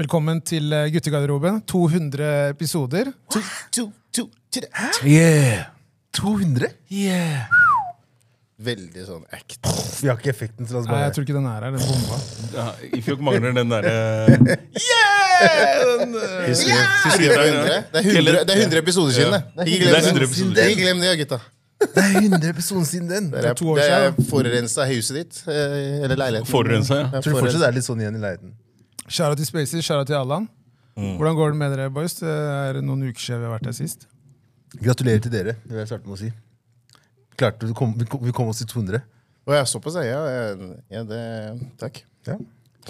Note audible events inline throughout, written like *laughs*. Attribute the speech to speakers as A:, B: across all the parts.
A: velkommen til eh, Guttegarderoben. 200 episoder.
B: To, to, to, to the- Hæ?
C: Yeah. 200?
B: Veldig sånn act.
C: Vi har ikke effekten til oss
A: Nei, jeg
C: bare.
A: tror ikke den er her. Den bomba.
D: Ja, I fjor mangler den
B: *laughs*
D: eh, derre
C: *laughs*
D: Yeah! Den, eh,
B: Husker du det var 100? Det er 100, det er 100 episoder siden, det. Ikke
D: Det er 100
B: glem
D: episoder
B: det, Ikke glem det gutta.
C: Det er 100 episoder siden den.
B: Det er,
A: to år
B: det er
A: siden.
B: forurensa huset ditt. eh, Eller leiligheten.
D: Forurensa, ja.
B: Ja,
C: Jeg tror det fortsatt
B: forurensa.
C: er litt sånn igjen i leiligheten. Mm.
A: Skjæra til Spacey, skjæra til Allan. Hvordan går det med dere, boys? Det er noen uker siden vi har vært her sist.
C: Gratulerer til dere. Det vil jeg starte med å si. Klarte vi kom, vi kom, vi kom oss til 200.
B: Å, ja, såpass, ja. ja, ja det, takk.
C: Ja.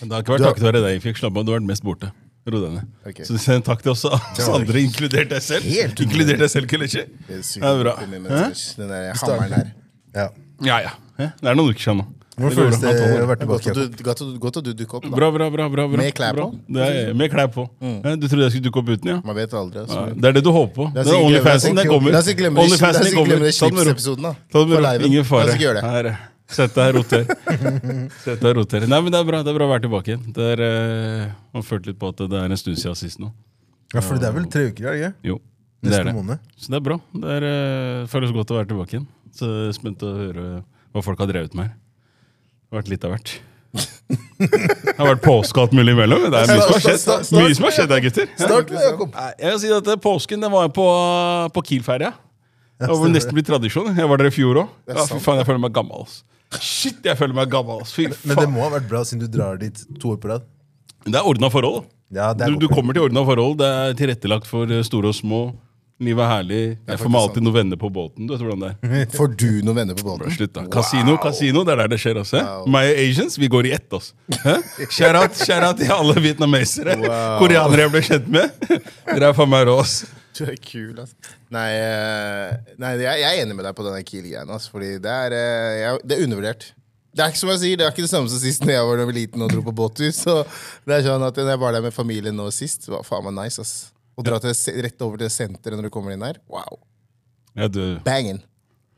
D: Det
B: *laughs*
D: har ikke vært takket være deg, Fikk. Slapp av, du har vært mest borte. Ro deg ned.
B: Ok.
D: Så send takk til oss oss andre, inkludert deg selv.
C: Helt unødvendig.
D: Inkludert deg selv, Kelechi.
B: Det er sykt
D: Det er bra.
B: mye
D: Hæ?
B: mennesker, Den der hammeren der.
C: ja.
D: Ja, ja. Hæ? Det er noen uker siden nå.
C: Hvordan
D: går
C: føles
D: bra.
C: det
D: Alt holder.
C: å
B: Godt
C: være tilbake?
B: at
C: Jakob?
B: du, godt at du, godt at du dukket opp, da.
D: Bra, bra, bra. bra, bra.
B: Med klær
D: Bra.
B: på?
D: Det er, med klær på. Hæ? Du trodde jeg skulle dukke opp uten, ja?
B: Mm. Man vet aldri. altså.
D: Ja, Det er det du håper på.
B: La oss
D: Den
B: ikke-
D: Onlyfansen
B: la oss
D: den
B: ikke-
D: kommer.
B: La oss ikke glemme de- la oss
D: Onlyfansen, den
B: ikke glemme de
D: Ta den med ro.
B: Chips-episoden, da.
D: Ta det med
B: På
D: ro.
B: liven.
D: Ingen
B: La
D: fare.
B: oss ikke gjøre det.
D: Her, sett deg her, roter. Sett deg her, roter. Nei, men det er bra Det er bra å være tilbake igjen. Det er, eh, Man følte litt på at det er en stund siden sist nå.
C: Ja, for det er vel tre uker, er det ikke?
D: Jo, det
C: Neste
D: er det.
C: måned.
D: Så det er bra. Det er, eh, føles godt å være tilbake igjen. Så jeg er spent å høre hva folk har drevet med her. Det har vært litt av
C: *laughs*
D: hvert. det har vært påske og alt mulig imellom. Det er mye som har skjedd, mye som har skjedd her, gutter. Ja.
C: Start med Jakob.
D: Nei, Jeg vil si at eh, Påsken den var jeg på, eh, på Kiel-ferie. Det var nesten blitt tradisjon. Jeg var der i fjor òg. Ja, fy faen, jeg føler meg gammel. altså. ass. Shit, jeg føler meg gammel. ass. Fy
C: Men det
D: faen.
C: må ha vært bra siden du drar dit to år på rad.
D: Det er ordna forhold.
C: Ja, det er
D: du, du
C: godt.
D: kommer til ordna forhold. Det er tilrettelagt for eh, store og små. Livet er herlig. Jeg får meg alltid noen venner på båten. Du vet hvordan det
C: *laughs*
D: er.
B: *laughs* Får du noen venner på båten?
D: Slutt, da. Kasino, kasino, det er der det skjer. ass. Wow. My Asians, vi går i ett. ass. Skjærat til alle vietnamesere. Koreanere jeg ble kjent med. Dere er faen meg rå, ass.
B: Du er kul, ass. Nei, eh, nei jeg, jeg er enig med deg på denne Kiel-greia. ass, Fordi det er, eh, jeg, det er undervurdert. Det er ikke som jeg sier, det er ikke det samme som sist når jeg var da jeg var liten og dro på båttur. Så det er sånn at når jeg var der med familien nå sist, det var faen meg nice. ass. Å dra til, se- rett over til senteret når du kommer inn her, wow.
D: Ja, du, Hm?
B: Bangen.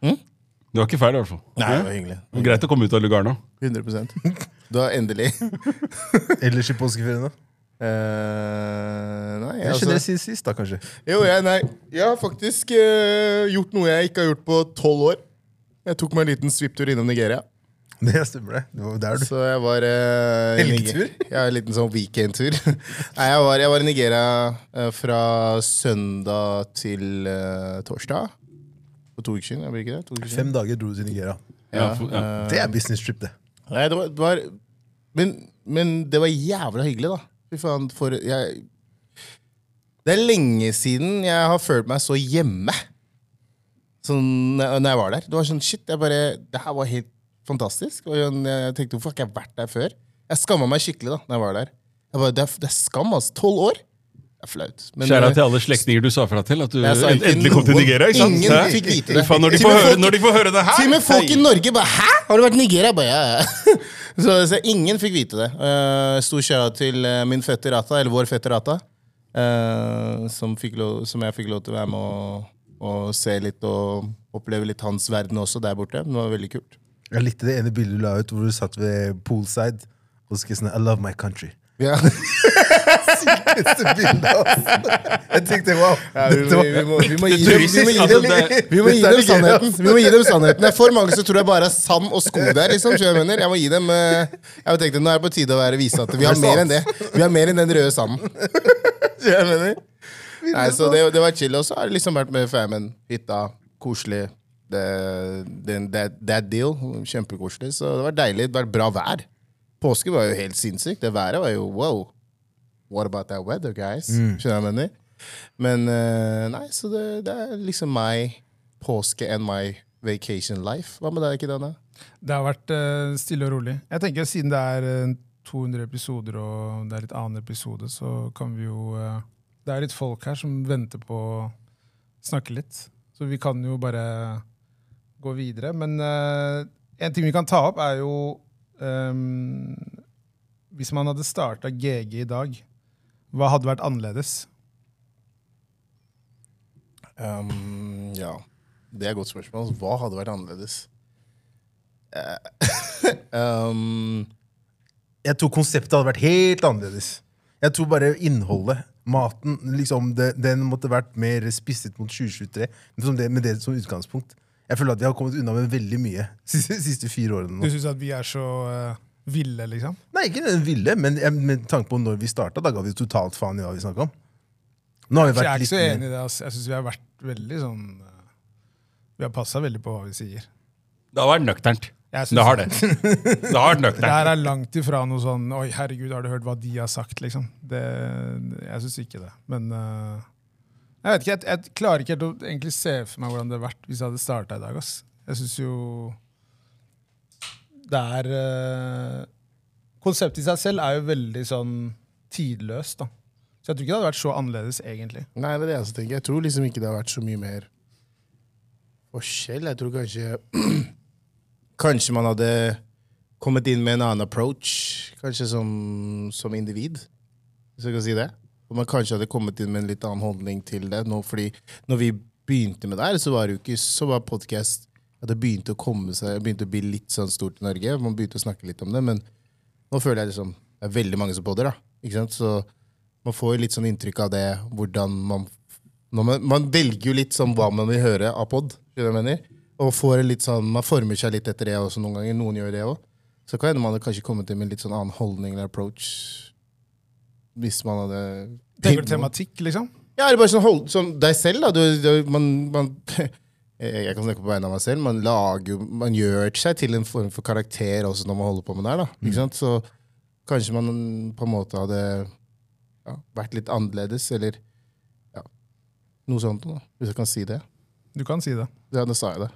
D: du var ikke feil, i hvert fall.
B: Nei, det var hyggelig.
D: Greit å komme ut av Lugarno.
B: *laughs* 100 Du har endelig *laughs*
C: Ellers i påskeferien, da?
B: Eh, Nei,
C: Jeg
B: altså-
C: skjønner det siden sist, da, kanskje.
B: Jo, jeg, nei. jeg har faktisk eh, gjort noe jeg ikke har gjort på tolv år. Jeg tok meg en liten svipptur innom Nigeria.
C: *laughs* Det stemmer, det. Det var der, du.
B: Så jeg var eh, i Niger-
C: Helgetur?
B: Ja, en liten sånn weekendtur. *laughs* nei, jeg var, jeg var i Nigeria eh, fra søndag til eh, torsdag. For to uker siden, jeg blir ikke det? To uker siden. eh,
C: Fem dager dro du til Nigeria.
D: Ja, for- ja.
C: Det er business trip, det.
B: Nei, det var, det var men, men det var jævla hyggelig, da. Fy faen, for jeg Det er lenge siden jeg har følt meg så hjemme sånn, når når jeg var der. Det var sånn shit, jeg bare Det her var helt fantastisk. Og jeg jeg tenkte hvorfor har ikke jeg vært der før? Jeg skamma meg skikkelig da når jeg var der. Jeg bare, det, er, det er skam, altså. Tolv år. Det er flaut. Men,
D: Skjæra
B: eh,
D: til alle slektninger du sa fra til. At du
B: Jeg sa ikke
D: endelig kom til
B: noe.
D: Nigeria. ikke sant?
B: Ingen
D: Hæ?
B: fikk vite det.
D: Faen, når, de
B: Til og
D: får
B: med
D: høre,
B: folk-
D: når de får høre det her
B: Til og med folk i Norge bare 'hæ?! Har du vært i Nigeria?' Jeg Bare, ja, ja. Så, så ingen fikk vite det. Uh, stor kjære til eh, min fetter Ata, eller vår fetter Ata, eh, som, fikk lov, som jeg fikk lov til å være med og, og se litt og oppleve litt hans verden også der borte. Det var veldig kult.
C: Jeg likte det ene bildet du la ut hvor du satt ved poolside og skrev sånn I love my country.
B: Ja.
C: *laughs* Sykeste bildet, altså. Jeg tenkte wow.
B: vi, vi,
C: dette var-
B: må, vi må gi
D: Det er
B: dem, vi må
D: turistisk,
B: gi
D: altså,
B: dem,
D: det-
B: vi må gi
C: Dette er
B: dem
C: gøy, ass.
B: sannheten. Vi må gi dem sannheten. Det er for mange som tror jeg bare er sand og sko der. liksom, skjønner du hva Jeg mener. Jeg må gi dem, eh, jeg tenkte, Nå er det på tide å være vise at vi har mer enn det. Vi har mer enn den røde sanden. Skjønner du hva jeg mener? Nei, så det, det var chill. Og så har det liksom vært med famen. Hytta. Koselig. Det, det, det, det er deal. Kjempekoselig. Så det var deilig. Det var bra vær. Påske var jo helt sinnssykt. Det været var jo wow. What about that weather, guys? Skjønner du hva jeg mener? Men eh, nei, så det, det er liksom my påske and my vacation life. Hva med deg, Kidana?
A: Det har vært eh, stille og rolig. Jeg tenker Siden det er eh, 200 episoder og det er litt annen episode, så kan vi jo eh, Det er litt folk her som venter på å snakke litt. Så vi kan jo bare gå videre. Men eh, en ting vi kan ta opp, er jo eh, Hvis man hadde starta GG i dag, hva hadde vært annerledes?
B: Um, ja, det er et godt spørsmål. Altså, Hva hadde vært annerledes? Eh, *laughs* um,
C: Jeg tror konseptet hadde vært helt annerledes. Jeg tror bare innholdet, maten, liksom, det, den måtte vært mer spisset mot 2023. Men som det, med det som utgangspunkt. Jeg føler at jeg har kommet unna med veldig mye *laughs* siste, siste fire årene.
A: Du
C: nå.
A: syns at vi er så eh, ville, liksom?
C: Nei, ikke den ville, men jeg, med tanke på når vi starta, da ga vi totalt faen i hva vi snakka om. Nå har vi
A: Så jeg
C: vært
A: er ikke
C: litt
A: så
C: mer-
A: enig i det. ass. Jeg syns vi har vært veldig sånn eh, Vi har passa veldig på hva vi sier.
D: Det har vært nøkternt.
A: Jeg synes
D: Det har det.
A: *laughs*
D: Det har vært
A: Det
D: nøkternt.
A: her er langt ifra noe sånn Oi, herregud, har du hørt hva de har sagt? liksom. Det, jeg syns ikke det. Men øh, jeg vet ikke, jeg, jeg klarer ikke helt å egentlig se for meg hvordan det hadde vært hvis jeg hadde starta i dag. ass. Jeg syns jo det er øh, Konseptet i seg selv er jo veldig sånn tidløst. da. Så jeg tror ikke det hadde vært så annerledes, egentlig.
B: Nei, det er det jeg også tenker. Jeg tror liksom ikke det har vært så mye mer forskjell. Jeg tror kanskje *clears throat* Kanskje man hadde kommet inn med en annen approach, kanskje som, som individ, hvis jeg kan si det. Og man kanskje hadde kommet inn med en litt annen holdning til det. Nå, fordi når vi begynte med det her, så var det jo ikke så var podkast at det begynte å komme seg, begynte å bli litt sånn stort i Norge. Man begynte å snakke litt om det, men nå føler jeg liksom Det er veldig mange som podder, da. Ikke sant? Så man får jo litt sånn inntrykk av det, hvordan man når man, man velger jo litt sånn hva man vil høre av pod. Og får en litt sånn, man former seg litt etter det også noen ganger. Noen gjør det òg. Så kan hende man hadde kanskje kommet inn med en litt sånn annen holdning eller approach. Hvis man hadde
A: Tenker du tematikk, liksom?
B: ja, eller bare sånn hold, sånn deg selv, da. Du, du, man, man, *laughs* jeg jeg kan snakke på vegne av meg selv. Man, lager, jo- man gjør seg til en form for karakter også når man holder på med det her. da,
A: Mm.
B: ikke sant? Så kanskje man på en måte hadde ja, vært litt annerledes, eller ja, noe sånt, da, hvis jeg kan si det.
A: Du kan si det.
B: Ja, da sa jeg det.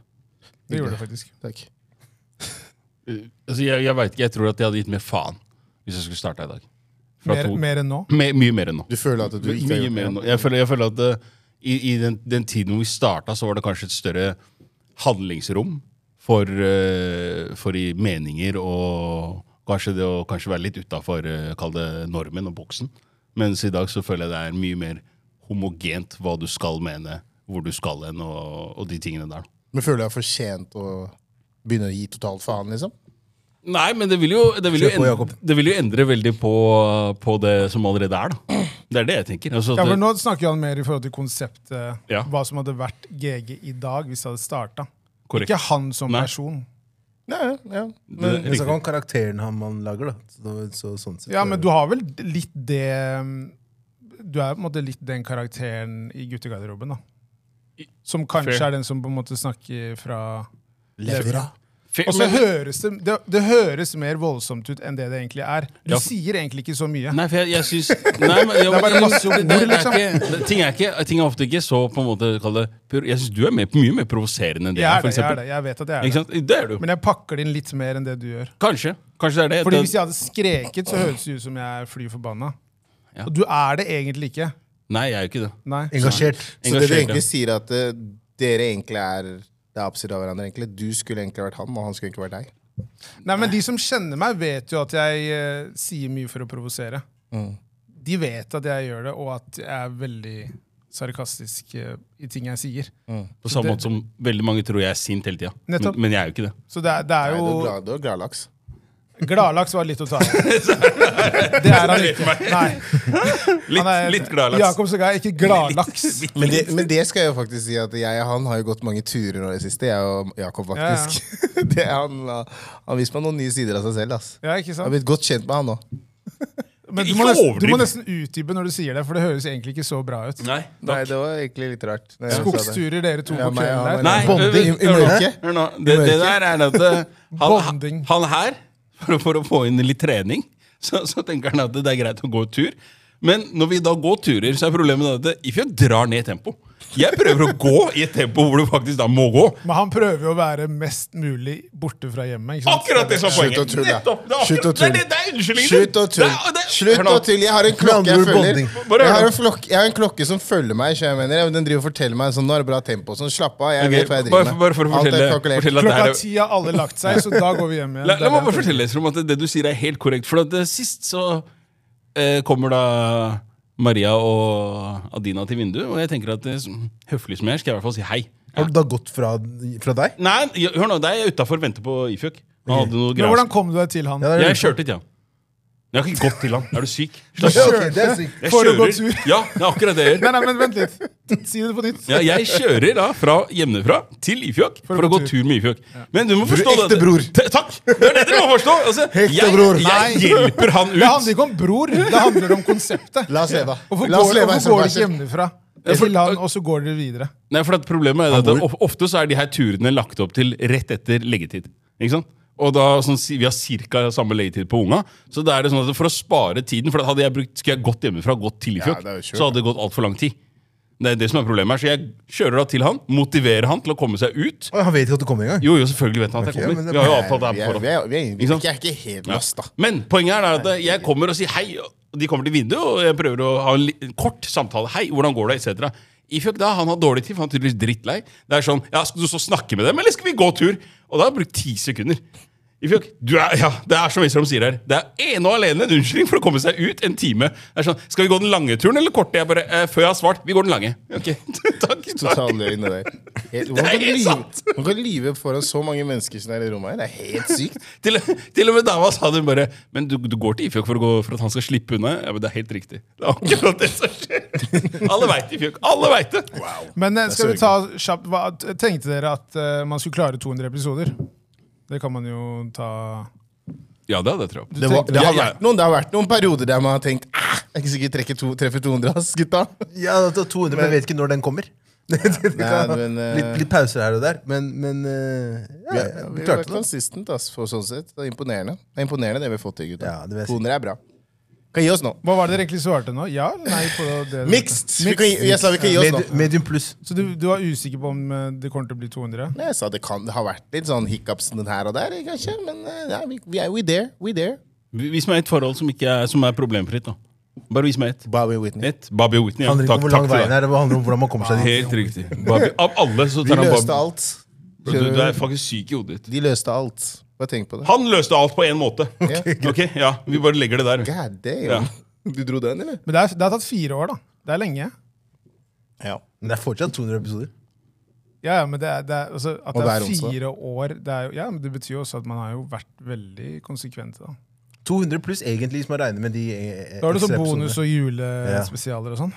A: Det gjorde du faktisk.
B: Takk.
D: Altså, jeg jeg vet ikke, jeg tror at jeg hadde gitt mer faen hvis jeg skulle starta i dag. Fra
A: Mer,
D: to-
A: mer enn nå.
D: Me- mye mer enn nå.
B: Du føler at du ikke har
D: Mye
B: gjort
D: mer
B: det?
D: enn nå. Jeg føler, jeg føler at eh, i, i den, den tiden hvor vi starta, så var det kanskje et større handlingsrom for, eh, for i meninger og kanskje det å kanskje være litt utafor normen og boksen. Mens i dag så føler jeg det er mye mer homogent hva du skal mene, hvor du skal hen, og, og de tingene der.
B: Men føler du deg fortjent å begynne å gi totalt faen, liksom?
D: Nei, men det vil jo, det vil jo,
C: Kjør på, Jakob.
D: endre, det vil jo endre veldig på, på det som allerede er, da. Det er det jeg tenker. Altså,
A: Ja, for
D: det-
A: Nå snakker han mer i forhold til konseptet,
D: Ja.
A: hva som hadde vært GG i dag hvis det hadde starta.
D: Korrekt.
A: Ikke han som
D: Nei.
A: person.
B: Ja, ja, ja. Men,
D: det-
C: Jeg snakker om karakteren han man lager, da. Så, så, sånn sett,
A: Ja, men du har vel litt det mm, Du er på en måte litt den karakteren i guttegarderoben, da. Som kanskje
D: Fair.
A: er den som på en måte snakker fra
B: Levra.
D: Fe-
A: Og så
D: men-
A: høres det, det Det høres mer voldsomt ut enn det det egentlig er. Du
D: Ja.
A: sier egentlig ikke så mye.
D: Nei, for jeg, jeg syns
A: *laughs*
D: Nei, men jeg,
A: Det er bare
D: jeg-
A: masse ord,
D: det- det er
A: liksom.
D: ikke- det- Ting er ikke Ting er ofte ikke så på en måte kall det, pur- Jeg syns du er mer, mye mer provoserende enn det
A: Jeg er
D: for
A: det, jeg er
D: eksempel.
A: det. Jeg vet at jeg
D: Ikke
A: er det.
D: sant? Det er du.
A: Men jeg pakker det inn litt mer enn det du gjør.
D: Kanskje. Kanskje det er det.
A: Fordi
D: det
A: hvis jeg hadde skreket, så høres det ut som jeg er fly forbanna.
D: Ja.
A: Og du er det egentlig ikke.
D: Nei, jeg er jo ikke det.
A: Nei.
C: Engasjert.
B: Så det du
D: Engasjert,
B: egentlig sier, er at eh, dere egentlig er det opposite av hverandre. egentlig. Du skulle egentlig vært han, og han skulle egentlig vært deg.
A: Nei, men De som kjenner meg, vet jo at jeg eh, sier mye for å provosere.
B: Mm.
A: De vet at jeg gjør det, og at jeg er veldig sarkastisk eh, i ting jeg sier.
B: Mm.
D: På samme
A: Det-
D: måte som veldig mange tror jeg er sint hele tida. Men,
A: Nettopp.
D: men jeg er jo ikke det.
A: Så det er, det er
B: Nei, du er
A: jo
B: glad- du er gladlaks.
A: Gladlaks var litt å ta
D: *laughs*
A: i. Det er han ikke.
B: *laughs*
A: Nei, han er,
D: Litt, litt glad, Lars.
A: Jakob Sogar er ikke
D: *laughs*
A: gladlaks.
B: Men det, men det skal jeg jo faktisk si, at jeg og han har jo gått mange turer nå i det siste. Jeg og Jakob, faktisk. *laughs* det er han, eh, han viste meg noen nye sider av seg selv. ass.
A: Ja, ikke
B: Jeg har
A: sant?
B: blitt godt kjent med han nå.
A: Men du
D: Ikke
A: må, nesten, du må
D: overdriv.
A: nesten utdype når du sier det, for det høres egentlig ikke så bra ut.
D: Nei.
B: Nei, det var egentlig litt rart. når jeg sa det.
A: Skogsturer, dere to
B: Ja,
A: på
B: meg og
A: kvelden
B: han
A: der.
D: Nei,
B: Bonde i- i
D: hør nå,
B: mørket.
D: Hør nå. Det, det der er at eh, han,
A: Bonding.
D: han her, for å, for å få inn litt trening, så, så tenker han at det er greit å gå tur. Men når vi da går turer, så er problemet at det- Ifjø drar ned tempo. Jeg prøver å gå i et tempo hvor du faktisk da må gå.
A: Men han prøver jo å være mest mulig borte fra hjemmet. ikke sant?
D: Akkurat det som er
B: Slutt å
D: poenget!
B: tulle.
D: Nettopp, det er akkurat-
B: Slutt å
D: det er
B: tulle.
D: det- det er unnskyldningen din.
B: Slutt å
D: Det er-
B: tulle.
D: det er- Hør
B: Slutt
D: nå.
B: å tulle. Jeg har en klokke
C: Med
B: jeg
C: andre ord,
B: følger.
C: bonding.
D: Bare hør
B: Jeg har
D: nå.
B: en, flokk, jeg har en klokke som følger meg. skjønner Jeg mener. Den driver og forteller meg sånn, nå er det bra tempo. og Sånn, slapp av, jeg
D: Ok,
B: vet hva jeg
D: bare for-
B: driver med.
D: bare for å
B: Alt er
D: fortelle-
B: kalkulert.
D: fortelle at det er-
A: Klokka ti har alle lagt seg, så da går vi hjem igjen.
D: La, la
A: Det er
D: meg
A: det
D: bare
A: han tenker.
D: fortelle dere om at det du sier er helt korrekt. For at eh, sist så eh, kommer da Maria og Adina til vinduet, og jeg tenker at eh, som- høflig som jeg er, skal jeg i hvert fall si hei.
C: Har du da gått fra, fra deg?
D: Nei, j- hør nå, det er jeg utafor venter på Ifjøk. Han hadde noe
A: Men
D: greier.
A: hvordan kom du deg til han?
C: Ja, det er-
D: Jeg kjørte til han. Jeg har ikke gått til han. Er du syk?
C: Ok, det er sykt.
D: Jeg
A: Får du gå
D: kjører. Ja, det er akkurat det jeg gjør.
A: Nei, nei, *laughs* men vent litt. Si det på nytt.
D: Ja, jeg kjører da fra hjemmefra til Ifjok for, å gå tur med Ifjok. Men du må forstå
B: ekte
D: dette-
B: bror.
D: T- Takk! Det er det dere må forstå! Altså, jeg,
B: bror.
D: jeg hjelper han
A: Det
D: ut.
A: handler ikke om bror, det handler om konseptet.
B: La oss leve.
A: Hvorfor
B: La oss
A: går,
B: leve
A: hvorfor
B: som
A: går dere
B: verser.
A: ikke hjemmefra? Til land, og så går dere videre.
D: Nei, for at Problemet er at det- of- ofte så er de her turene lagt opp til rett etter leggetid. Ikke sant? Og da, sånn, si- Vi har ca. samme leggetid på unga. Så da er det sånn at for å spare tiden for at hadde jeg brukt, Skulle jeg gått hjemmefra og gått til i
B: Ja,
D: fjøk,
B: det er jo kjørt,
D: så hadde det gått altfor lang tid. Det er det som er problemet her, Så jeg kjører da til han, motiverer han til å komme seg ut.
C: Å, Han vet ikke at du kommer engang.
D: Jo, jo, selvfølgelig vet han at jeg
C: Ok,
D: kommer.
C: men det-
D: Vi har jo avtalt det her
B: Vi er,
D: på forhånd.
B: vi er, vi er, vi
D: Ikke
B: er,
D: sant?
B: vi er ikke helt lost, da.
D: Men poenget her er at jeg kommer og sier hei, og de kommer til vinduet, og jeg prøver å ha en li- en kort samtale. Hei, hvordan går det? etc. Ifjok da, han har dårlig tid, for han er tydeligvis drittlei. Det er sånn, ja, Skal du så snakke med dem, eller skal vi gå tur? Og da har jeg brukt ti sekunder. Ifjok, du er, ja, Det er som Isram sier her, det er ene og alene en unnskyldning for å komme seg ut en time. Det er sånn, Skal vi gå den lange turen eller korte? Jeg bare, eh, Før jeg har svart, vi går den lange. Ok, takk, takk.
B: Total løgn, det der. Helt,
D: Det
B: hvordan,
D: er
B: kan du
D: helt
B: lyve,
D: sant.
B: hvordan kan du lyve foran så mange mennesker som er i det rommet her? Det er helt sykt.
D: Til, til og med dama sa det bare Men du, du går til Ifjok for, å gå, for at han skal slippe unna? Ja, men Det er helt riktig. Det er akkurat det som skjer. *laughs* Alle veit Ifjok. Alle vet det!
A: Men eh, skal vi ta kjapt hva, Tenkte dere at eh, man skulle klare 200 episoder? Det kan man jo ta
D: Ja, det hadde jeg trodd.
B: Det, var, det, har
D: Ja, ja.
B: vært noen, det har vært noen perioder der man har tenkt ah, Jeg er ikke sikkert trekke to, treffer 200, ass, gutta.
C: Ja, det er 200, men jeg vet ikke når den kommer. *laughs* Det kan-
B: Nei, men, eh,
C: litt, litt pauser her og der, men, men eh, ja,
B: Ja,
C: ja,
B: vi
C: vi
B: har vært
C: klarte det.
B: consistent, ass, for sånn sett. Det er imponerende. Det er imponerende det vi har fått til, gutta.
C: Ja, det vil jeg si.
B: 200 er bra. Kan gi oss nå.
A: Hva var det dere egentlig svarte nå? Ja eller nei? på det?
B: Mixed! Vi kan, gi- jeg sa vi kan gi oss nå.
C: Medium, medium pluss.
A: Så du, du var usikker på om eh, det kommer til å bli 200?
B: Nei, Jeg sa det kan det har vært litt sånn hiccups her og der, kanskje, men eh, ja, vi, vi er we there. We there.
D: Vis meg et forhold som, ikke er, som er problemfritt. da. Bare vis meg ett.
B: Bobby Whitney.
D: Et. Bobby Whitney.
C: Det
D: Ja.
C: handler ikke
D: Takk,
C: om hvor lang
D: takk for
C: veien
D: det.
C: er, det handler om hvordan man kommer seg dit.
D: Helt riktig. Bobby. Av alle så
B: De
D: tar han
B: løste
D: Bobby.
B: alt.
D: Du, du er faktisk syk i hodet ditt.
B: De løste alt. Bare tenk på det.
D: Han løste alt på én
B: *laughs*
D: måte. Ok, ja, Vi bare legger det der.
B: God damn.
D: Ja.
B: Du dro den, eller?
A: Men det, er, det har tatt fire år, da. Det er lenge.
B: Ja.
C: Men det er fortsatt 200 episoder.
A: Ja, ja, men det er, det er, altså, At
B: Og
A: det er
B: hver onsdag.
A: fire år det, er, jo- ja, men det betyr jo også at man har jo vært veldig konsekvent. Da
C: 200 pluss egentlig, hvis man regner med de eh,
A: Da har du sånn
C: ekstra episodene.
A: bonus- og julespesialer og sånn.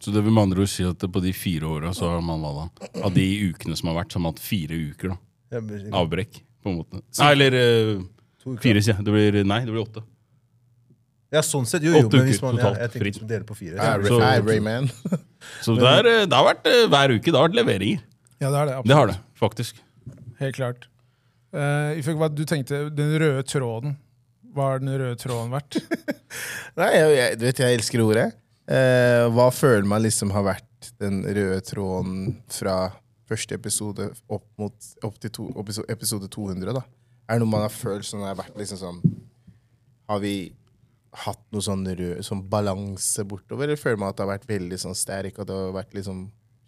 D: Så det vil med andre ord si at på de fire åra så har man hva da? Av de ukene som har vært, så har man hatt fire uker. da.
C: Ja, men-
D: avbrekk, på en måte. Nei, eller eh,
C: to uker.
D: fire, sier jeg. Det blir, nei, det blir åtte.
C: Ja, sånn sett. Jo, jo,
D: Åtte
C: men hvis
D: uker
C: man, ja,
D: totalt,
C: jeg tenker
D: fritt.
C: hvis man deler på fire.
B: Nei,
C: så-
B: Ray-
D: Så-
B: nei, Rayman.
D: *laughs* Så det, er, eh, det har vært eh, hver uke. Det har vært leveringer.
A: Ja, det er det.
D: Det
A: absolutt.
D: har det, faktisk.
A: Helt klart. Eh, ifølge hva du tenkte, den røde tråden. Hva har den røde tråden vært?
B: Nei, jeg, jeg, du vet, jeg elsker ordet. Eh, hva føler man liksom har vært den røde tråden fra første episode opp, mot, opp til to, episode, episode 200? da? Er det noe man har følt som har vært liksom sånn Har vi hatt noe sånn rød sånn balanse bortover, eller føler man at det har vært veldig sånn sterk, og det har vært liksom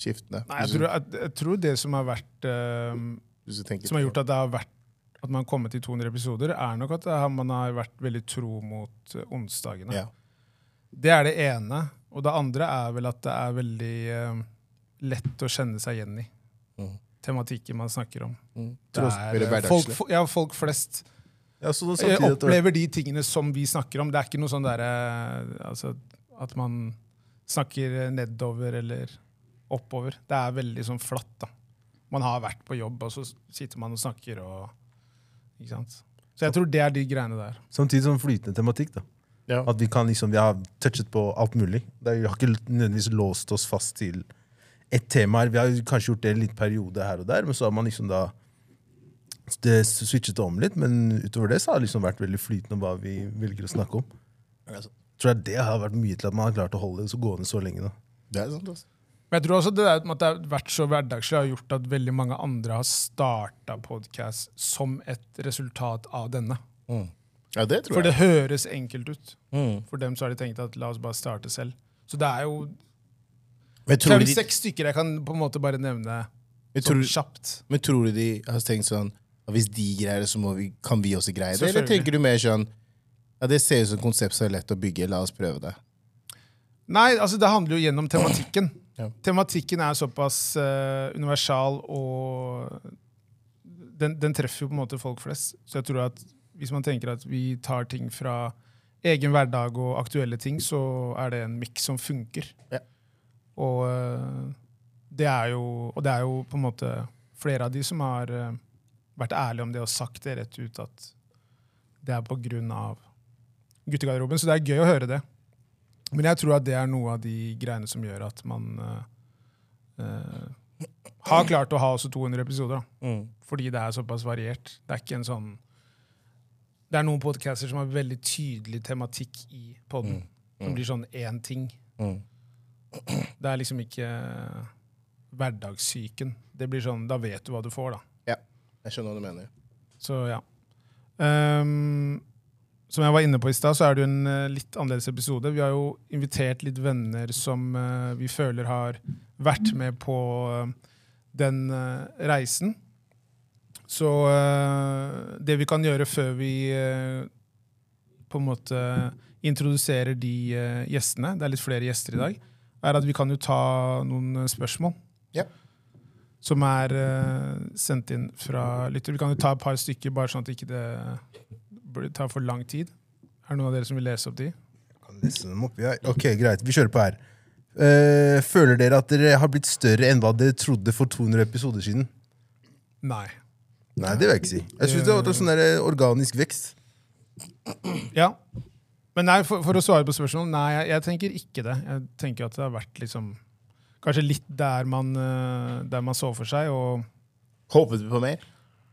B: skiftende?
A: Nei, jeg, tror, at- jeg tror det som har vært eh,
B: Hvis du tenker
A: Som har
B: på-
A: gjort at det har vært at man har kommet til 200 episoder, er nok at det har- man har vært veldig tro mot eh, onsdagene.
B: Ja.
A: Det er det ene. Og det andre er vel at det er veldig eh, lett å kjenne seg igjen i.
B: Mhm.
A: Tematikken man snakker om. Det
B: Mm. Tross-
A: er,
B: veldig
A: eh, folk,
B: hverdagslig.
A: fo- ja, folk flest
C: Ja, så
A: eh,
C: samtidig at det var-
A: opplever de tingene som vi snakker om. Det er ikke noe sånn derre altså, At man snakker nedover eller oppover. Det er veldig sånn flatt. da. Man har vært på jobb, og så sitter man og snakker og Ikke sant. Så jeg tror det er de greiene der.
C: Samtidig Sånn som flytende tematikk. da.
B: Ja.
C: At vi kan liksom, vi har touchet på alt mulig. Det er, vi har ikke nødvendigvis låst oss fast til ett tema. her. Vi har jo kanskje gjort det en liten periode her og der, men så har man liksom da det switchet det om litt. Men utover det så har det liksom vært veldig flytende om hva vi velger å snakke om. Tror jeg det har vært mye til at man har klart å holde det så gående så lenge. da.
B: Det er sant, altså.
A: Men jeg tror også det der med at det har vært så hverdagslig, har gjort at veldig mange andre har starta podkast som et resultat av denne.
B: Mm. Ja, det tror
A: For
B: jeg. Mm.
A: det høres enkelt ut. For dem så har de tenkt at la oss bare starte selv. Så det er jo
B: Men
A: det
B: tror
A: er
B: du
A: vel
B: de,
A: seks stykker jeg kan på en måte bare nevne
B: men tror,
A: sånn
B: du-
A: kjapt.
B: Men tror du de har tenkt sånn «Ja, Hvis de greier det, så må vi, kan vi også greie det? Eller
A: Selvfølgelig.
B: tenker du mer sånn ja, Det ser ut som et konsept som er lett å bygge, la oss prøve det.
A: Nei, altså det handler jo gjennom tematikken.
B: *clears throat* Ja.
A: Tematikken er såpass eh, universal og den, den treffer jo på en måte folk flest. Så jeg tror at hvis man tenker at vi tar ting fra egen hverdag og aktuelle ting, så er det en miks som funker.
B: Ja.
A: Og, eh, det er jo, og det er jo på en måte flere av de som har eh, vært ærlige om det og sagt det rett ut, at det er på grunn av guttegarderoben. Så det er gøy å høre det. Men jeg tror at det er noe av de greiene som gjør at man eh, eh, har klart å ha også 200 episoder. Da fordi det er såpass variert. Det er ikke en sånn Det er noen podcaster som har veldig tydelig tematikk i podden. Som blir sånn én ting.
B: Mm.
A: Det er liksom ikke hverdagssyken. Det blir sånn, Da vet du hva du får, da.
B: Ja, jeg skjønner hva du mener.
A: Så ja. Ehm, som jeg var inne på i stad, så er det jo en eh, litt annerledes episode. Vi har jo invitert litt venner som eh, vi føler har vært med på eh, den eh, reisen. Så eh, det vi kan gjøre før vi eh, på en måte introduserer de eh, gjestene, det er litt flere gjester i dag, er at vi kan jo ta noen eh, spørsmål
B: Ja.
A: som er eh, sendt inn fra lytter. Vi kan jo ta et par stykker, bare sånn at ikke det blir- tar for lang tid. Er det noen av dere som vil lese opp de?
C: Kan lese dem opp, ja. Ok, greit. Vi kjører på her. Eh, føler dere at dere har blitt større enn hva dere trodde for 200 episoder siden?
A: Nei.
C: Nei, det vil jeg ikke si. Jeg synes det har vært en sånn der eh, organisk vekst.
A: Ja. Men nei, for, for å svare på spørsmålet, nei, jeg, jeg tenker ikke det. Jeg tenker at det har vært liksom Kanskje litt der man, eh, der man så for seg, og
B: Håpet vi på mer?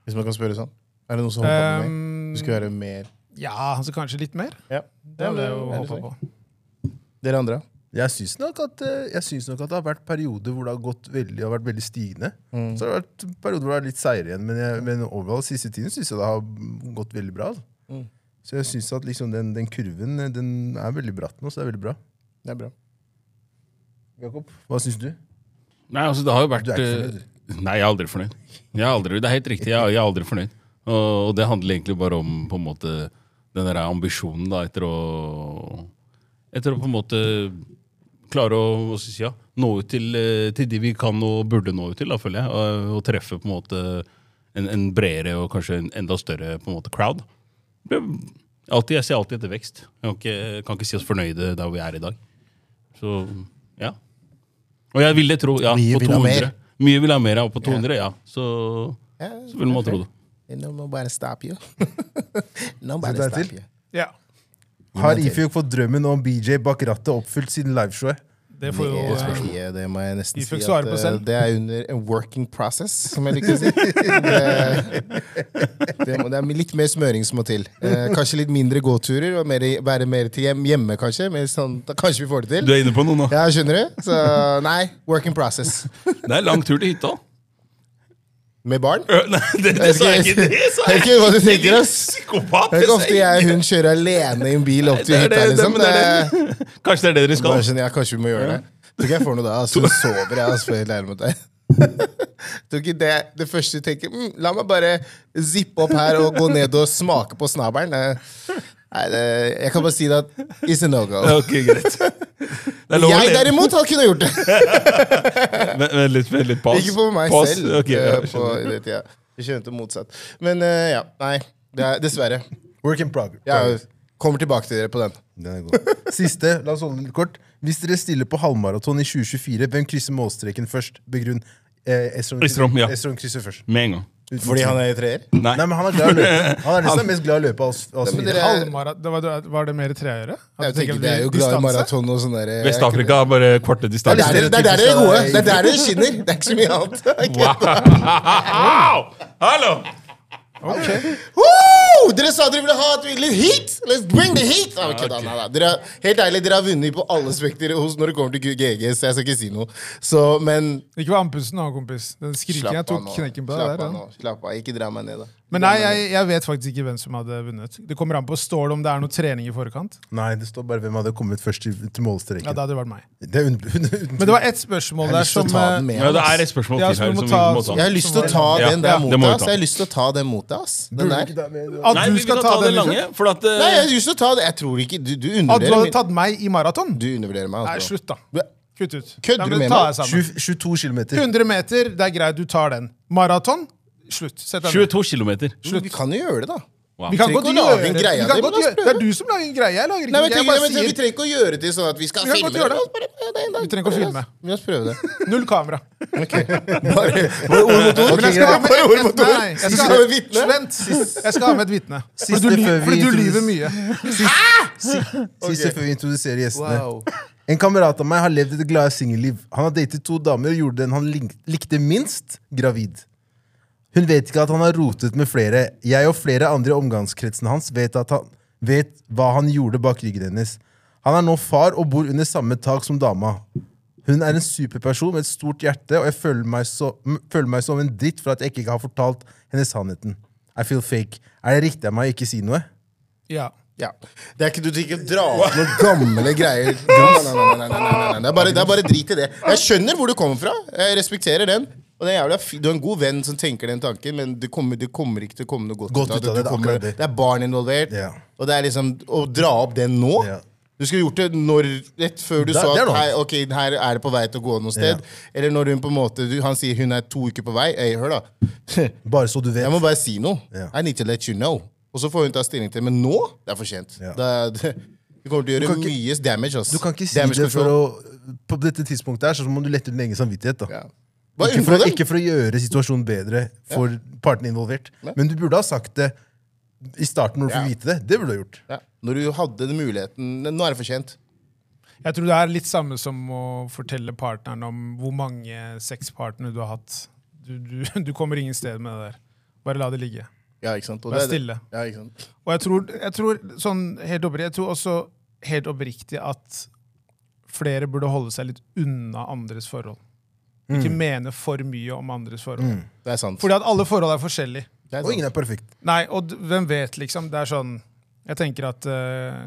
B: Hvis man kan spørre sånn. Er det noen som håper på mer?
A: ehm,
B: Du skulle være mer
A: Ja, altså kanskje litt mer.
B: Ja.
A: Det hadde jeg jo håpa på.
B: Dere andre?
C: Jeg syns nok, at, eh, jeg synes nok at det har vært perioder hvor det har gått veldig, har vært veldig stigende.
B: Mm.
C: Så har det vært perioder hvor det er litt seigere igjen. Men, jeg, men overalt siste tiden syns jeg det har gått veldig bra. altså.
B: Mm.
C: Så jeg syns at liksom den, den kurven eh, den er veldig bratt nå, så det er veldig bra.
B: Det er bra.
C: Jakob, hva syns du?
D: Nei, altså det har jo vært
C: Du er ikke fornøyd,
D: eh, Nei, jeg er aldri fornøyd. Jeg er aldri, det er helt riktig, jeg, er- jeg er aldri fornøyd. Og, og det handler egentlig bare om på en måte den der ambisjonen da, etter å Etter å på en måte eh, klare å hva skal jeg si, ja, nå ut til, eh, til de vi kan og burde nå ut til, da, føler jeg. Og, og treffe på en måte en, en bredere og kanskje en enda større på en måte crowd. Det- Alltid, jeg ser alltid etter vekst. Jeg kan ikke, kan ikke si oss fornøyde der hvor vi er i dag. Så ja. Og jeg ville tro ja,
B: Mye
D: på
B: vil ha
D: 200.
B: mer.
D: Mye vil ha mer, ja. På 200, ja. Så, så vil man tro det.
B: Nobody stop you. *laughs*
C: Sett
B: Nobody
C: deg
B: stop
C: til.
B: you.
A: Ja,
C: Har Ifjok fått drømmen om BJ bak rattet oppfylt siden liveshowet?
A: det får jo
B: det,
A: eh,
B: er- det må jeg nesten
A: Vi
B: si
A: fikk svare
B: at,
A: på selv.
B: eh, det er under en working process, som
A: *laughs*
B: jeg liker å si. Det, det, må, det er litt mer smøring som må til. Eh, kanskje litt mindre gåturer og mer, være mer til hjem, hjemme, kanskje. Mer sånn, da, kanskje vi får det
D: Du
B: til.
D: er inne på noe nå.
B: Ja, skjønner du? Så nei, working process.
D: Det er lang tur til hytta.
B: Med barn?
D: Ø, Nei, det, det sa jeg ikke! Det sa
B: Jeg
D: jeg
B: vet ikke hva du tenker, ass.
D: Psykopat!
B: Det er
D: det
B: ikke
D: sa
B: ofte jeg og hun kjører alene i en bil opp til
D: Det er
B: hytta,
D: det- det-
B: liksom.
D: men det er
B: Det-
D: det. Kanskje det er det dere
B: Bare
D: skal.
B: skjønner jeg, kanskje vi må gjøre det. Tror ikke jeg får noe da. Altså, hun sover, jeg, altså, for helt ærlig mot deg. *laughs* Tror ikke det det første du tenker mm, La meg bare zippe opp her og gå ned og smake på snabelen. Det- Nei, det, jeg kan bare si det at it's a no go.
D: Ok, greit. Det er lov å
B: Jeg
D: le.
B: derimot hadde kunnet gjort det!
D: *laughs* Vent vent litt, vent litt. Pause.
B: Ikke på meg
D: Pause.
B: selv.
D: Ok, ja,
B: eh,
D: jeg
B: på,
D: skjønner.
B: i det tida. Jeg skjønte motsatt. Men eh, ja, nei. Det er, dessverre.
C: Work in prog-
B: Jeg
C: progress.
B: kommer tilbake til dere på den.
C: Den er god. Siste, la oss holde den litt kort. Hvis dere stiller på halvmaraton i 2024, hvem krysser målstreken først? Begrunn. Eh, Estron,
D: Estrom, ja.
C: Estrom krysser først.
D: Med en gang.
C: Uten
B: Fordi
C: tvil.
B: han er i treer?
D: Nei.
C: Nei, men han er glad i å
B: *laughs*
C: løpe. Han
B: liksom
C: er nesten den mest glad i å løpe av oss. av oss
B: Nei, men
C: fire.
B: dere-
A: halvmara- det var, var det mer treøre? At
B: Jeg
A: du tenker
B: tenker, det er jo glad i
A: distanse?
B: maraton og sånn der
D: Vest-Afrika er bare korte
B: Det
D: distanser.
B: er der- det er der dere er gode. Det er der dere skinner. Det er ikke så mye annet. *laughs*
D: Wow! Hallo!
B: Woo! Dere sa dere ville ha et litt heat! Let's bring the heat! Nei, kødda, nei, nei. Dere, har- helt ærlig, dere har vunnet på alle spekter hos når det kommer til GG, så jeg skal ikke si noe. Så, men
A: Ikke vær andpusten nå, kompis. Den skrikingen jeg tok knekken på deg
B: Slapp
A: der.
B: av
A: ja.
B: nå. Slapp av. Ikke dra meg ned, da.
A: Men nei, jeg, jeg vet faktisk ikke hvem som hadde vunnet. Det kommer an på står det om det er noe trening i forkant.
C: Nei, det står bare hvem hadde kommet først til, til målstreken.
A: Ja, da hadde det vært meg.
C: Det er uten, uten, *laughs* uten,
A: Men det var ett spørsmål
B: Jeg
A: der
B: har lyst
A: som
B: til å ta den
A: eh,
B: med.
D: Ja, det er et spørsmål
A: Ja,
D: til
A: så
D: her
A: vi må
D: som vi
A: ta-
D: må ta.
B: Jeg har lyst til å ta
D: Ja,
B: den der mot
D: det må vi
B: deg. ass.
D: ta.
B: Jeg har lyst til å ta den mot deg, ass. Den
C: Burde
B: der.
C: ikke det være med-
A: At
D: Nei,
A: du
D: vi
A: skal
D: kan
A: ta
D: ta den
A: den,
D: lange. For at, eh,
B: Nei, jeg har lyst til å ta det. Jeg tror ikke Du, du
A: At du
B: undervurderer
A: hadde
B: min-
A: tatt meg i maraton?
B: Du undervurderer meg.
A: Nei,
B: Altså.
A: slutt, da.
B: Hva?
A: Kutt ut.
B: Kødder
A: Nei,
B: du
A: men
B: med
A: ta
B: meg?
A: deg sammen.
C: 20, 22 km.
A: 100 meter, det er greit, du tar den. Maraton? Slutt. Sett deg ned.
D: 22 kilometer.
B: Vi kan jo gjøre det, da.
D: Wow.
A: Vi kan
B: Trenger
A: godt
B: ikke å
A: gjøre
B: lage en
A: det.
B: greie
A: Vi
B: av
A: kan
B: det,
A: godt
B: men la oss
A: gjøre- Det er du som lager en greie. Jeg lager ikke
B: Nei,
A: en greie. Jeg
B: men jeg tenker,
A: bare
B: men, Vi
A: sier
B: trenger ikke å gjøre det til sånn at vi skal
A: Vi kan
B: filme.
A: godt gjøre det.
B: La oss bare- nei, nei, nei.
A: Vi trenger ikke å
B: La oss-
A: filme.
B: La oss prøve
A: *laughs*
B: det.
A: null kamera.
B: Ok. Bare, bare ord mot ord.
A: Men jeg skal ha med,
B: bare ord mot ord.
A: Nei, jeg
B: Siste
A: skal ha med
B: vi vitne.
A: Vent, jeg skal ha med et vitne.
C: Siste
A: Fordi du, ly-
C: før vi
A: fordi du lyver
C: introduserer-
A: mye.
C: Siste før vi introduserer gjestene. En kamerat av meg har levd et glade singelliv. Han har datet to damer og gjorde den han lik- likte minst, gravid. Hun vet ikke at han har rotet med flere. Jeg og flere andre i omgangskretsen hans vet, at han, vet hva han gjorde bak ryggen hennes. Han er nå far og bor under samme tak som dama. Hun er en superperson med et stort hjerte, og jeg føler meg, så, m- føler meg som en dritt for at jeg ikke har fortalt henne sannheten. I feel fake. Er det riktig av meg å ikke si noe?
A: Ja.
B: Ja. Det er ikke, du trenger ikke dra opp noen gamle greier. Nei, nei, nei, nei, nei, nei, nei, nei. Det, er bare, det er bare drit i det. Jeg skjønner hvor du kommer fra. Jeg respekterer den. Og det er jævlig, fi- Du er en god venn som tenker den tanken, men det kommer, det kommer ikke til å komme noe godt,
C: Godt
B: Du
C: ut av det, det er
B: kommer-
C: akkurat det.
B: det er barn involvert.
C: Ja.
B: Og det er liksom Å dra opp den nå
C: Ja.
B: Du skulle gjort det når, rett før du
C: Det er-
B: så
C: det er
B: at
C: noe.
B: hei, ok, her er det på vei til å gå noe sted. Eller når hun på en måte, du, han sier hun er to uker på vei. Hey, hør da. *laughs*
C: Bare så du vet.
B: Jeg må bare si noe.
C: Ja.
B: I need to let you know. Og så får hun ta stilling til Men nå? Det er for sent.
C: Ja.
B: Det, *laughs* er- det, du kommer til å gjøre
C: kan ikke-
B: mye damage. Ass.
C: Du kan ikke si
B: damage
C: det for å På dette tidspunktet her, så må du lette din egen samvittighet. da
B: ja. Bare
C: ikke, for,
B: unngå
C: å-
B: dem.
C: ikke for å gjøre situasjonen bedre for partene involvert, men du burde ha sagt det i starten når du
B: Ja.
C: fikk vite det. Det burde du ha gjort.
B: Ja. Når du hadde den muligheten Nå er det for sent.
A: Jeg tror det er litt samme som å fortelle partneren om hvor mange sexpartnere du har hatt. Du, du, du kommer ingen sted med det der. Bare la det ligge.
B: Ja, ikke sant? Og
A: Vær
B: det er det.
A: stille.
B: Ja, ikke sant?
A: Og jeg tror, jeg tror sånn helt oppriktig, jeg tror også helt oppriktig at flere burde holde seg litt unna andres forhold. Ikke mene for mye om andres forhold.
B: Mm. Det er sant.
A: Fordi at alle forhold er forskjellige.
B: Det er
C: Og ingen
B: sant.
C: er perfekt.
A: Nei, og d- hvem vet, liksom. Det er sånn Jeg tenker at eh,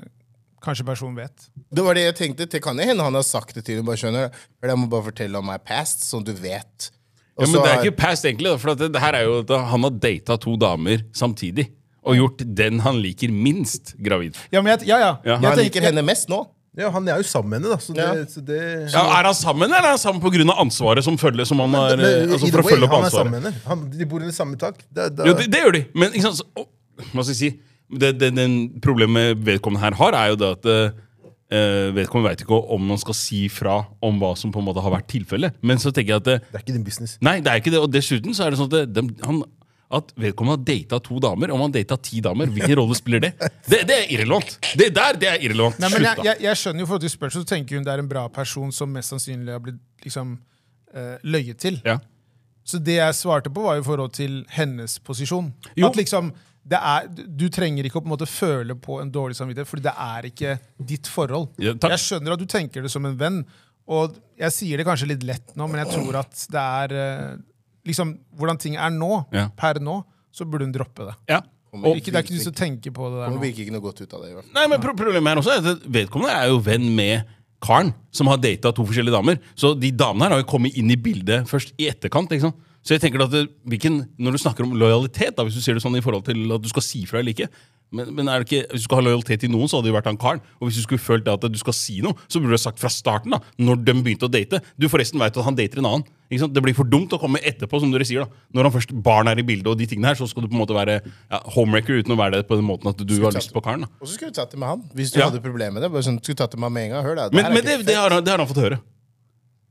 A: kanskje personen vet.
B: Det var det jeg tenkte. Det kan jo hende han har sagt det til henne. Bare skjønner Eller Jeg må bare fortelle om my past, sånn du vet. Og
D: *laughs* Ja, men
B: så
D: det er
B: har-
D: ikke past, egentlig. da, For at det, det her er jo at han har data to damer samtidig. Og gjort den han liker minst gravid.
A: Ja, men jeg, ja, ja.
D: Ja.
A: Jeg
B: Han
A: tenker-
B: liker henne mest nå.
C: Ja, Han er jo sammen med henne, da. Så det,
B: Ja.
C: så det
D: Ja, er han sammen, eller er han sammen pga. ansvaret som følger? Som han er, eh, altså, for
C: either
D: å
C: way,
D: følge opp
C: han er sammen
D: ansvaret
C: med henne. Han, de bor under samme tak. Det, det,
D: Jo, det, det gjør de. Men ikke sant, så, å, hva skal jeg si? Det, det, den problemet vedkommende her har, er jo det at eh, vedkommende veit ikke om man skal si fra om hva som på en måte har vært tilfellet. Men så tenker jeg at eh,
C: det er ikke din business.
D: Nei, det er ikke det. Og dessuten så er det sånn at, det, dem- han, at vedkommende har data to damer. Om han data ti damer, hvilken rolle spiller det? det? Det er irrelevant. Det der, det er irrelevant.
A: Nei, men jeg,
D: Slutt, da.
A: jeg, jeg skjønner jo for at du spør, så tenker hun det er en bra person som mest sannsynlig har blitt liksom, eh, løyet til.
D: Ja.
A: Så det jeg svarte på, var i forhold til hennes posisjon.
D: Jo.
A: At liksom, det er, du trenger ikke å på en måte føle på en dårlig samvittighet, fordi det er ikke ditt forhold.
D: Ja, takk.
A: jeg skjønner at du tenker det som en venn, og jeg sier det kanskje litt lett nå, men jeg tror at det er eh, liksom, Hvordan ting er nå,
D: Ja.
A: per nå, så burde hun droppe det.
D: Ja.
B: Kommer
A: Ikke, det er ikke du som tenker på det der
B: Hun
A: nå.
B: virker ikke noe godt ut av det. i hvert fall.
D: Nei, men pro- Problemet her også er at vedkommende er jo venn med karen som har data to forskjellige damer. Så de damene her har jo kommet inn i bildet først i etterkant. ikke sant? Så jeg tenker at det, hvilken, Når du snakker om lojalitet, da, hvis du ser det sånn i forhold til at du skal si fra eller ikke men, men er det ikke, Hvis du skal ha lojalitet til noen, så hadde det jo vært han karen. Og hvis du skulle følt det at du skal si noe, så burde du ha sagt fra starten. da, Når de begynte å date. Du forresten vet at han dater en annen. ikke sant? Det blir for dumt å komme etterpå, som dere sier. da. Når han først barn er i bildet, og de tingene her, så skal du på en måte være ja, homewrecker uten å være det på den måten at du har lyst på karen. da.
B: Og så skulle du tatt det med han. Hvis du
D: Ja.
B: hadde problemer med det. Bare sånn, skulle du tatt det med han med en gang. Hør da, det her
D: Men,
B: er
D: men
B: ikke
D: det, det, har, han- det har han fått høre.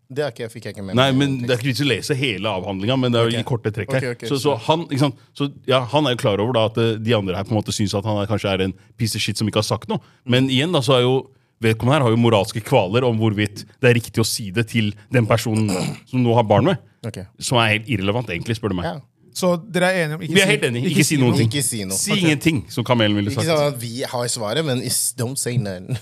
B: Det er ikke, jeg fikk jeg ikke med
D: Nei,
B: meg.
D: men Det er ikke vits å lese hele avhandlinga, men det er jo i korte trekk her.
B: Ok, ok.
D: Så, så, han, ikke sant? så ja, han er jo klar over da at eh, de andre her på en måte syns at han er, kanskje er en piece of shit som ikke har sagt noe. Men igjen da, så er jo vedkommende her har jo moralske kvaler om hvorvidt det er riktig å si det til den personen som nå har barn med.
B: Ok.
D: Som er helt irrelevant, egentlig, spør du meg.
B: Ja.
A: Så dere er enige om
D: Vi er helt enige. Ikke, si noen ting.
B: Ikke si noe.
D: Si ingenting, som kamelen ville
B: Ikke sånn
D: sagt.
B: at vi har svaret, men is- don't say none.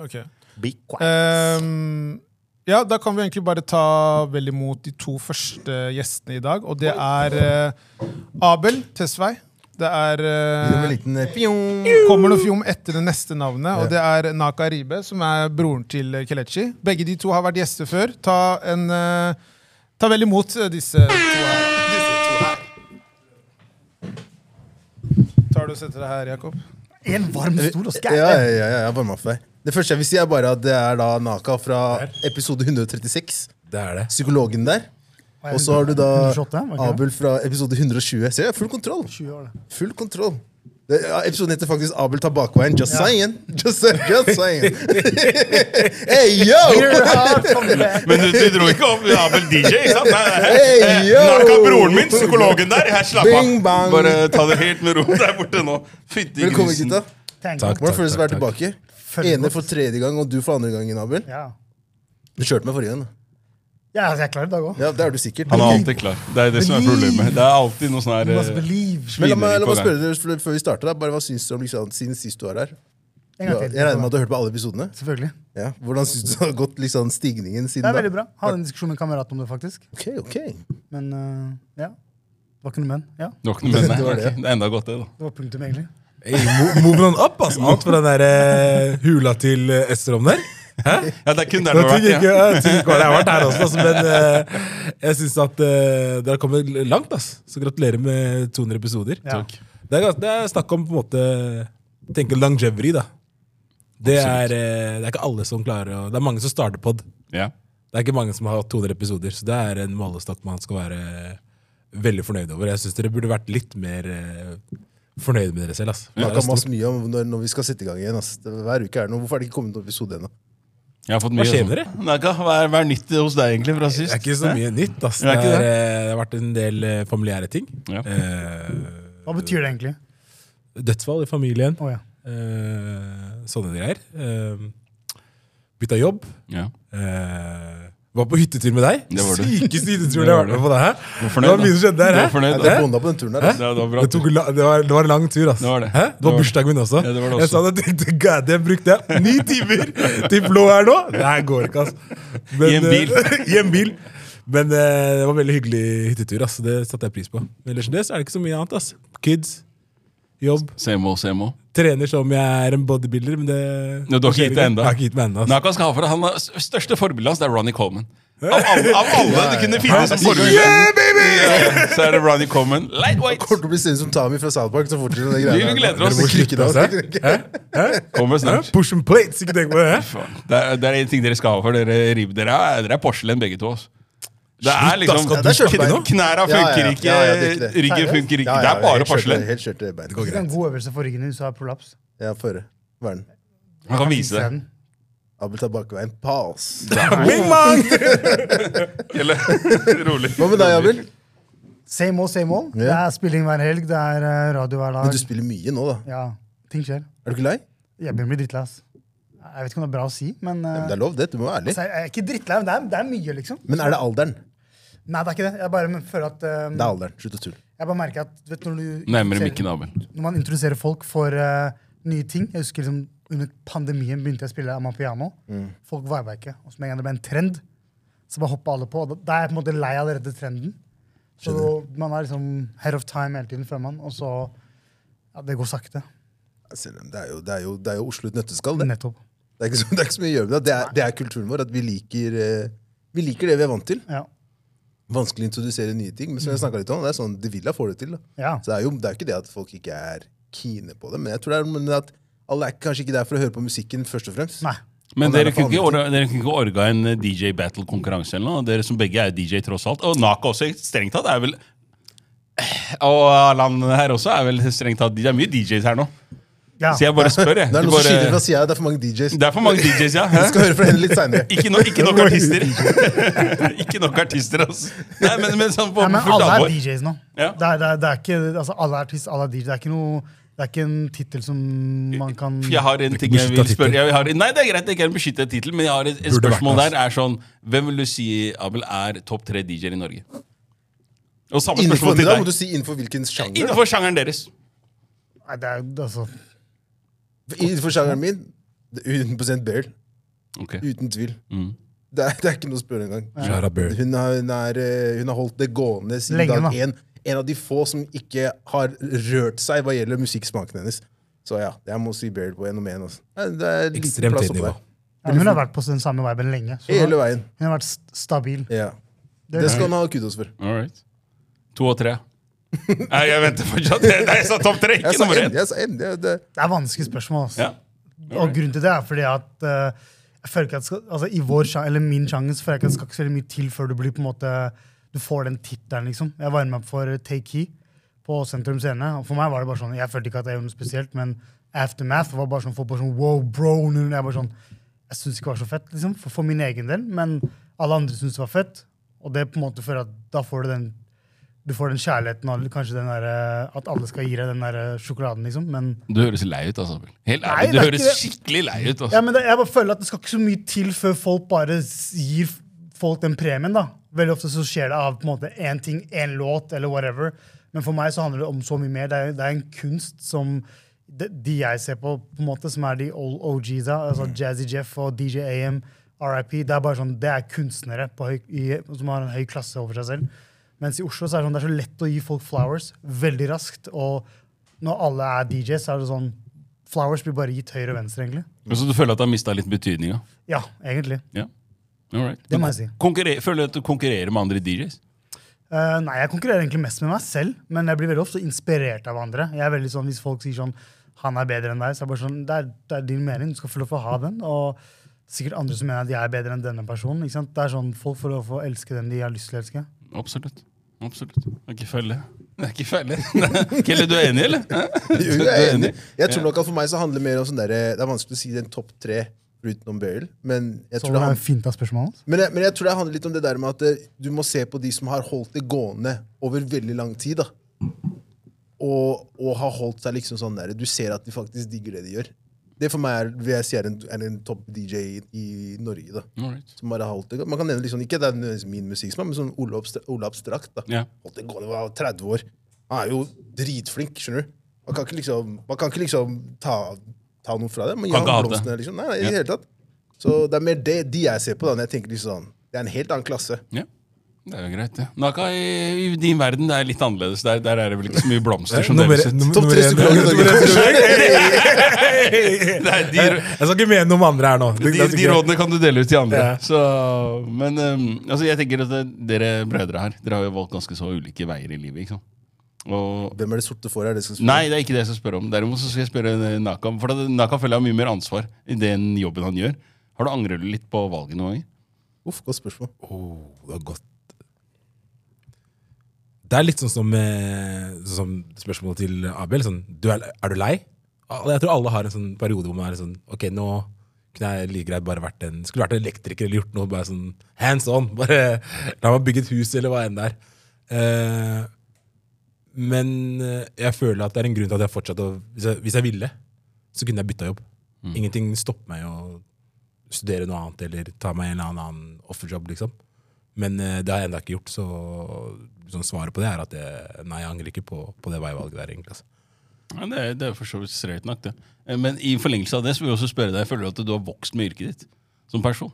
A: Ok.
B: Be quiet.
A: Ehm, ja, da kan vi egentlig bare ta vel imot de to første gjestene i dag. Og det er eh, Abel Tesvei. Det er
C: Det var en
A: eh,
C: liten eh, pjong.
A: Kommer noe fjom etter det neste navnet, og det er Naka Ribe, som er broren til Kelechi. Begge de to har vært gjester før. Ta, en, eh, ta vel imot eh, disse to her. Tar du og setter deg her, Jakob?
E: En varm stol og
C: Eh, Ja, ja, ja, ja, jeg varmer opp for deg. Det første jeg vil si, er bare at det er da Naka fra episode 136.
E: Det er det.
C: Psykologen der. Og så har du da
E: 128, var det ikke det?
C: Abel fra episode 120. Se, jeg har full kontroll!
E: 20 år, det.
C: Full kontroll. Det- ja, Episoden heter faktisk 'Abel tar bakveien'. Just saying! Just, just
D: *laughs*
C: saying. hey, yo!
D: Men du, du dro ikke opp Abel DJ, ikke sant? Nei, nei.
C: Hey,
D: Eh,
C: yo!
D: Narka broren min, psykologen der. Her, slapp av.
C: Bing, bang.
D: Bare ta det helt med ro der borte nå. Fytti
C: Velkommen,
D: grisen.
C: gutta.
E: Tenk
C: Hvordan
E: godt.
C: føles det å være tilbake?
E: Føles
C: Ene
E: godt.
C: for tredje gang, og du for andre gangen, Abel.
E: Ja.
C: Du kjørte meg forrige gang. da.
E: ja, altså, jeg klarer det i dag òg.
C: Ja, det er du sikkert.
D: Han er alltid klar. Det er det som er problemet. Det er alltid noe sånn her
E: Must
D: eh,
E: believe.
C: Men
D: svineri
C: la meg, la
D: på
C: meg
D: gang.
C: spørre dere før- før vi starter, da. Bare hva syns dere om liksom, siden sist du var her?
E: En
C: Ja,
E: gang til.
C: jeg regner med at du har hørt på alle episodene?
E: Selvfølgelig.
C: Ja. Hvordan syns du det har gått liksom, stigningen siden
E: Det
C: da?
E: er veldig bra. Hadde en diskusjon med en kamerat om det, faktisk.
C: Ok, ok.
E: Men eh, ja. Det var ikke noe men. Ja,
D: Det var ikke noe med
C: *laughs* Det var
D: det.
C: det.
D: Det er enda godt, det, da.
E: det var punktum, egentlig.
F: Hey, mo- moving on up, ass. Alt fra den der eh, hula til eh, Esterom der.
D: Ja, det er kun
F: Jeg
D: der det har
F: tror ikke,
D: vært, ja.
F: jeg tror ikke jeg har vært her også, ass, men eh, jeg syns at eh, dere har kommet langt. ass. Så gratulerer med 200 episoder.
E: Ja.
D: Takk.
F: Det er, gans- det er snakk om på en måte tenke longevity, da. Det er, eh, det er ikke alle som klarer å Det er mange som starter pod.
D: Ja.
F: Det er ikke mange som har hatt 200 episoder, så det er en målestokk man skal være eh, veldig fornøyd over. Jeg syns dere burde vært litt mer eh, fornøyd med dere selv. ass. Det
C: Vi har
F: er
C: masse
F: stort.
C: mye om når, når vi skal sette i gang igjen. ass. Det- Hver uke er det noe. Hvorfor er det ikke kommet noen episode ennå?
D: Jeg har fått mye
F: Hva skjer med
D: sånn. Naga, hva er, hva er nytt hos deg, egentlig, fra
F: Det
D: sist?
F: er ikke så mye nytt. ass.
D: Det
F: Det,
D: er ikke
F: er, eh, det har vært en del eh, familiære ting.
D: Ja.
F: Eh,
E: Hva betyr det egentlig?
F: dødsfall i familien.
E: Å ja.
F: Eh, sånne greier. Eh, bytta jobb.
D: Ja.
F: Eh, var på hyttetur med deg.
D: Det var du. *laughs*
F: Sykeste hytteturen jeg har vært med på. Det her.
D: Du var
F: Det
D: fornøyd,
F: var mye som skjedde
D: da. Du
F: der.
D: var
F: hæ?
D: fornøyd,
F: Det,
D: da.
C: Bonda på den turen her.
F: Hæ?
C: ass.
D: Det var bra.
F: det, tok, la- det, var, det var en lang tur, ass.
D: Det var det.
F: Hæ?
D: Det var-
F: var bursdagen min også.
D: Ja, det var det
F: Jeg sa det
D: også.
F: og tenkte god, jeg brukte jeg ni timer til blå her nå! Det her går ikke, ass. Men,
D: I en bil.
F: eh, *laughs* I en bil. Men eh, det var en veldig hyggelig hyttetur. ass. Det satte jeg pris på. Men ellers enn det så er det ikke så mye annet. ass. Kids, eh, jobb.
D: Semo, semo.
F: Trener som jeg er en bodybuilder, men det
D: Ja, du har ikke gitt deg enda.
F: Jeg har ikke gitt meg enda, ass.
D: Naka skal ha for det. Han er, største forbildet hans det er Ronny Coleman. Av alle, av alle du kunne finne som forbilde, så er det Ronny Coleman. Lightweight!
C: Kommer til å bli stille som Tami fra South Park. Så fortsetter den greia.
D: Vi
C: der.
D: gleder oss.
C: Dere må
F: Slutt,
C: klikke det
F: ass,
C: av.
F: hæ?
C: *laughs*
F: Hæ? Hæ?
D: Kommer
F: Hæ?
D: snart.
F: Push and plates, ikke tenk på det. hæ?
D: Faen. Det er, det er en ting dere skal ha for. Dere, ribb- dere, er, dere er porselen begge to. Altså. Det er liksom
F: skal
C: du snakke nå?
D: Knæra
C: Ja, ja,
D: funker
C: ja.
D: ikke,
C: Ja, ja, det er ikke det.
D: ryggen
E: Seriøst?
D: funker ikke.
C: Ja,
D: Det
C: ja,
D: er bare
C: helt skjørte-
D: porselen.
C: Helt skjørte bein.
E: Det er en god øvelse for ryggen din hvis du har prolaps.
C: Ja, få høre. Hva er den?
D: Han kan vise det.
E: den.
C: Abel tar bakveien. Pals.
E: *laughs*
F: Bing
C: *laughs*
F: bang!
D: *laughs* Eller, rolig.
C: Hva med deg, Abel?
E: Same old, same old. Det er spilling hver helg, det er eh, radio hver
C: Men
E: dag.
C: du spiller mye nå, da.
E: Ja, ting skjer.
C: Er du ikke lei?
E: Jeg begynner å bli drittlei. ass. Jeg vet ikke om det er bra å si, men, eh,
C: Ja, men det er lov, det. Du må være ærlig.
E: altså, jeg er ikke drittlei, men det er, det er mye, liksom.
C: Men er det alderen?
E: Nei, det er ikke det. Jeg bare føler at eh,
C: Det er alderen. Slutt å tulle.
E: Jeg bare merker at vet, du, når, du introduserer-
D: Nærmere mikken, Abel.
E: når man introduserer folk for eh, nye ting Jeg husker liksom, Under pandemien begynte jeg å spille Amapiano.
C: Mm.
E: Folk viba ikke. Og så med en gang det ble en trend, så bare hoppa alle på. Da- Da er jeg på en måte lei av allerede trenden. Så Man er liksom head of time hele tiden, føler man. Og så ja, Det går sakte.
C: Selv om Det er jo, det er jo, det er jo Oslo i et nøtteskall. Det.
E: Nettopp.
C: Det, er ikke så, *laughs* det er ikke så mye å gjøre med det. Det er, det er kulturen vår. At vi liker, eh, vi liker det vi er vant til.
E: Ja.
C: Vanskelig å introdusere nye ting. Men som jeg snakket litt om, det er sånn De Villa får det til. da.
E: ja.
C: Så det er jo det er jo ikke det at folk ikke er kine på det, men jeg tror det er men at alle er kanskje ikke der for å høre på musikken, først og fremst.
E: Nei.
D: Men
C: Han er
D: dere
C: der
D: kunne,
C: for
D: ikke
C: andre
D: orga, dere kunne ikke orga en eh, DJ Battle-konkurranse eller noe? Dere som begge er DJ, tross alt. Og Naka også, strengt tatt, er vel Og Alan her også er vel strengt tatt Det er mye DJs her nå.
E: Ja.
D: Så jeg bare spør, jeg.
C: *laughs* Det er
D: Du
C: noen som skyter
D: bare,
C: fra sida, det er for mange DJs.
D: det er for mange DJs, ja.
C: *laughs* Vi
D: Hæ?
C: skal høre fra henne litt seinere.
D: *laughs* Ikke, no,
C: *laughs*
D: ikke nok artister. *laughs* ikke nok artister, altså. Nei, men, men sånn på
E: Nei, men
D: fullt
E: alle er
D: alvor.
E: DJs nå.
D: Ja.
E: Det, er, det, er, det er ikke altså, Alle er artist, alle er DJ. Det er ikke noe Det er ikke en tittel som man kan
D: Jeg har en ting jeg
F: beskyttet
D: vil
F: tittel.
D: spørre jeg har, Nei, det er greit, det er ikke en beskyttet tittel, men jeg har et, et
F: Burde vært
D: spørsmål
F: det,
D: der. er sånn, Hvem vil du si, Abel, er topp tre DJ-er i Norge? Og samme
C: Innenfor,
D: spørsmål til
C: da må
D: deg.
C: du si innenfor hvilken sjanger. da.
D: Innenfor sjangeren deres.
E: Nei, det er altså
C: Innenfor sjangeren min, det er 100 Beryl.
D: Ok.
C: Uten tvil.
D: Mm.
C: Det er, det er ikke noe å spørre engang.
F: Clara Bird.
C: Hun, har- hun, er, eh, hun har holdt det gående siden
E: Lenge, da.
C: dag én. En av de få som ikke har rørt seg hva gjelder musikksmaken hennes. Så ja, jeg må si Beryl på én om én. altså. Det er liten
F: Ekstremt
C: plass
F: høyt
C: oppe
F: nivå.
C: der.
E: ja, Hun har vært på den samme viben lenge. Så hun
C: Hele
E: har-
C: veien.
E: hun har vært st- stabil.
C: Ja.
E: Det-
C: Det skal han ha kudos for.
D: All right. To og tre. *laughs* Nei, jeg venter fortsatt. Nei, jeg sa topp tre,
C: Jeg
D: ikke
C: sa
D: nummer
C: en,
D: én.
C: jeg sa en. Det, det.
E: Det er vanskelige spørsmål. Altså.
D: Ja.
E: Og grunnen til det er fordi at eh, jeg føler ikke at skal, altså, i vår sjanger, eller min sjanger så føler jeg ikke at det skal ikke så veldig mye til før du blir på en måte Du får den tittelen, liksom. Jeg varmer meg opp for Take Key på Sentrum Scene. Og for meg var det bare sånn, jeg følte ikke at jeg gjorde noe spesielt, men Aftermath var bare sånn, folk bare sånn, wow, bro, nu, nu. jeg bare sånn, jeg synes ikke det var så fett, liksom, for, for min egen del, men alle andre synes det var fett, og det på en måte føler at da får du den, du får den kjærligheten, og kanskje den der, eh, at alle skal gi deg den der eh, sjokoladen, liksom, men...
D: Du høres lei ut, altså. Abel. Helt
E: Nei, det
D: ærlig, du
E: er
D: høres
E: ikke
D: skikkelig lei ut.
E: Ja,
D: altså.
E: men det, jeg bare føler at det skal ikke så mye til før folk bare s- gir f- folk den premien. da. Veldig ofte så skjer det av på en måte én ting, én låt eller whatever. Men for meg så handler det om så mye mer. Det er, det er en kunst som de, de jeg ser på, på en måte, som er de old OGs-a, altså Jazzy Jeff og DJ AM, RIP, det er bare sånn, det er kunstnere på høy, i, som har en høy klasse over seg selv. Mens i Oslo så er det sånn, det er så lett å gi folk flowers veldig raskt. Og når alle er DJ, så er det sånn Flowers blir bare gitt høyre og venstre, egentlig.
D: Så du føler at det har mista litt betydninga?
E: Ja, egentlig.
D: Ja. All right.
E: Det må jeg si.
D: Konkurrer- Føler du at du konkurrerer med andre DJs?
E: Eh, nei, jeg konkurrerer egentlig mest med meg selv, men jeg blir veldig ofte inspirert av andre. Jeg er veldig sånn, Hvis folk sier sånn 'han er bedre enn deg', så er jeg bare sånn, det er, det er din mening. Du skal få lov til å ha den. Og sikkert andre som mener at jeg er bedre enn denne personen. ikke sant? Det er sånn, Folk får lov til å elske den de har lyst til å elske.
D: Absolutt. Absolutt. Det er ikke feil, det. Det er ikke feil, det. *laughs* Kelle, du er enig, eller? Hæ?
C: *laughs* Jo,
D: Du
C: jeg er enig. Jeg
D: Ja.
C: tror nok at for meg så handler det mer om sånn der, Det er vanskelig å si den topp tre utenom Bale, men jeg
E: Så
C: tror
E: det
C: det
E: er
C: handler
E: fint av spørsmålet hans.
C: Men jeg, men jeg tror det handler litt om det der med at eh, du må se på de som har holdt det gående over veldig lang tid. da. Og, og har holdt seg liksom sånn der. Du ser at de faktisk digger det de gjør. Det for meg er, vil jeg si er en, er en topp DJ i, i Norge. da.
D: All right.
C: Som bare har holdt det gående. Man kan nevne liksom, ikke det er nødvendigvis min musikksmak, men sånn Ole, Abstra Ole Abstrakt. da.
D: Ja.
C: Holdt det gående var 30 år. Han er jo dritflink, skjønner du. Man kan ikke liksom, man kan ikke liksom ta, ta noe fra det. Man
D: Kan
C: gir ham
D: ikke hate.
C: blomstene, liksom. Nei, nei, i
D: Ja.
C: det hele tatt. Så det er mer det de jeg ser på, da, når jeg tenker liksom sånn. Det er en helt annen klasse.
D: Ja. Det er jo greit, det. Naka, i, i din verden det er litt annerledes. Der, der er det vel ikke så mye blomster som
F: Nummer,
D: dere sitter
F: nummer,
C: Topp
F: nummer
C: tre
F: én-
C: psykologer i Norge.
F: nummer én psykolog.
D: *laughs* Nei, de,
F: *laughs* Jeg skal ikke mene noe om andre her nå. Det-
D: de,
F: det er
D: de
F: ikke-
D: rådene kan du dele ut til andre.
F: Ja.
D: Så, men ehm, altså, jeg tenker at det- dere brødre her Dere har jo valgt ganske så ulike veier i livet. ikke sant? Og
C: Hvem er det sorte for? Er det jeg skal spørre?
D: Nei, det er ikke det jeg skal spørre om. Derimot så skal jeg spørre eh, Naka. om- For at Naka føler jeg har mye mer ansvar i den jobben han gjør. Har du angret litt på valget noen ganger?
C: Uff, godt spørsmål.
F: Det er godt. Det er litt sånn som, eh, sånn som spørsmålet til Abel. Sånn, du er, er du lei? Alle- Jeg tror alle har en sånn periode hvor man er sånn Ok, nå kunne jeg like greit bare vært en Skulle vært en elektriker eller gjort noe bare sånn hands on. *laughs* Bare La meg bygge et hus, eller hva enn det er. Eh, men eh, jeg føler at det er en grunn til at jeg fortsatte å Hvis jeg, hvis jeg ville, så kunne jeg bytta jobb. Ingenting stopper meg å studere noe annet eller ta meg en eller annen offerjobb, liksom. Men eh, det har jeg ennå ikke gjort, så sånn svaret på det er at jeg, nei, jeg angrer ikke på, på det veivalget der. egentlig. Altså.
D: Ja, det, er, det er jo for så vidt streit nok, det. Eh, Men i forlengelse av det så vil jeg også spørre deg, føler du at du har vokst med yrket ditt som person?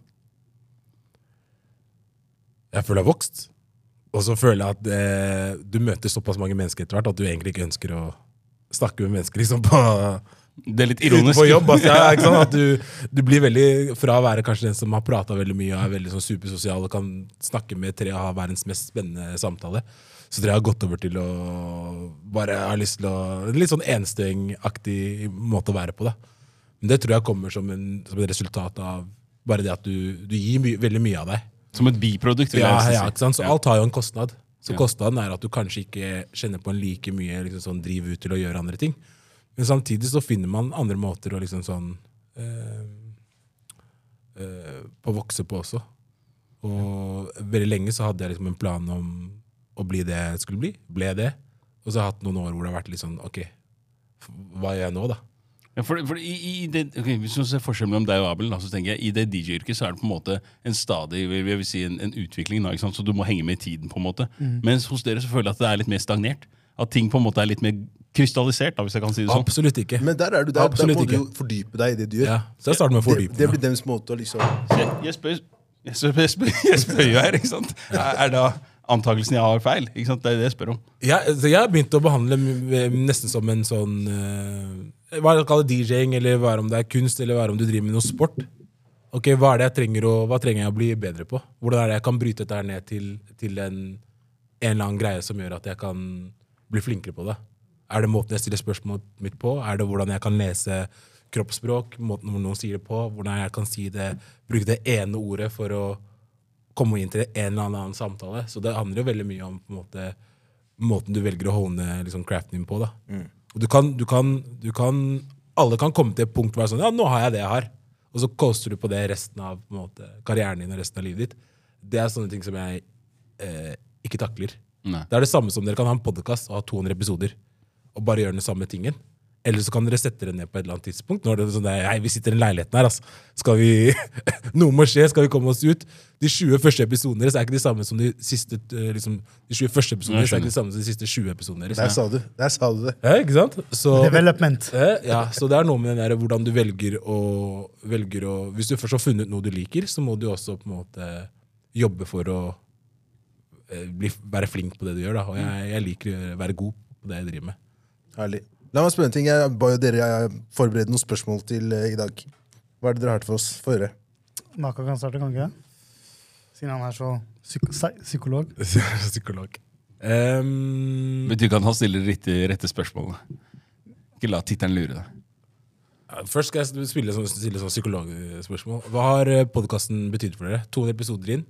F: Jeg føler jeg har vokst, og så føler jeg at eh, du møter såpass mange mennesker etter hvert at du egentlig ikke ønsker å snakke med mennesker liksom, på,
D: Det er litt ironisk.
F: utenfor jobb. Altså, ja, ikke sant? At du, du blir veldig, fra å være kanskje den som har prata veldig mye og er veldig sånn supersosial og kan snakke med tre og ha verdens mest spennende samtale, så tror jeg jeg har gått over til å bare ha lyst til å Litt sånn enstøingaktig måte å være på, da. Men det tror jeg kommer som, en, som et resultat av bare det at du, du gir my, veldig mye av deg.
D: Som et biprodukt, vil
F: Ja,
D: jeg
F: ja,
D: nesten
F: ikke sant? Så
D: Ja.
F: alt har jo en kostnad. Så
D: Ja.
F: kostnaden er at du kanskje ikke kjenner på en like mye liksom, sånn, driv ut til å gjøre andre ting. Men samtidig så finner man andre måter å liksom sånn eh, eh, På å vokse på også. Og veldig lenge så hadde jeg liksom en plan om å bli det jeg skulle bli. Ble det. Og så har jeg hatt noen år hvor det har vært litt sånn OK, f- hva gjør jeg nå, da?
D: Ja, for, for i, i det, ok, hvis man ser forskjellen mellom deg og Abel, da, så tenker jeg i det DJ-yrket så er det på en måte en stadig jeg vil jeg vil si en, en utvikling, da, ikke sant? så du må henge med i tiden. på en måte.
F: Mm.
D: Mens hos dere så føler jeg at det er litt mer stagnert. At ting på en måte er litt mer krystallisert, da, hvis jeg kan si det sånn.
F: Absolutt ikke.
C: Men der er du der.
F: Absolutt
C: der må
F: ikke.
C: du jo fordype deg i det du gjør.
F: ja, så jeg starter med
C: Det, det
F: fordypning.
C: blir deres måte å liksom
D: Jeg, jeg spør jeg spør, jeg spør, jeg spør jo her, ikke sant? Er, er da antakelsen jeg har feil? ikke sant? Det er det jeg spør om.
F: Ja, så jeg begynte å behandle m- m- nesten som en sånn eh, Hva er det å kalle DJ-ing, eller hva er det om det er kunst, eller hva er det om du driver med noe sport? Ok, Hva er det jeg trenger å, hva trenger jeg å bli bedre på? Hvordan er det jeg kan bryte dette her ned til, til en, en eller annen greie som gjør at jeg kan bli flinkere på det? Er det måten jeg stiller spørsmålet mitt på? Er det hvordan jeg kan lese kroppsspråk? Måten hvor noen sier det på? Hvordan jeg kan si det, bruke det ene ordet for å komme inn til en eller annen samtale. Så det handler jo veldig mye om på en måte, måten du velger å hone liksom, craften din på. Da. Og du kan, du kan, du kan, alle kan komme til et punkt hvor det er sånn, ja, nå har jeg det jeg har. Og så koster du på det resten av på en måte, karrieren din og resten av livet ditt. Det er sånne ting som jeg eh, ikke takler.
D: Nei.
F: Det er det samme som dere kan ha en podkast og ha 200 episoder og bare gjøre den samme tingen. Eller så kan dere sette dere ned på et eller annet tidspunkt. Når det er sånn der, Hei, vi sitter i den leiligheten her, altså. Skal vi, *laughs* noe må skje, skal vi komme oss ut? De 20 første episodene deres er ikke de samme som de siste eh, liksom, de 20 første episodene deres er ikke de samme som de siste 20 episodene deres.
C: Der sa du der sa du det.
F: Ja, ikke sant? Så,
E: Development.
F: Eh, ja, så det er noe med den der, hvordan du velger å, velger å Hvis du først har funnet noe du liker, så må du også på en måte jobbe for å eh, bli, være flink på det du gjør. Da. Og jeg, jeg liker å være god på det jeg driver med.
C: Herlig. La meg spørre en ting. Jeg ba jo dere jeg forberede noen spørsmål til eh, i dag. Hva er det dere har til oss? Få høre.
E: Naka kan starte, kan ikke det? Siden han er så psyko psy- psykolog.
C: *laughs*
F: Psykolog. Ehm,
D: Betyr ikke at han stiller riktig, rette spørsmål. Ikke la tittelen lure deg.
F: ja, først skal jeg spille sånn, stille sånn psykologspørsmål. Hva har podkasten betydd for dere? 200 episoder inn.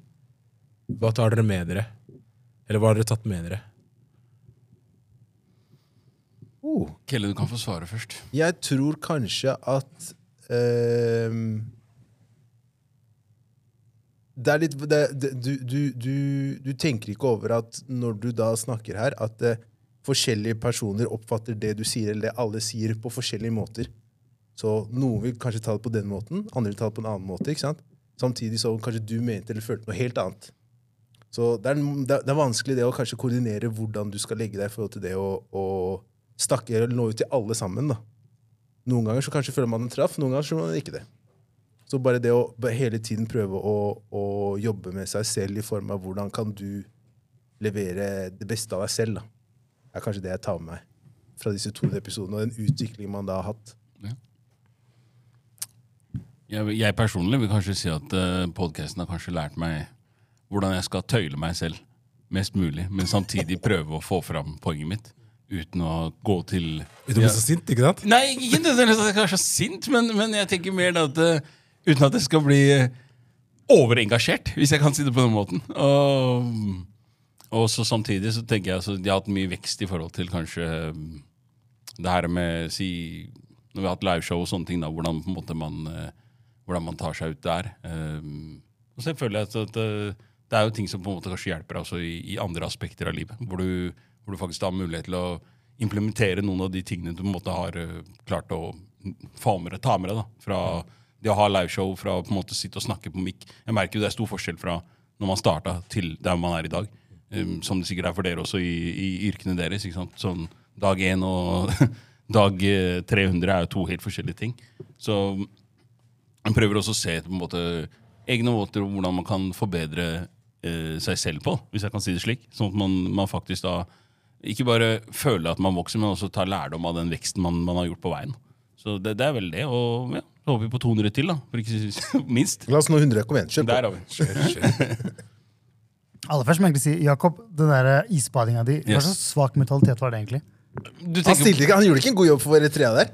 F: Hva tar dere med dere? Eller hva har dere tatt med dere? Oh.
D: Kelle, du kan få svare først.
C: Jeg tror kanskje at ehm, Det er litt det, det, du, du, du, du tenker ikke over at når du da snakker her, at eh, forskjellige personer oppfatter det du sier, eller det alle sier, på forskjellige måter. Så noen vil kanskje ta det på den måten, andre vil ta det på en annen måte. ikke sant? Samtidig så kanskje du mente eller følte noe helt annet. Så det er, det er- det er vanskelig det å kanskje koordinere hvordan du skal legge deg i forhold til det å, å snakke eller nå ut til alle sammen. da. Noen ganger så kanskje føler man en traff, noen ganger så gjør man ikke det. Så bare det å bare hele tiden prøve å, å jobbe med seg selv i form av hvordan kan du levere det beste av deg selv, da. Det er kanskje det jeg tar med meg fra disse to episodene, og den utviklingen man da har hatt.
D: Jeg, jeg personlig vil kanskje si at uh, podkasten har kanskje lært meg hvordan jeg skal tøyle meg selv mest mulig, men samtidig *laughs* prøve å få fram poenget mitt uten å gå til
F: Vet du om jeg er så sint, ikke sant?
D: Nei, ikke nødvendigvis at jeg er så sint, men, men jeg tenker mer da at eh, uten at jeg skal bli eh, *laughs* overengasjert, hvis jeg kan si det på den måten. Og, og så samtidig så tenker jeg at jeg har hatt mye vekst i forhold til kanskje eh, det her med si, Når vi har hatt liveshow og sånne ting, da, hvordan, på en måte man, eh, hvordan man tar seg ut der. Eh, og så føler jeg at, at eh, det er jo ting som på en måte kanskje hjelper altså, i, i andre aspekter av livet. Hvor du, hvor du faktisk har mulighet til å implementere noen av de tingene du på en måte har eh, klart å få med deg, ta med deg. da, Fra det å ha liveshow, fra å på en måte sitte og snakke på mikk. Jeg merker jo det er stor forskjell fra når man starta, til der man er i dag. Um, som det sikkert er for dere også i, i yrkene deres. ikke sant? Sånn dag én og *laughs* dag eh, 300 er jo to helt forskjellige ting. Så man prøver også å se på en måte egne måter om hvordan man kan forbedre eh, seg selv på, hvis jeg kan si det slik. Sånn at man, man faktisk da ikke bare føler at man vokser, men også tar lærdom av den veksten man, man har gjort på veien. Så det, det er vel det. Og ja, så håper vi på 200 til, da. For ikke si- *laughs* minst.
C: La oss nå 100. Kom igjen, kjør på.
D: Der har vi.
E: Aller først må jeg egentlig si, Jakob, den der isbadinga di, hva
D: Yes.
E: slags svak mentalitet var det egentlig?
D: Du
C: Han,
D: tenker,
C: stilte ikke, han gjorde ikke en god jobb for Eritrea der.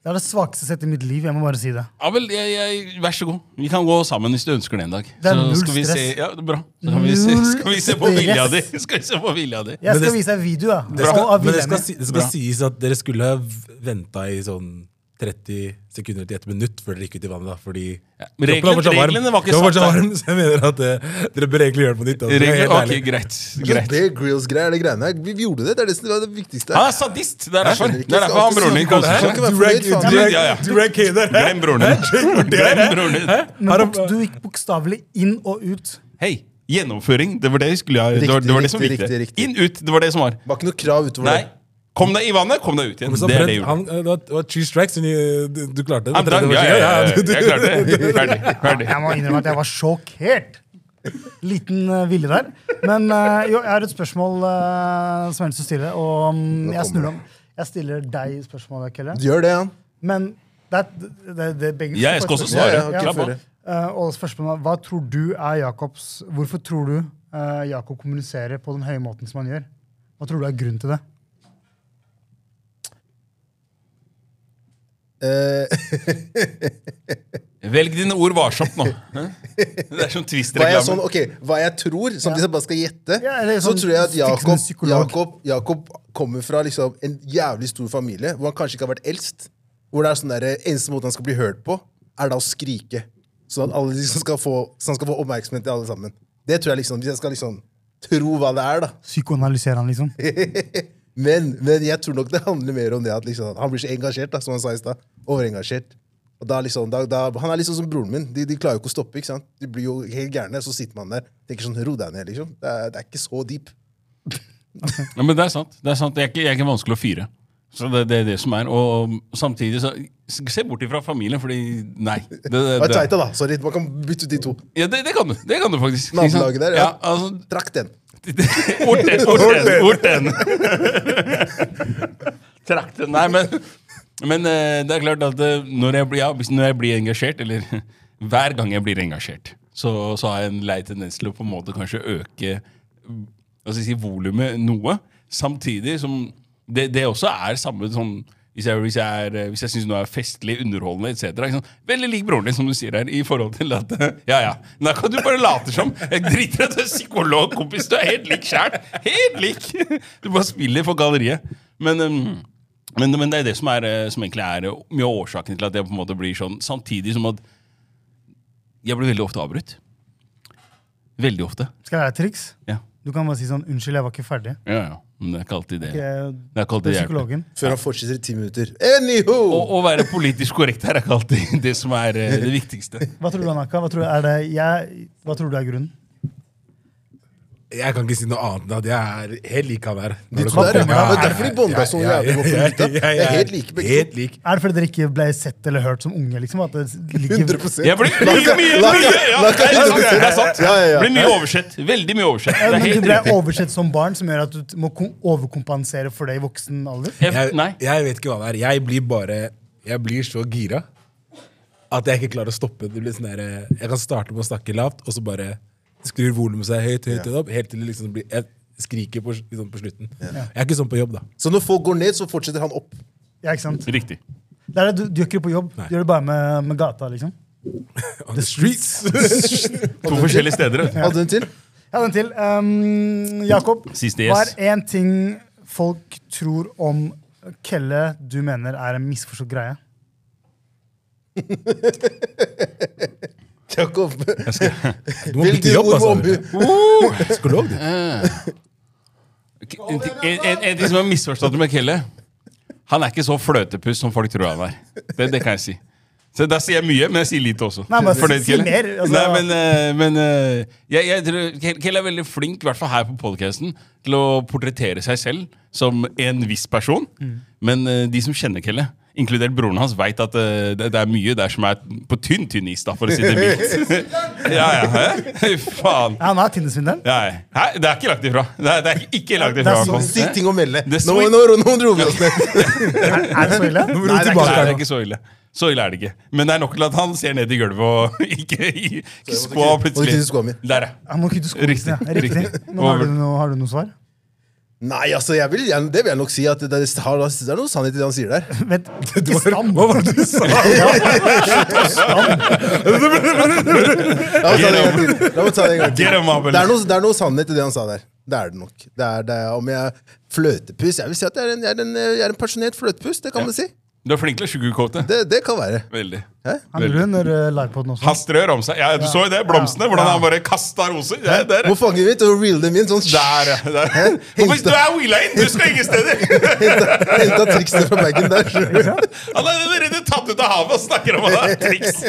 E: Det er det svakeste sett i mitt liv, jeg må bare si det.
D: ja vel, jeg, jeg, vær så god. Vi kan gå sammen hvis du ønsker det en dag.
E: Det er null
D: skal vi se,
E: stress.
D: ja, det er bra. Så kan vi se,
E: Null
D: skal vi se på vilja di!
E: stress.
D: Skal vi se på vilja di.
E: Jeg
F: Men
E: skal
F: det-
E: vise deg video, ja.
F: Det skal,
E: Og av
F: men det skal,
E: Wilhelm.
F: si, det skal
D: Bra.
F: sies at dere skulle ha venta i sånn 30 sekunder til et minutt før dere gikk ut i vannet. da, fordi
D: men
F: kroppen var
D: reglene-
F: fortsatt varm.
D: reglene var ikke
F: Kroppen var fortsatt
D: satt der.
F: varm, *laughs* Så jeg mener at eh, dere bør egentlig gjøre det på nytt. altså. Det er
D: Regler,
F: helt
D: ok,
F: ærlig.
D: greit.
C: Sånn
D: greit.
C: Bear Grylls-greier, det greiene her. Vi vi gjorde det. Det er det, som var det viktigste.
D: Han er sadist! Det er derfor,
C: skjønner ikke.
D: det er derfor han broren min koser
C: Skal
D: seg.
C: ikke være fornøyd, faen.
F: Du er-
D: Ja, ja.
F: du er keen der.
D: Glem broren din. Glem broren din.
E: Men
F: Har han-
E: boks- du gikk bokstavelig inn og ut.
D: Hei, gjennomføring. Det var det, jeg skulle, jeg- det, var, det, var det som var
C: Riktig,
D: viktig.
C: riktig, riktig.
D: Inn, ut. Det var det som var.
C: Det var ikke noe krav utover
D: Nei.
C: det.
D: Kom deg i vannet, kom deg ut igjen.
F: Men så
D: Det er det jeg
F: brent- han-
D: gjorde.
F: eh, det var- det var three strikes, men eh, du, du klarte det.
D: Han drang. Ja, ja, ja, ja. Jeg klarte
C: *laughs*
D: det. Ferdig. ferdig.
E: Jeg må innrømme at jeg var sjokkert. Liten eh, vilje der. Men eh, jo, jeg har et spørsmål eh, som jeg har lyst til å stille, og mm, jeg snur om. Jeg stiller deg spørsmålet, Kelle.
C: Gjør det, han.
E: Men det, er- det, det, det er begge
D: Ja, jeg skal også
E: Ja,
D: svare.
E: ja, ok.
D: Slapp av.
E: Eh, og spørsmålet er, Hva tror du er Jakobs Hvorfor tror du eh, Jakob kommuniserer på den høye måten som han gjør? Hva tror du er grunnen til det?
C: Eh, Eh,
D: Velg dine ord varsomt nå. Hæ? *laughs* Det er sånn
C: Hva jeg, sånn,
D: Twist-reklame.
C: ok, hva jeg tror, samtidig som jeg bare skal gjette,
E: Ja, eller
C: så
E: sånn
C: tror jeg at
E: stikk som en
C: Jakob,
E: psykolog.
C: Jakob, Jakob kommer fra liksom en jævlig stor familie, hvor han kanskje ikke har vært eldst. Hvor det er sånn der, eneste måten han skal bli hørt på, er da å skrike. Sånn at alle liksom skal få, så han skal få oppmerksomhet til alle sammen. Det tror jeg liksom, Hvis jeg skal liksom tro hva det er, da.
E: Psykoanalyserer han, liksom.
C: *laughs* Men, men jeg tror nok det handler mer om det at liksom, han blir så engasjert, da, som han sa i stad. Overengasjert. Og da liksom, da, da, han er liksom som broren min. De, de klarer jo ikke å stoppe. ikke sant? De blir jo helt gærne, så sitter man der tenker sånn Ro deg ned, liksom. Det er, det er ikke så deep.
D: Ja, men det er sant. Det er, sant. Det er, ikke, det er ikke vanskelig å fyre. Så det, det er det som er. Og samtidig så Se bort ifra familien, fordi Nei. Det, det,
C: Det var
D: det,
C: Tveita, da. Sorry. Man kan bytte ut de to.
D: ja, det, det kan du. Det kan du faktisk. Ikke sant?
C: Nabolaget der, ja.
D: ja altså,
C: Trakk
D: *laughs*
C: den.
D: Orten, orten, orten.
C: *laughs*
D: Trakten. Nei, men, men eh, det er klart at eh, når jeg, blir- ja, hvis- når jeg blir engasjert, eller *laughs* hver gang jeg blir engasjert, så, så har jeg en lei tendens til å på en måte kanskje øke mm, hva skal jeg si, volumet noe. Samtidig som det, det også er samme sånn hvis jeg, hvis jeg, er, eh, hvis jeg syns noe er festlig, underholdende etc. ikke sant? Veldig lik broren din, som du sier her. i forhold til at, *laughs* Ja, ja. Da kan du bare late som. Jeg driter i at du er psykolog, kompis. Du er helt lik sjæl. Helt *laughs* lik! Du bare spiller for galleriet. Men, um, men, men det er det som, er, eh, som egentlig er eh, mye av årsaken til at jeg på en måte blir sånn. Samtidig som at jeg blir veldig ofte avbrutt. Veldig ofte.
E: Skal jeg lære et triks?
D: Ja,
E: Du kan bare si sånn 'Unnskyld, jeg var ikke ferdig'.
D: ja. ja. Men det er ikke alltid det.
E: Det er,
D: Det er ikke alltid
E: det
D: det
E: er
D: hjelper.
E: psykologen.
C: Før han fortsetter i ti minutter. Anywho!
D: Å, å være politisk korrekt her er ikke alltid det som er eh, det viktigste.
E: Hva tror du, Anaka? Hva tror, er det, jeg, hva tror du er grunnen?
F: Jeg kan ikke si noe annet enn at jeg er helt lik han der.
C: De
F: Når det
C: to der,
F: kommer-
C: ja.
E: ja,
C: Det er derfor de bonda så
F: Ja, ja,
C: jævlig godt
F: ja,
C: på
F: ja, ja,
C: gutta. Det er
F: ja.
C: helt like begge
F: Helt lik.
E: Er det fordi dere ikke ble sett eller hørt som unge? liksom? At det ligger,
C: 100
D: Jeg blir mye, mye,
C: la-
D: mye, ja,
C: la-
D: det er sant, det er sant.
C: Ja, ja, ja.
D: Blir mye oversett. Veldig mye oversett.
E: Ja,
D: Det er
E: men du
D: helt
E: ble
D: riktig.
E: oversett som barn, som gjør at du må kom- overkompensere for det i voksen alder?
D: Jeg, nei.
F: Jeg, jeg vet ikke hva det er. Jeg blir bare Jeg blir så gira at jeg ikke klarer å stoppe. Det blir sånn der, eh, jeg kan starte med å snakke lavt, og så bare skrur volumet seg høyt, høyt, høyt opp, helt til det liksom blir, jeg skriker på, liksom på slutten. Jeg er ikke sånn på jobb, da.
C: Så når folk går ned, *laughs* så fortsetter han opp.
E: Ja, ikke sant?
D: Riktig.
E: Det er det, du, du gjør ikke det på jobb,
F: Nei.
E: du gjør det bare med, med gata. liksom.
F: On the streets!
D: To forskjellige steder. vet du.
C: Hadde du en til?
E: Jeg hadde en til. Um, Jakob,
D: Siste
E: hva
D: yes.
E: er én ting folk tror om Kelle du mener er en misforstått greie?
C: Jakob.
F: Du må bytte jobb, *laughs* altså.
D: Uh!
F: Psykolog, du.
D: Eh. En, ting- en, en, en ting som er misforstått med Kelle Han er ikke så fløtepuss som folk tror han er. Det, det kan jeg si. Så Der sier jeg mye, men jeg sier lite også.
E: Nei, men
D: Fornøyd,
E: si
D: Kelle?
E: mer, altså.
D: Nei, men, eh, men eh, jeg, jeg tror Kelle- Kelle er veldig flink, i hvert fall her på podcasten til å portrettere seg selv som en viss person.
E: Mm.
D: Men eh, de som kjenner Kelle, inkludert broren hans, veit at eh, det, det er mye der som er på tynn, tynn is, da, for å si
E: *laughs*
D: det mildt. ja, ja, hæ? Fy faen.
E: Ja, han er Tinder-svindelen.
D: Nei, Hæ? det er ikke lagt ifra. Det er, det er ikke lagt
E: Det
D: ifra.
E: er
D: i hvert fall.
E: sånn
C: Sykt ting å melde.
D: The
C: Nå,
D: sweet-
C: nå, nå dro vi oss
D: *laughs*
C: ned.
E: Er, er det så ille?
F: Nå må du
D: Nei,
F: tilbake
D: det
F: her
D: er
F: nå.
D: ikke så ille. Så ille er det ikke. Men det er nok til at han ser ned i gulvet og *laughs* ikke i ikke skoa
C: Og ikke skoa mi.
D: plutselig. Der, ja.
E: Han må kutte skoene
D: Riktig,
E: sine, ja. Riktig.
D: riktig.
E: Men har,
D: Over.
E: du noe, har du noe svar?
C: Nei, altså, jeg vil, jeg, det vil jeg nok si. at Det, det, har- det er noe sannhet i det han sier der.
E: *laughs*
C: *laughs*
E: Vent,
F: Du var- Hva var det du
E: *laughs*
F: sa?
C: La meg ta det en gang til. La meg ta Det en gang til.
D: Get him up, eller?
C: Det er, noe, det er noe sannhet i det han sa der. Det er det nok. Det er, det er, om jeg er fløtepuss Jeg vil si at jeg er en, jeg er en, jeg er en pensjonert fløtepuss. Det kan man si.
D: Du er flink til å sugarcoate.
C: Det, det kan være.
D: Veldig.
E: han gjorde det under uh, livepoden også.
D: Han strør om seg. Ja, du så jo det, blomstene. Hvordan han bare kasta roser. Ja, der,
C: Må fange dem ut og reele dem inn. sånn
D: der, ja, der. Kompis, du er wheela *laughs* inn! Du skal ingen steder!
C: Henta triksene fra bagen der.
D: Han er allerede tatt ut av havet og snakker om at det er triks! *laughs*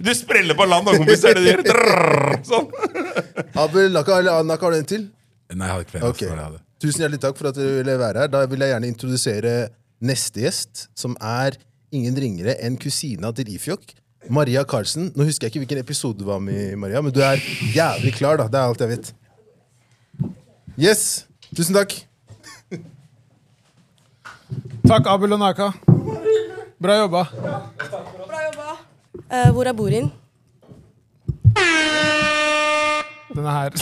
D: Du spreller på land, da, kompis. Er det det du gjør? Drrrr, Sånn.
C: Abel Laka eller Anaka, har du en til?
F: Nei, jeg hadde ikke flere. Altså,
C: Ok.
F: det var det jeg hadde.
C: Tusen hjertelig takk for at dere ville være her. Da vil jeg gjerne introdusere neste gjest, som er ingen ringere enn kusina til Ifjok. Maria Karlsen. Nå husker jeg ikke hvilken episode du var med i, Maria, men du er jævlig klar, da. Det er alt jeg vet. Yes. Tusen takk.
A: Takk, Abel og Naka. Bra jobba.
G: Eh, hvor er Borin?
A: Den er her.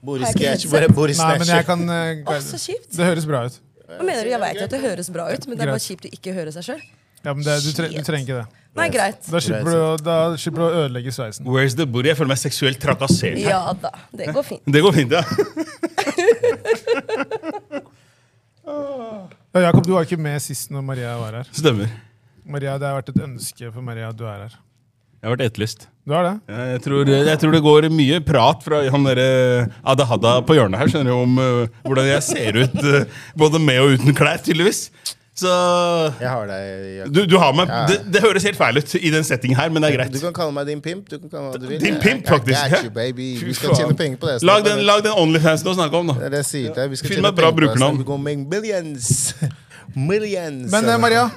G: Har jeg ikke headset?
A: Nei, men jeg kan eh,
G: Å, så kjipt.
A: Det høres bra ut.
G: Hva mener du? Jeg vet jo at det høres bra ut, men det er bare
A: Greit.
G: kjipt å ikke høre seg sjøl.
A: Ja, men det, du, tre, du
G: Shit.
A: trenger ikke det.
G: Nei, greit.
A: Da slipper du, å- da slipper du å ødelegge sveisen.
D: Where's the booty? Jeg føler meg seksuelt trakassert her.
G: Ja da. Det går fint.
D: Det går fint, ja.
A: Ja, Jakob, du var ikke med sist når Maria var her.
D: Stemmer.
A: Maria, Det har vært et ønske for Maria at du er her.
D: Jeg har vært etterlyst.
A: Du har det?
D: Jeg tror, jeg tror det går mye prat fra han derre Adahada på hjørnet her, skjønner du, om eh, hvordan jeg ser ut eh, både med og uten klær, tydeligvis. Så
B: Jeg har deg, Jakob.
D: du, du har meg
B: Ja.
D: det, det høres helt feil ut i den settingen her, men det er greit.
B: Du kan kalle meg din pimp. Du kan kalle meg hva du vil.
D: Din
B: Jeg-
D: pimp,
B: I got
D: faktisk,
B: you,
D: ja.
B: baby. Vi
D: Fy
B: skal
D: faen.
B: tjene penger på det.
D: Lag den, lag den OnlyFans du snakker om,
B: Det er
D: da.
B: det jeg sier til deg. Vi skal
D: Finn
B: tjene
D: meg bra
B: penger på det.
D: brukernavn.
B: Vi går med millions. *laughs* Millions.
A: Men eh, Maria,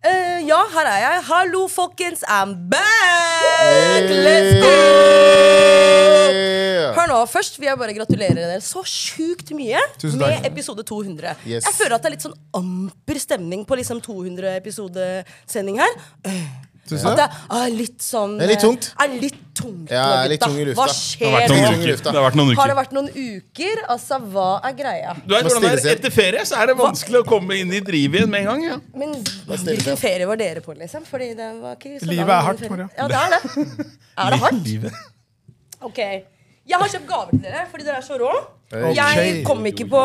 G: Eh, ja, her er jeg. Hallo, folkens. I'm back! Let's go!
B: Yeah.
G: Hør nå, Først vil jeg bare gratulere dere så sjukt mye
A: Tusen takk.
G: med episode 200.
B: Yes.
G: Jeg føler at det er litt sånn amper stemning på liksom 200-episodesending her. Øh,
A: tusen
G: At det
A: takk.
G: er litt sånn
B: Det er litt tungt.
G: eh, Er litt tungt
B: Ja,
G: nå,
B: det er litt
G: gutta.
B: tung i lufta.
G: Hva
D: Det
G: skjer
D: har vært
B: Helt
G: nå?
D: noen
B: tung i
D: uker.
B: lufta.
D: Det har vært noen
G: Har det
D: uker.
G: vært noen uker? Altså, hva er greia?
D: Du vet
B: Må
D: hvordan det
B: stille
D: er
B: seg.
D: Etter ferie så er det vanskelig å komme inn i drivet igjen med en gang. ja.
G: Men hvilken ferie var dere på, liksom? Fordi det var ikke så
A: Livet
G: lang
A: er hardt,
G: ferie.
A: Maria.
G: Ja, det er det. Er det hardt?
D: Livet.
G: Ok. Jeg har kjøpt gaver til dere fordi dere er så rå.
B: Ok.
G: Jeg kom ikke på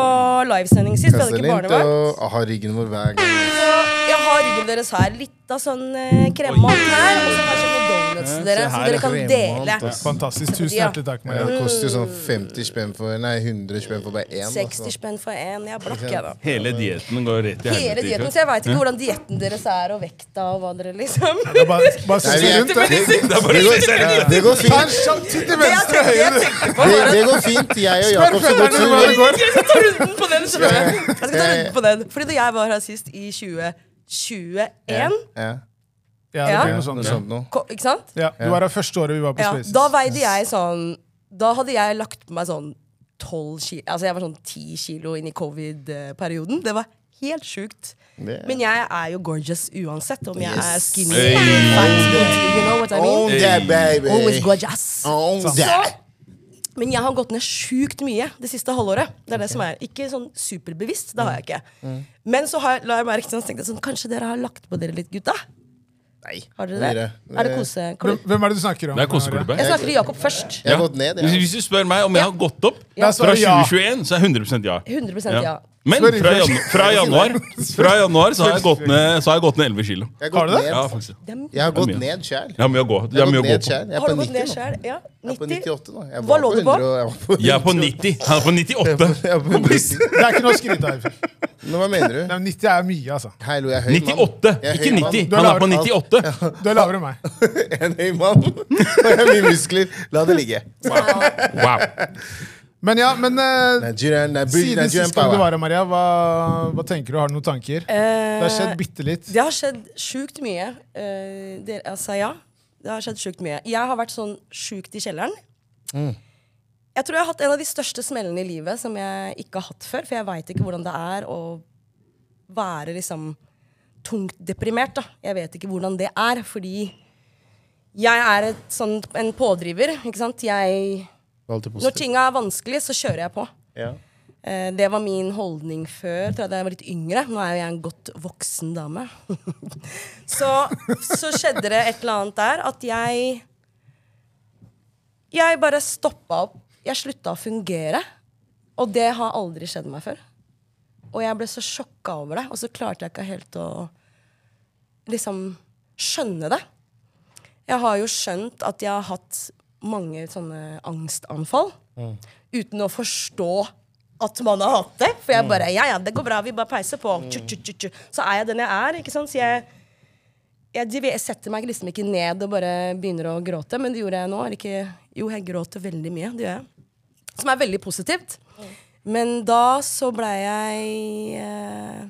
G: livesending sist. Vi hadde ikke
B: Kastelint
G: barnevakt.
B: og har ryggen vår hver gang.
G: Så jeg har ryggen deres her. Litt av sånn eh, kremant her. Og så har jeg kjøpt noen donuts til dere,
D: Se
G: som
D: her,
G: dere kan dele.
B: Kremant, ass.
A: Fantastisk. Tusen
G: Ja.
A: hjertelig takk,
B: Ja,
A: Maria.
B: det koster jo sånn 50 spenn for Nei, 100 spenn for bare én. da,
G: 60 spenn for én. Jeg er blakk, jeg, da.
D: Hele dietten går rett i
G: Hele
D: helvete. ikke
G: dieten, så
D: sant?
G: jeg veit ikke hvordan dietten deres er, og vekta og hva dere liksom
A: Det er Bare, bare
B: Nei,
A: sitt
B: vi er-
A: rundt. da.
B: det-
D: Det er bare å se seg rundt.
B: Det går fint.
G: Det jeg tenkte, jeg tenkte på,
B: Det,
G: var
B: det går fint. Jeg og Jakob skal gå tur.
A: hvordan det går.
G: Jeg skal ta runden på den. skjønner
B: Eh,
G: du. Jeg skal ta runden på den. Fordi da jeg var her sist, i 2021
B: Ja,
A: Ja, det
G: Ja.
A: blir noe sånt.
B: noe sånt noe.
G: ko- Ikke sant?
A: Ja, du var her første året vi var på
G: Ja,
A: Spaces.
G: da veide jeg sånn Da hadde jeg lagt på meg sånn 12 kilo Altså jeg var sånn 10 kilo inn i covid-perioden. Det var helt sjukt.
B: Det-
G: Men jeg er jo gorgeous uansett, om jeg er
B: Yes.
G: skinny
D: Hey.
G: eller fat. You know what I
B: Own
G: mean?
B: that, baby.
G: Always gorgeous.
B: Own
G: Så,
B: that.
G: men jeg har gått ned sjukt mye det siste halvåret. Det er det som er Ikke sånn superbevisst, det har jeg ikke.
B: mm.
G: Men så har jeg, la jeg merke til sånn, så tenkte jeg sånn, kanskje dere har lagt på dere litt, gutta?
B: Nei.
G: Har dere det?
B: Nei.
G: Er det koseklubb?
A: Hvem er det du snakker om?
D: Det er koseklubben.
G: Jeg snakker til Jakob først.
B: Jeg har gått ned,
D: Hvis,
B: jeg.
D: hvis du spør meg om jeg har gått opp
A: Da
D: fra
A: svarer jeg ja.
D: 2021, så er jeg 100 ja.
G: 100 ja.
D: Men
A: Sorry,
D: fra,
A: Fredrik.
D: janu
B: *laughs*
D: fra januar Fra januar så har jeg gått ned, så har jeg gått ned 11 kilo.
B: Jeg
A: Har
B: har
A: du
B: gått
A: det?
D: Ja,
B: ned.
D: faktisk.
G: Dem-
B: Jeg har
D: Det er
B: gått
D: mye.
B: ned sjæl.
D: Jeg har mye å gå.
B: Jeg
D: Jeg
B: har
D: har mye å gå
B: gått ned
D: på.
B: sjæl. Jeg er
G: Har
B: på
G: du gått ned
B: 90 nå.
G: sjøl? Ja.
B: Jeg er på
G: 90.
B: 98 nå. Jeg
G: Hva
B: var
G: lå du
B: 100
G: på?
B: og Jeg var på
D: Jeg er på 90. Han er på 98.
B: Jeg
D: *laughs*
B: var på 90.
A: *laughs* Det er ikke noe
B: *laughs*
A: å skryte av. Eirik.
B: Men hva mener du?
A: Nei, men 90 er mye, altså.
B: Hallo, jeg er høy mann.
D: 98,
B: Jeg er
D: ikke
B: høy mann.
D: 90.
A: Du er
D: Han er på
A: lavere.
D: 98.
A: Du er lavere enn meg.
B: *laughs* Jeg er en høy mann. Og jeg har mye muskler. La det ligge.
D: Wow.
A: Men ja, men eh,
B: Nigerian, Nigerian,
A: siden
B: Nigerian
A: sist gang du
B: power.
A: var her, Maria, hva, hva tenker du? Har du noen tanker? Det har skjedd bitte litt.
G: Eh, Det har skjedd sjukt mye. Eh, dere, altså, ja. Det har skjedd sjukt mye. Jeg har vært sånn sjukt i kjelleren. Jeg tror jeg har hatt en av de største smellene i livet som jeg ikke har hatt før. For jeg veit ikke hvordan det er å være liksom tungt deprimert. da. Jeg vet ikke hvordan det er, fordi jeg er et, sånn, en pådriver. ikke sant? Jeg,
B: Alltid
G: når
B: positiv.
G: tinga er vanskelig, så kjører jeg på.
B: Ja.
G: Eh, Det var min holdning før, tror jeg da jeg var litt yngre. Nå er jo jeg en godt voksen dame. *laughs* så, så skjedde det et eller annet der at jeg Jeg bare stoppa opp. Jeg slutta å fungere. Og det har aldri skjedd meg før. Og jeg ble så sjokka over det, og så klarte jeg ikke helt å liksom skjønne det. Jeg har jo skjønt at jeg har hatt mange sånne angstanfall uten å forstå at man har hatt det. For jeg bare Ja, ja, det går bra. Vi bare peiser på. Tju, tju, tju, tju. Så er jeg den jeg er. ikke sant? Så jeg, jeg, div- jeg setter meg liksom ikke ned og bare begynner å gråte. Men det gjorde jeg nå. Eller ikke, jo, jeg gråter veldig mye. Det gjør jeg. Som er veldig positivt. Men da så blei jeg eh,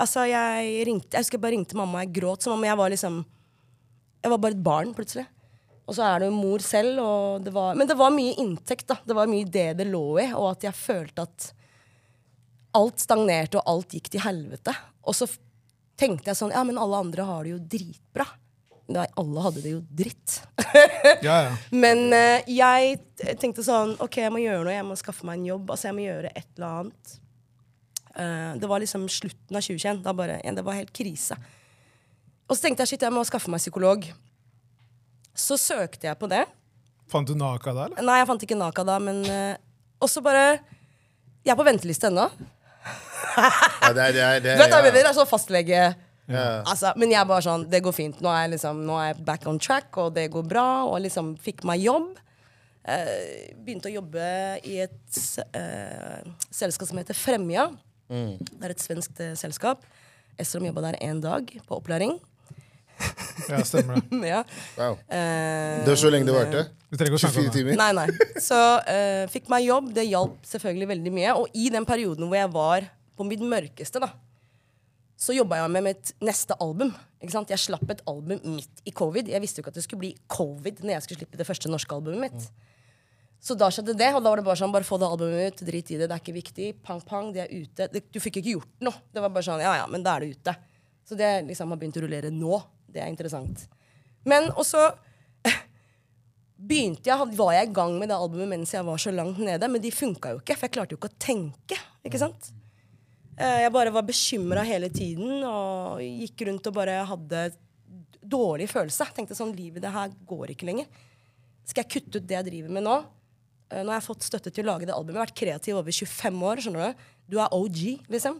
G: Altså, jeg ringte Jeg husker jeg bare ringte mamma. Jeg gråt som om jeg var liksom Jeg var bare et barn, plutselig. Og så er det jo mor selv. Og det var, men det var mye inntekt. da Det var mye det det lå i. Og at jeg følte at alt stagnerte, og alt gikk til helvete. Og så f- tenkte jeg sånn Ja, men alle andre har det jo dritbra. Nei, alle hadde det jo dritt.
A: *laughs* Ja, ja.
G: Men eh, jeg t- tenkte sånn Ok, jeg må gjøre noe. Jeg må skaffe meg en jobb. Altså, jeg må gjøre et eller annet. Eh, det var liksom slutten av 2021. Da bare, ja, det var helt krise. Og så tenkte jeg shit, jeg må skaffe meg psykolog. Så søkte jeg på det.
A: Fant du Naka da, eller?
G: Nei, jeg fant ikke Naka da, men eh, også bare Jeg er på venteliste ennå.
B: Ja, det er, det er, det
G: Du
B: er,
G: vet hva jeg
B: ja.
G: mener? Altså fastlege.
B: Ja.
G: Altså, men jeg er bare sånn Det går fint. Nå er, jeg liksom, nå er jeg back on track, og det går bra. Og liksom fikk meg jobb. Eh, begynte å jobbe i et eh, selskap som heter Fremja.
B: Mm.
G: Det er et svensk eh, selskap. Estrom jobba der én dag på opplæring.
A: Ja, stemmer det.
G: *laughs* ja.
B: Wow.
G: Eh,
B: Det var så lenge det varte?
A: Vi trenger ikke å snakke
B: 24
A: om det.
B: timer?
G: Nei, nei. Så eh, fikk meg jobb. Det hjalp selvfølgelig veldig mye. Og i den perioden hvor jeg var på mitt mørkeste, da, så jobba jeg med mitt neste album. Ikke sant? Jeg slapp et album midt i covid. Jeg visste jo ikke at det skulle bli covid når jeg skulle slippe det første norske albumet mitt. Så da skjedde det, og da var det bare sånn, bare få det albumet ut, drit i det, det er ikke viktig. Pang, pang, det er ute. Det, du fikk ikke gjort noe. Det var bare sånn, ja, ja, men da er det ute. Så det liksom har begynt å rullere nå. Det er interessant. Men også begynte jeg, had- var jeg i gang med det albumet mens jeg var så langt nede, men de funka jo ikke, for jeg klarte jo ikke å tenke. ikke sant? Eh, Jeg bare var bekymra hele tiden og gikk rundt og bare hadde d- dårlig følelse. Tenkte sånn, livet det her går ikke lenger. Skal jeg kutte ut det jeg driver med nå? Eh, Nå har jeg fått støtte til å lage det albumet. Jeg har vært kreativ over 25 år. skjønner Du Du er OG, liksom.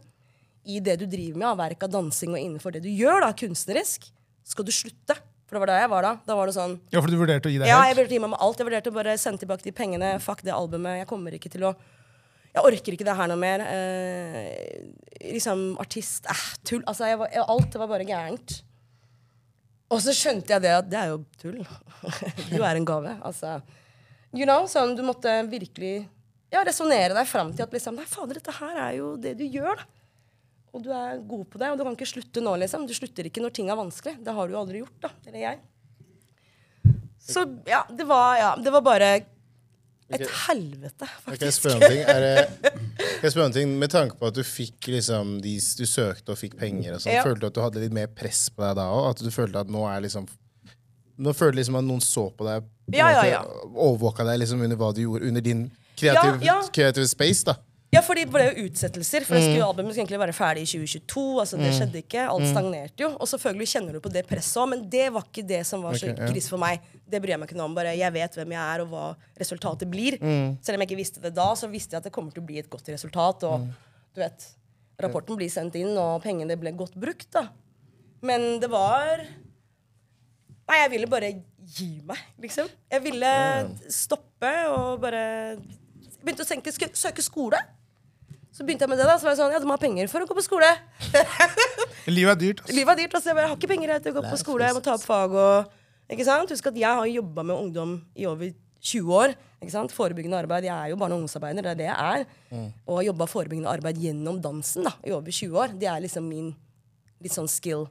G: I det du driver med, av verk av dansing og innenfor det du gjør, da, kunstnerisk, skal du slutte. For det var da jeg var da. Da var det sånn
A: Ja, for du vurderte å gi deg
G: ja, jeg
A: helt?
G: vurderte å gi meg med alt. Jeg vurderte å bare sende tilbake de pengene. Fuck det albumet. Jeg kommer ikke til å Jeg orker ikke det her noe mer. Eh, liksom artist eh, Tull. Altså, jeg var, jeg, alt var bare gærent. Og så skjønte jeg det at det er jo tull. *laughs* du er en gave. Altså. You know, sånn, du måtte virkelig ja, resonnere deg fram til at liksom, Nei, fader, dette her er jo det du gjør, da. Og du er god på det, og du kan ikke slutte nå, liksom. Du slutter ikke når ting er vanskelig. Det har du jo aldri gjort, da. Eller jeg. Så ja, det var, ja, det var bare et helvete,
B: Jeg Kan jeg
G: faktisk.
B: spørre om ting? Er det,
G: *laughs*
B: kan jeg spørre om ting? Med tanke på at du fikk liksom, de, du søkte og fikk penger, og sånn,
G: Ja.
B: følte du at du hadde litt mer press på deg da òg? At du følte at nå er liksom Nå føler du liksom at noen så på deg på en
G: Ja, ja,
B: måte,
G: ja.
B: overvåka deg liksom under hva du gjorde, under din kreative,
G: Ja, ja.
B: kreative space. da
G: Ja, for det ble jo utsettelser. For jeg
B: Mm.
G: skulle, albumet skulle egentlig være ferdig i 2022. altså Det skjedde ikke. Alt stagnerte jo. Og selvfølgelig kjenner du på det presset òg, men det var ikke det som var så
B: Ok, ja.
G: krise for meg. Det bryr jeg meg ikke noe om. Bare jeg vet hvem jeg er, og hva resultatet blir.
B: Mm.
G: Selv om jeg ikke visste det da, så visste jeg at det kommer til å bli et godt resultat.
B: Mm.
G: Og du vet, rapporten blir sendt inn, og pengene ble godt brukt, da. Men det var Nei, jeg ville bare gi meg, liksom. Jeg ville stoppe og bare Jeg begynte å tenke, sk søke skole. Så begynte jeg med det, da. Så var jeg sånn, ja, du må ha penger for å gå på skole.
A: Livet er dyrt. ass.
G: Livet er dyrt. Altså, jeg, bare, jeg har ikke penger jeg, til å gå på skole. Jeg må ta opp fag og Ikke sant? Husk at jeg har jobba med ungdom i over 20 år. Ikke sant? Forebyggende arbeid. Jeg er jo barne- og ungdomsarbeider, det er det jeg er. Og har jobba forebyggende arbeid gjennom dansen da, i over 20 år. Det er liksom min litt sånn skill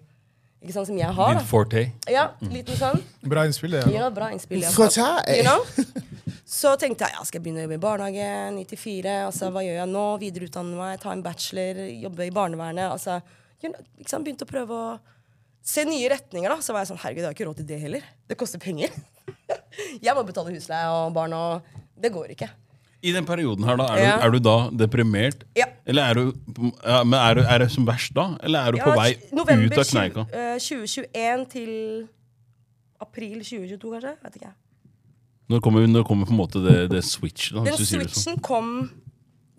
G: ikke sant, som jeg har.
D: Litt
G: da.
D: forte.
G: Ja, liten sånn.
A: Mm. Bra innspill, det.
G: Ja, bra innspill. Ja.
B: Fortell!
G: You know?
A: *laughs*
G: Så tenkte jeg ja, skal jeg begynne å jobbe i barnehage, 94, altså, hva gjør jeg nå? Videreutdanne meg, ta en bachelor, jobbe i barnevernet. Altså, you know, liksom begynte å prøve å se nye retninger. da, Så var jeg sånn herregud, jeg har ikke råd til det heller. Det koster penger. *laughs* jeg må betale husleie og barn og Det går ikke.
D: I den perioden her, da, er,
G: Ja.
D: du, er du da deprimert?
G: Ja.
D: Eller er du, ja, men er, du, er det som verst da? Eller er du på
G: Ja,
D: vei
G: tj- november
D: ut av
G: 20,
D: kneika?
G: eh, 2021 til april 2022, kanskje? Vet ikke jeg.
D: Når kommer, når kommer på en måte det, det switch? da,
G: Den
D: hvis du sier det sånn?
G: switchen kom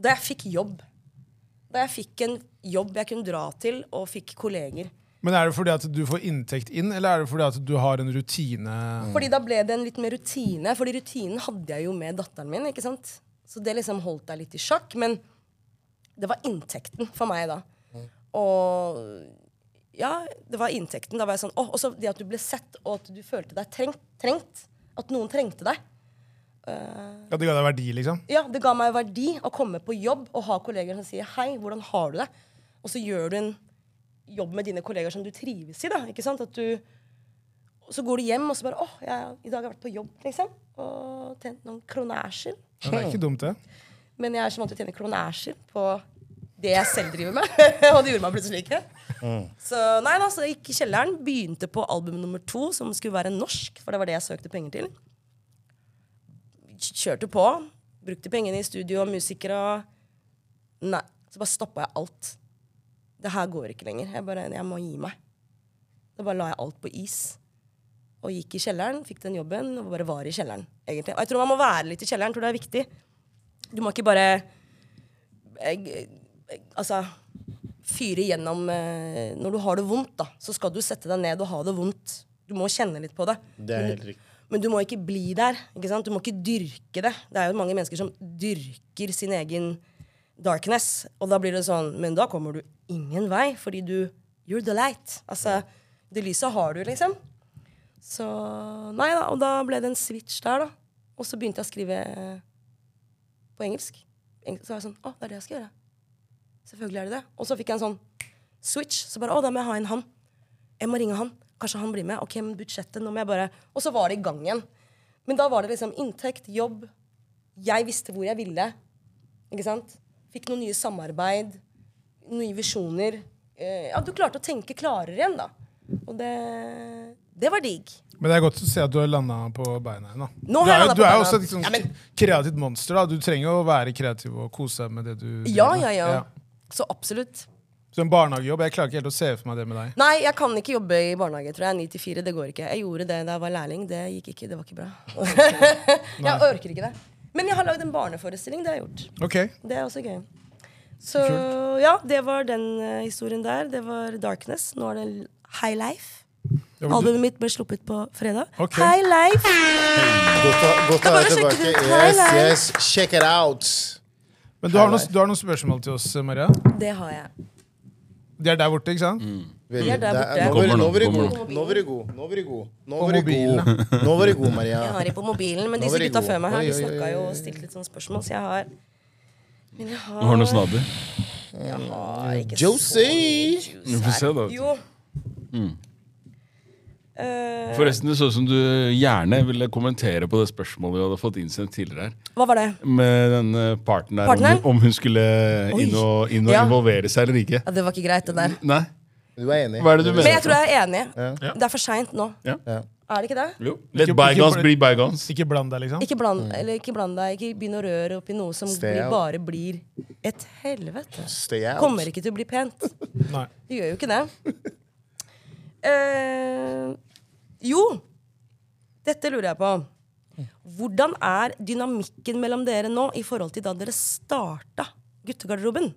G: da jeg fikk jobb. Da jeg fikk en jobb jeg kunne dra til, og fikk kolleger.
A: Men er det fordi at du får inntekt inn, eller er det fordi at du har en rutine?
D: Mm.
G: Fordi da ble det en litt mer rutine. Fordi rutinen hadde jeg jo med datteren min. ikke sant? Så det liksom holdt deg litt i sjakk. Men det var inntekten for meg da. Og ja, det var inntekten. Da var jeg sånn, «Åh», Og så det at du ble sett, og at du følte deg trengt. trengt at noen trengte deg. Eh,
A: Ja, det ga deg verdi, liksom?
G: ja, det ga meg verdi å komme på jobb og ha kolleger som sier hei, hvordan har du det? Og så gjør du en jobb med dine kolleger som du trives i. da, ikke sant? At du, og så går du hjem og så bare åh, jeg, i dag har jeg vært på jobb, liksom. Og tjent noen kronasjer.
A: Ja, det er ikke dumt, det.
G: Men jeg er så vant til å tjene kronasjer på det jeg selv driver med. *laughs* og det gjorde meg plutselig ikke. Så nei da, så jeg gikk i kjelleren, begynte på album nummer to, som skulle være norsk. For det var det jeg søkte penger til. Kjørte på. Brukte pengene i studio og musikere og Nei. Så bare stoppa jeg alt. Det her går ikke lenger. Jeg bare, jeg må gi meg. Da bare la jeg alt på is. Og gikk i kjelleren, fikk den jobben og bare var i kjelleren. egentlig. Og jeg tror man må være litt i kjelleren. tror det er viktig. Du må ikke bare eh, eh, Altså fyre gjennom eh, Når du har det vondt, da, så skal du sette deg ned og ha det vondt. Du må kjenne litt på det.
H: Det er helt riktig.
G: Men du må ikke bli der. ikke sant? Du må ikke dyrke det. Det er jo mange mennesker som dyrker sin egen darkness. Og da blir det sånn Men da kommer du ingen vei, fordi du You're the light. Altså, det lyset har du, liksom. Så Nei da. Og da ble det en switch der, da. Og så begynte jeg å skrive eh, på engelsk. Eng- Så var jeg sånn Å, det er det jeg skal gjøre. Selvfølgelig er det det. Og så fikk jeg en sånn switch. Så bare Å, da må jeg ha en han jeg må ringe han. Kanskje han blir med. Ok, men budsjettet, nå må jeg bare... Og så var det i gang igjen. Men da var det liksom inntekt, jobb. Jeg visste hvor jeg ville. Ikke sant? Fikk noen nye samarbeid. Nye visjoner. Eh, ja, du klarte å tenke klarere igjen, da. Og det, det var digg.
A: Men det er godt å se at du har landa på beina igjen. da.
G: Nå
A: du
G: har jeg
A: er, jo-
G: landet
A: du
G: på
A: er jo
G: beina.
A: også et liksom,
G: Ja, men-
A: kreativt monster. da. Du trenger jo å være kreativ og kose deg med det du
G: Ja,
A: driver med.
G: ja, ja. Så absolutt.
A: Så en barnehagejobb, jeg klarer ikke helt å se for meg det med deg.
G: Nei, jeg kan ikke jobbe i barnehage, tror jeg. Ni til fire, det går ikke. Jeg gjorde det da jeg var lærling. Det gikk ikke. Det var ikke
A: *laughs*
G: bra. jeg orker ikke det. Men jeg har lagd en barneforestilling. Det har jeg gjort.
A: Ok,
G: Det er også gøy. Så ja, det var den eh, historien der. Det var Darkness. Nå er det High Life.
A: Ja, men du,
G: Albumet mitt ble sluppet på fredag.
A: Ok.
G: High Life!
B: Godt å, godt å
G: Jeg bare
B: være
G: sjekker
B: tilbake.
G: ut
B: Yes, yes,
G: highlights.
B: check it out.
A: men du, har noen, du har noen spørsmål til oss, Maria?
G: Det har jeg.
A: De er der borte, ikke sant?
B: Vel,
G: Vi er
B: Mm.
G: der
B: det
G: borte.
B: nå var du-
D: Kommer nå,
B: Nå var du
D: kommer
B: god, nå var du god. Nå var du god. Nå
A: Og
B: var du god. Nå var du god, Maria.
G: Jeg har det på mobilen, men
B: Nå
G: disse
B: var de
G: gutta
B: gode.
G: før meg her
B: Oi,
G: de
B: oi, oi,
G: snakka jo og
B: oi.
G: stilte litt sånne spørsmål, så jeg har Men jeg har
D: Du har noen snabber.
G: Jeg har ikke
B: Mm. Josie!
G: så mye
D: Vi
G: juice
D: får se,
G: her.
D: da.
G: Jo. Eh,
D: Forresten, det så ut som du gjerne ville kommentere på det spørsmålet du hadde fått innsendt tidligere her.
G: hva var det?
D: Med den eh, parten der, om
G: Partneren?
D: hun, om hun skulle
G: Oi.
D: inn og, inn og
G: Ja.
D: involvere seg eller ikke.
G: Ja, det var ikke greit, det der.
D: Nei?
B: Du er enig?
D: Hva er det du
G: Men
D: mener?
G: jeg tror jeg er enig.
D: Ja.
G: Det er for seint nå.
D: Ja.
B: Ja.
G: Er det ikke det?
D: Jo. Let
A: Ikke-
D: bygones
A: ikke-
D: bli bygones.
A: Ikke bland deg, liksom?
G: Ikke bland, eller ikke bland deg, ikke begynn å røre opp i noe som
B: Mm. Stay
G: blir,
B: out.
G: bare blir et helvete.
B: Stay out.
G: Kommer ikke til å bli pent.
A: Nei.
G: Det gjør jo ikke det. Eh, jo, dette lurer jeg på. Hvordan er dynamikken mellom dere nå i forhold til da dere starta guttegarderoben?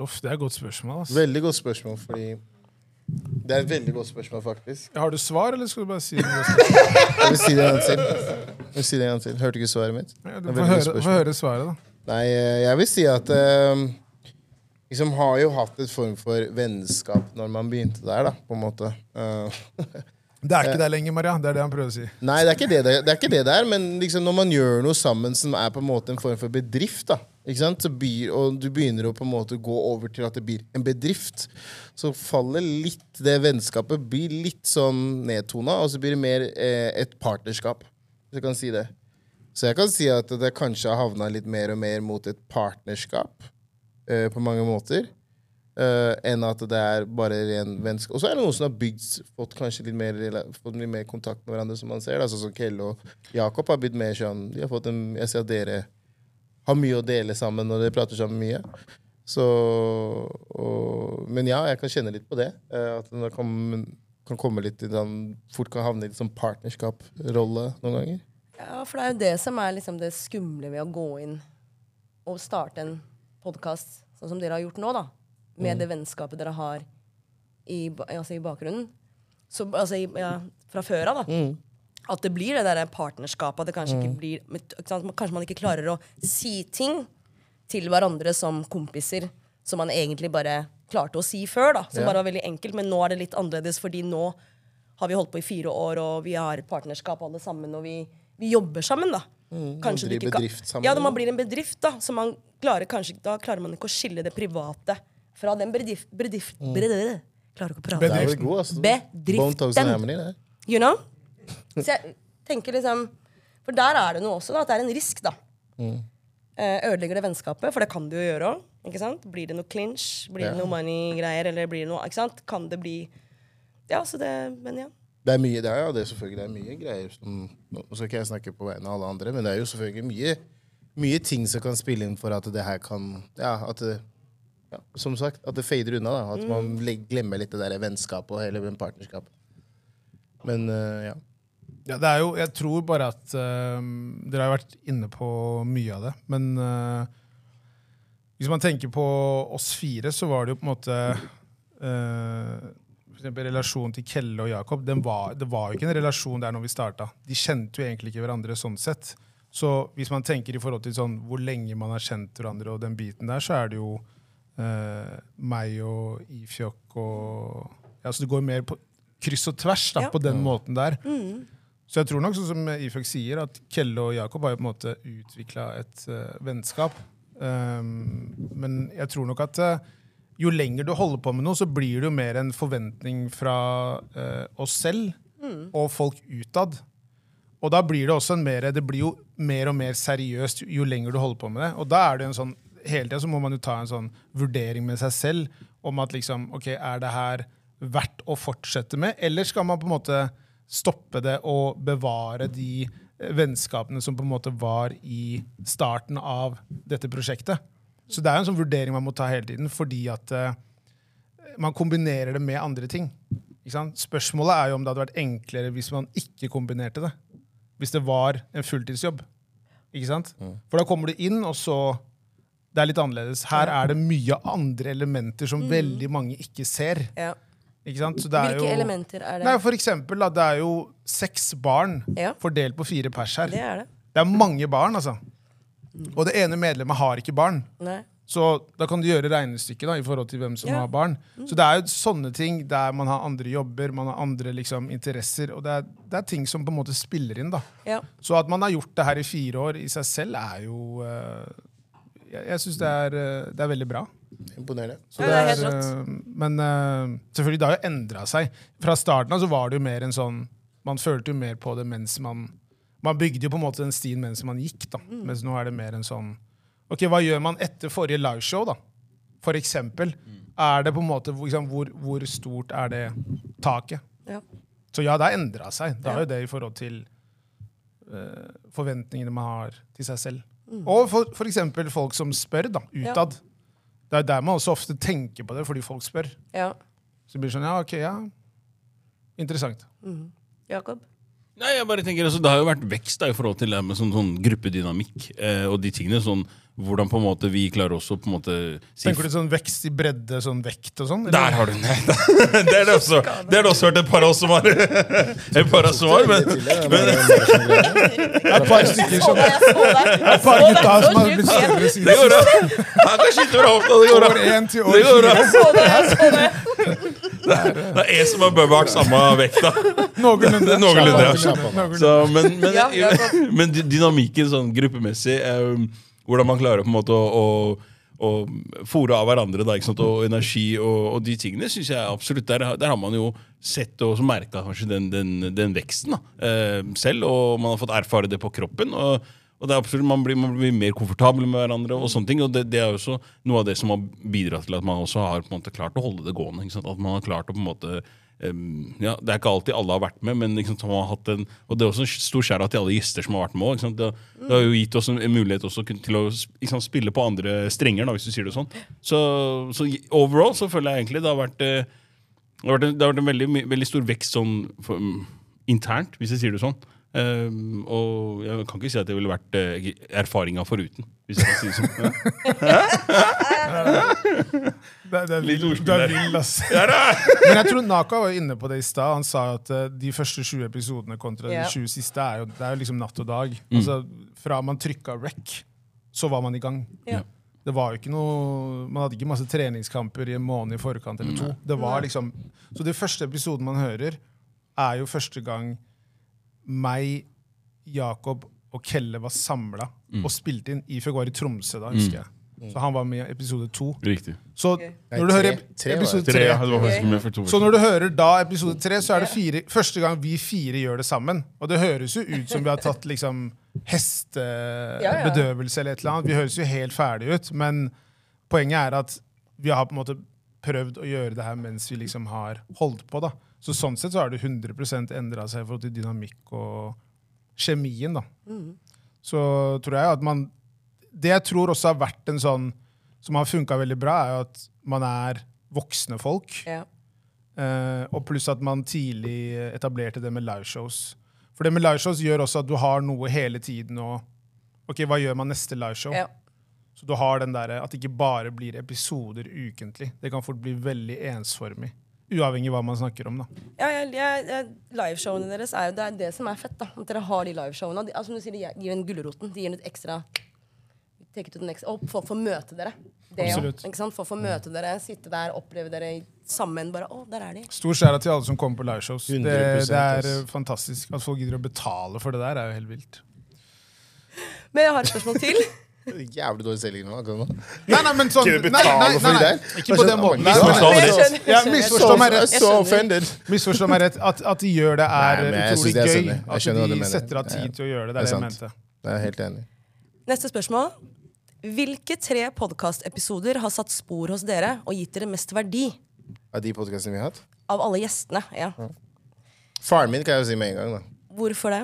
A: Uff, det er et godt spørsmål. ass.
B: Veldig godt spørsmål, fordi Det er et veldig godt spørsmål, faktisk.
A: Har du svar, eller skal du bare si det?
B: *laughs* Jeg vil si det en gang til. Jeg vil si det en gang til. Hørte du ikke svaret mitt?
A: Ja,
B: Det
A: du
B: er et
A: får
B: veldig godt
A: høre,
B: spørsmål.
A: får høre svaret, da.
B: Nei, eh, jeg vil si at eh, Liksom har jo hatt et form for vennskap når man begynte der, da, på en måte. Eh,
A: *laughs* Det er ikke deg lenger, Maria. Det er det han prøver å si.
B: nei, det er ikke det der, det er ikke det der men liksom når man gjør noe sammen som er på en måte en form for bedrift, da, ikke sant? Så byr, og du begynner å på en måte gå over til at det blir en bedrift, så faller litt det vennskapet blir litt sånn nedtona, og så blir det mer eh, et partnerskap, hvis jeg kan si det. Så jeg kan si at det kanskje har havna litt mer og mer mot et partnerskap eh, på mange måter. eh, enn at det er bare ren vennskap. Og så er det noen som har bygd, fått kanskje litt mer, rela- fått litt mer kontakt med hverandre, som man ser. da. Sånn som Kelle og Jakob har blitt mer sånn de har fått en, Jeg ser at dere har mye å dele sammen, og dere prater sammen mye. Så og, Men ja, jeg kan kjenne litt på det. eh, at det kan, kan komme litt i den, fort kan havne i litt sånn partnerskap-rolle noen ganger.
G: Ja, for det er jo det som er liksom det skumle ved å gå inn og starte en podkast sånn som dere har gjort nå, da. Med det vennskapet dere har i, ba- altså i bakgrunnen. Så, altså i, ja, fra før av, da. At det blir det derre partnerskapet. At det kanskje ikke blir men t- ikke sant? Kanskje man ikke klarer å si ting til hverandre som kompiser som man egentlig bare klarte å si før, da. Som bare var veldig enkelt. Men nå er det litt annerledes, fordi nå har vi holdt på i fire år, og vi har partnerskap alle sammen, og vi, vi jobber sammen, da. Kanskje
B: Mm, man
G: du
B: driver
G: ikke kan-
B: bedrift sammen,
G: Ja, når man
B: da.
G: blir en bedrift, da, så man klarer kanskje, da klarer man ikke å skille det private fra den bedrift... bedrift bredde- Klarer ikke å prate.
B: Der var du god, altså.
G: Bedriften.
B: Mm. Bone Thugs and Harmony, det.
G: You know? Så jeg tenker liksom For der er det noe også, da. At det er en risk, da.
B: Mm.
G: Eh, ødelegger det vennskapet? For det kan det jo gjøre òg. Ikke sant? Blir det noe clinch? Blir det noe money-greier? Eller blir det noe Ikke sant? Kan det bli Ja, så det Men ja.
B: Det er mye, det er, ja, det er selvfølgelig det er mye greier. Som, nå skal ikke jeg snakke på vegne av alle andre, men det er jo selvfølgelig mye, mye ting som kan spille inn for at det her kan Ja, at det, ja, som sagt, at det fader unna. da, At
A: Mm.
B: man leg- glemmer litt det der vennskapet og hele den partnerskapet. Men eh, ja.
A: Ja, det er jo, jeg tror bare at øhm, Dere har jo vært inne på mye av det, men øh, hvis man tenker på oss fire, så var det jo på en måte øh, for eksempel relasjonen til Kelle og Jakob den var, Det var jo ikke en relasjon der når vi starta. De kjente jo egentlig ikke hverandre sånn sett. Så hvis man tenker i forhold til sånn, hvor lenge man har kjent hverandre, og den biten der, så er det jo øh, meg og Ifjok og ja, Så det går mer på kryss og tvers da,
G: Ja.
A: på den måten der. Så jeg tror nok, sånn som Ifjok sier, at Kelle og Jakob har jo på en måte utvikla et eh, vennskap. Um, men jeg tror nok at eh, jo lenger du holder på med noe, så blir det jo mer en forventning fra eh, oss selv og folk utad. Og da blir det også en mer, det blir jo mer og mer seriøst jo- jo lenger du holder på med det. Og da er det jo en sånn, hele tiden så må man jo ta en sånn vurdering med seg selv om at liksom, ok, er det her verdt å fortsette med? Eller skal man på en måte stoppe det og bevare de eh, vennskapene som på en måte var i starten av dette prosjektet? Så det er jo en sånn vurdering man må ta hele tiden, fordi at eh, man kombinerer det med andre ting. Ikke sant? Spørsmålet er jo om det hadde vært enklere hvis man ikke kombinerte det. Hvis det var en fulltidsjobb. Ikke sant? For da kommer du inn, og så Det er litt annerledes. Her er det mye andre elementer som veldig mange ikke ser.
G: Mm. Ja.
A: Ikke sant? Så det er
G: Hvilke
A: jo,
G: elementer er det?
A: Nei, for eksempel, da, det er jo seks barn
G: Ja.
A: fordelt på fire pers her.
G: det er det.
A: Det er mange barn, altså. Og det ene medlemmet har ikke barn.
G: Nei.
A: Så da kan du gjøre regnestykket da, i forhold til hvem som
G: Ja. Mm.
A: har barn. Så det er jo sånne ting der man har andre jobber, man har andre liksom, interesser, og det er, det er ting som på en måte spiller inn. da.
G: Ja.
A: Så at man har gjort det her i fire år i seg selv, er jo eh, Jeg, jeg syns det, er, eh, det er veldig bra.
B: Imponerende.
A: Så
G: Ja, det er helt
A: eh, men eh, selvfølgelig, det har jo endra seg. Fra starten av så var det jo mer en sånn Man følte jo mer på det mens man Man bygde jo på en måte den stien mens man gikk, da.
G: Mm.
A: Mens nå er det mer en sånn Ok, hva gjør man etter forrige liveshow, da? For eksempel. Er det på en måte hvor- liksom, hvor, hvor stort er det taket?
G: Ja.
A: Så ja, det har endra seg. Det er jo det i forhold til eh, forventningene man har til seg selv.
G: Mm.
A: Og for, for eksempel folk som spør da, utad. Det er der man også ofte tenker på det, fordi folk spør.
G: ja.
A: Så det blir sånn, ja, ok, ja. Interessant.
G: Mm. Jakob?
D: Nei, jeg bare tenker altså, Det har jo vært vekst da, i forhold til det med sånn, sånn gruppedynamikk eh, og de tingene. sånn, Hvordan på en måte vi klarer også på en måte si
A: Tenker du sånn vekst i bredde, sånn vekt og sånn?
D: Der har du *laughs* den! det er det også Det har det også vært et par av oss som har. *laughs* et par av oss som har, men
A: Et par stykker som
G: Jeg så deg! Jeg
A: par
G: så
A: gutta
G: deg
A: som har
G: så
A: blitt
G: dypt.
A: større ved
D: det
A: siden
D: går bra! Han kan skyte over hofta, det går
A: av. År
D: bra!
A: én til
D: Det
A: år
D: går bra.
G: Jeg så deg, *laughs* jeg så deg.
D: Det er jeg som har bøbart samme vekta.
A: Noenlunde.
D: *laughs* Noenlunde, ja.
A: Noenlunde.
D: Så, men, men,
G: Ja, ja, godt.
D: *laughs* men dy- dynamikken sånn gruppemessig, eh, hvordan man klarer på en måte å, å, å fòre av hverandre da, ikke sant? og energi og, og de tingene, synes jeg absolutt Der, har- der har man jo sett og merka kanskje den, den, den veksten da, eh, selv, og man har fått erfare det på kroppen. og og det er absolutt, man blir, man blir mer komfortabel med hverandre. Og sånne ting, og det, det er jo også noe av det som har bidratt til at man også har på en måte klart å holde det gående. Ikke sant? At man har klart å på en måte Ehm, ja, Det er ikke alltid alle har vært med, men liksom, som har hatt en, og det er også en stor skjæra til alle gjester som har vært med. også, Ikke sant? Det, har- det har jo gitt oss en en mulighet også kun- til å ikke sant, spille på andre strenger, da, hvis du sier det sånn. Så, så i- overall så føler jeg egentlig det har vært, eh, det har vært, en, det har vært en veldig, my- veldig stor vekst sånn for, mm, internt, hvis jeg sier det sånn. Ehm, og jeg kan ikke si at det ville vært uh, erfaringa foruten, hvis jeg kan si det sånn. Ja.
A: *laughs* Det, det er
D: Litt
A: vill,
D: ordspill
A: det er
D: der.
A: vill
D: *laughs*
A: ass. Men jeg tror Naka var jo inne på det i stad. Han sa at eh, de første 20 episodene kontra
G: Ja.
A: de 20 siste er jo, det er jo liksom natt og dag.
D: Mm.
A: Altså, fra man trykka rec, så var man i gang.
G: Ja.
A: Det var jo ikke noe, Man hadde ikke masse treningskamper i en måned i forkant. eller to. Det var liksom, Så de første episoden man hører, er jo første gang meg, Jakob og Kelle var samla
D: Mm.
A: og spilte inn. Ifjøk var i Tromsø da, husker jeg. Så han var med i episode to.
D: Riktig.
A: Så
B: Nei,
A: når du
B: tre.
A: hører
B: Tre var det.
A: episode
D: Tre,
A: tre
D: ja, det var faktisk med for to
A: så når du hører da episode tre, så er det fire, første gang vi fire gjør det sammen. Og det høres jo ut som vi har tatt liksom
G: Ja, ja.
A: hestebedøvelse eller et eller annet. Vi høres jo helt ferdige ut, men poenget er at vi har på en måte prøvd å gjøre det her mens vi liksom har holdt på. da. Så sånn sett så har det 100 endra seg i forhold til dynamikk og kjemien, da. Så tror jeg at man Det jeg tror også har vært en sånn som har funka veldig bra, er jo at man er voksne folk.
G: Ja.
A: Eh, og pluss at man tidlig etablerte det med liveshows. For det med liveshows gjør også at du har noe hele tiden og Ok, hva gjør man neste liveshow?
G: Ja.
A: Så du har den derre at det ikke bare blir episoder ukentlig. Det kan fort bli veldig ensformig. Uavhengig av hva man snakker om, da.
G: Ja, jeg, jeg, jeg, liveshowene deres er det er det som er fett. da At dere har de liveshowene. De, altså, som du sier, de gir- gir en gulroten. De gir en et ekstra take it to the next, Og folk får møte dere. Det, jo,
A: Absolutt.
G: ikke sant? Folk får møte dere, sitte der, oppleve dere sammen. Bare, å, der er de
A: Stor skjæra til alle som kommer på liveshows. Det,
C: 100%
A: det er
C: ass.
A: eh, fantastisk. At folk gidder å betale for det der, er jo helt vilt.
G: Men jeg har et spørsmål til.
A: *laughs*
B: eh, Jævlig dårlig selging nå. akkurat nå.
A: Nei, nei, men sånn
B: Gidder å betale for de der?
A: Ikke på den
B: Hva skjønner-
A: måten.
B: Nei, nei,
A: Misforstå-
B: nei.
G: Jeg skjønner,
A: Ja,
G: jeg skjønner.
A: misforstå meg rett.
B: Så, så offended.
A: Misforstå meg rett. At, at de gjør det, er
B: Nei, men
A: utrolig
B: jeg synes det er
A: gøy.
B: sønnig. Jeg skjønner hva
A: At
B: du
A: de
B: mener.
A: setter av
B: Ja, ja.
A: tid til å gjøre det. Det
B: Det
A: er det
B: er
A: jeg
B: sant.
A: mente.
B: Jeg er helt enig.
G: Neste spørsmål. Hvilke tre podkastepisoder har satt spor hos dere og gitt dere mest verdi?
B: Av de podcastene vi har hatt?
G: Av alle gjestene. ja.
B: Faren min kan jeg jo si med en gang. da.
G: Hvorfor det?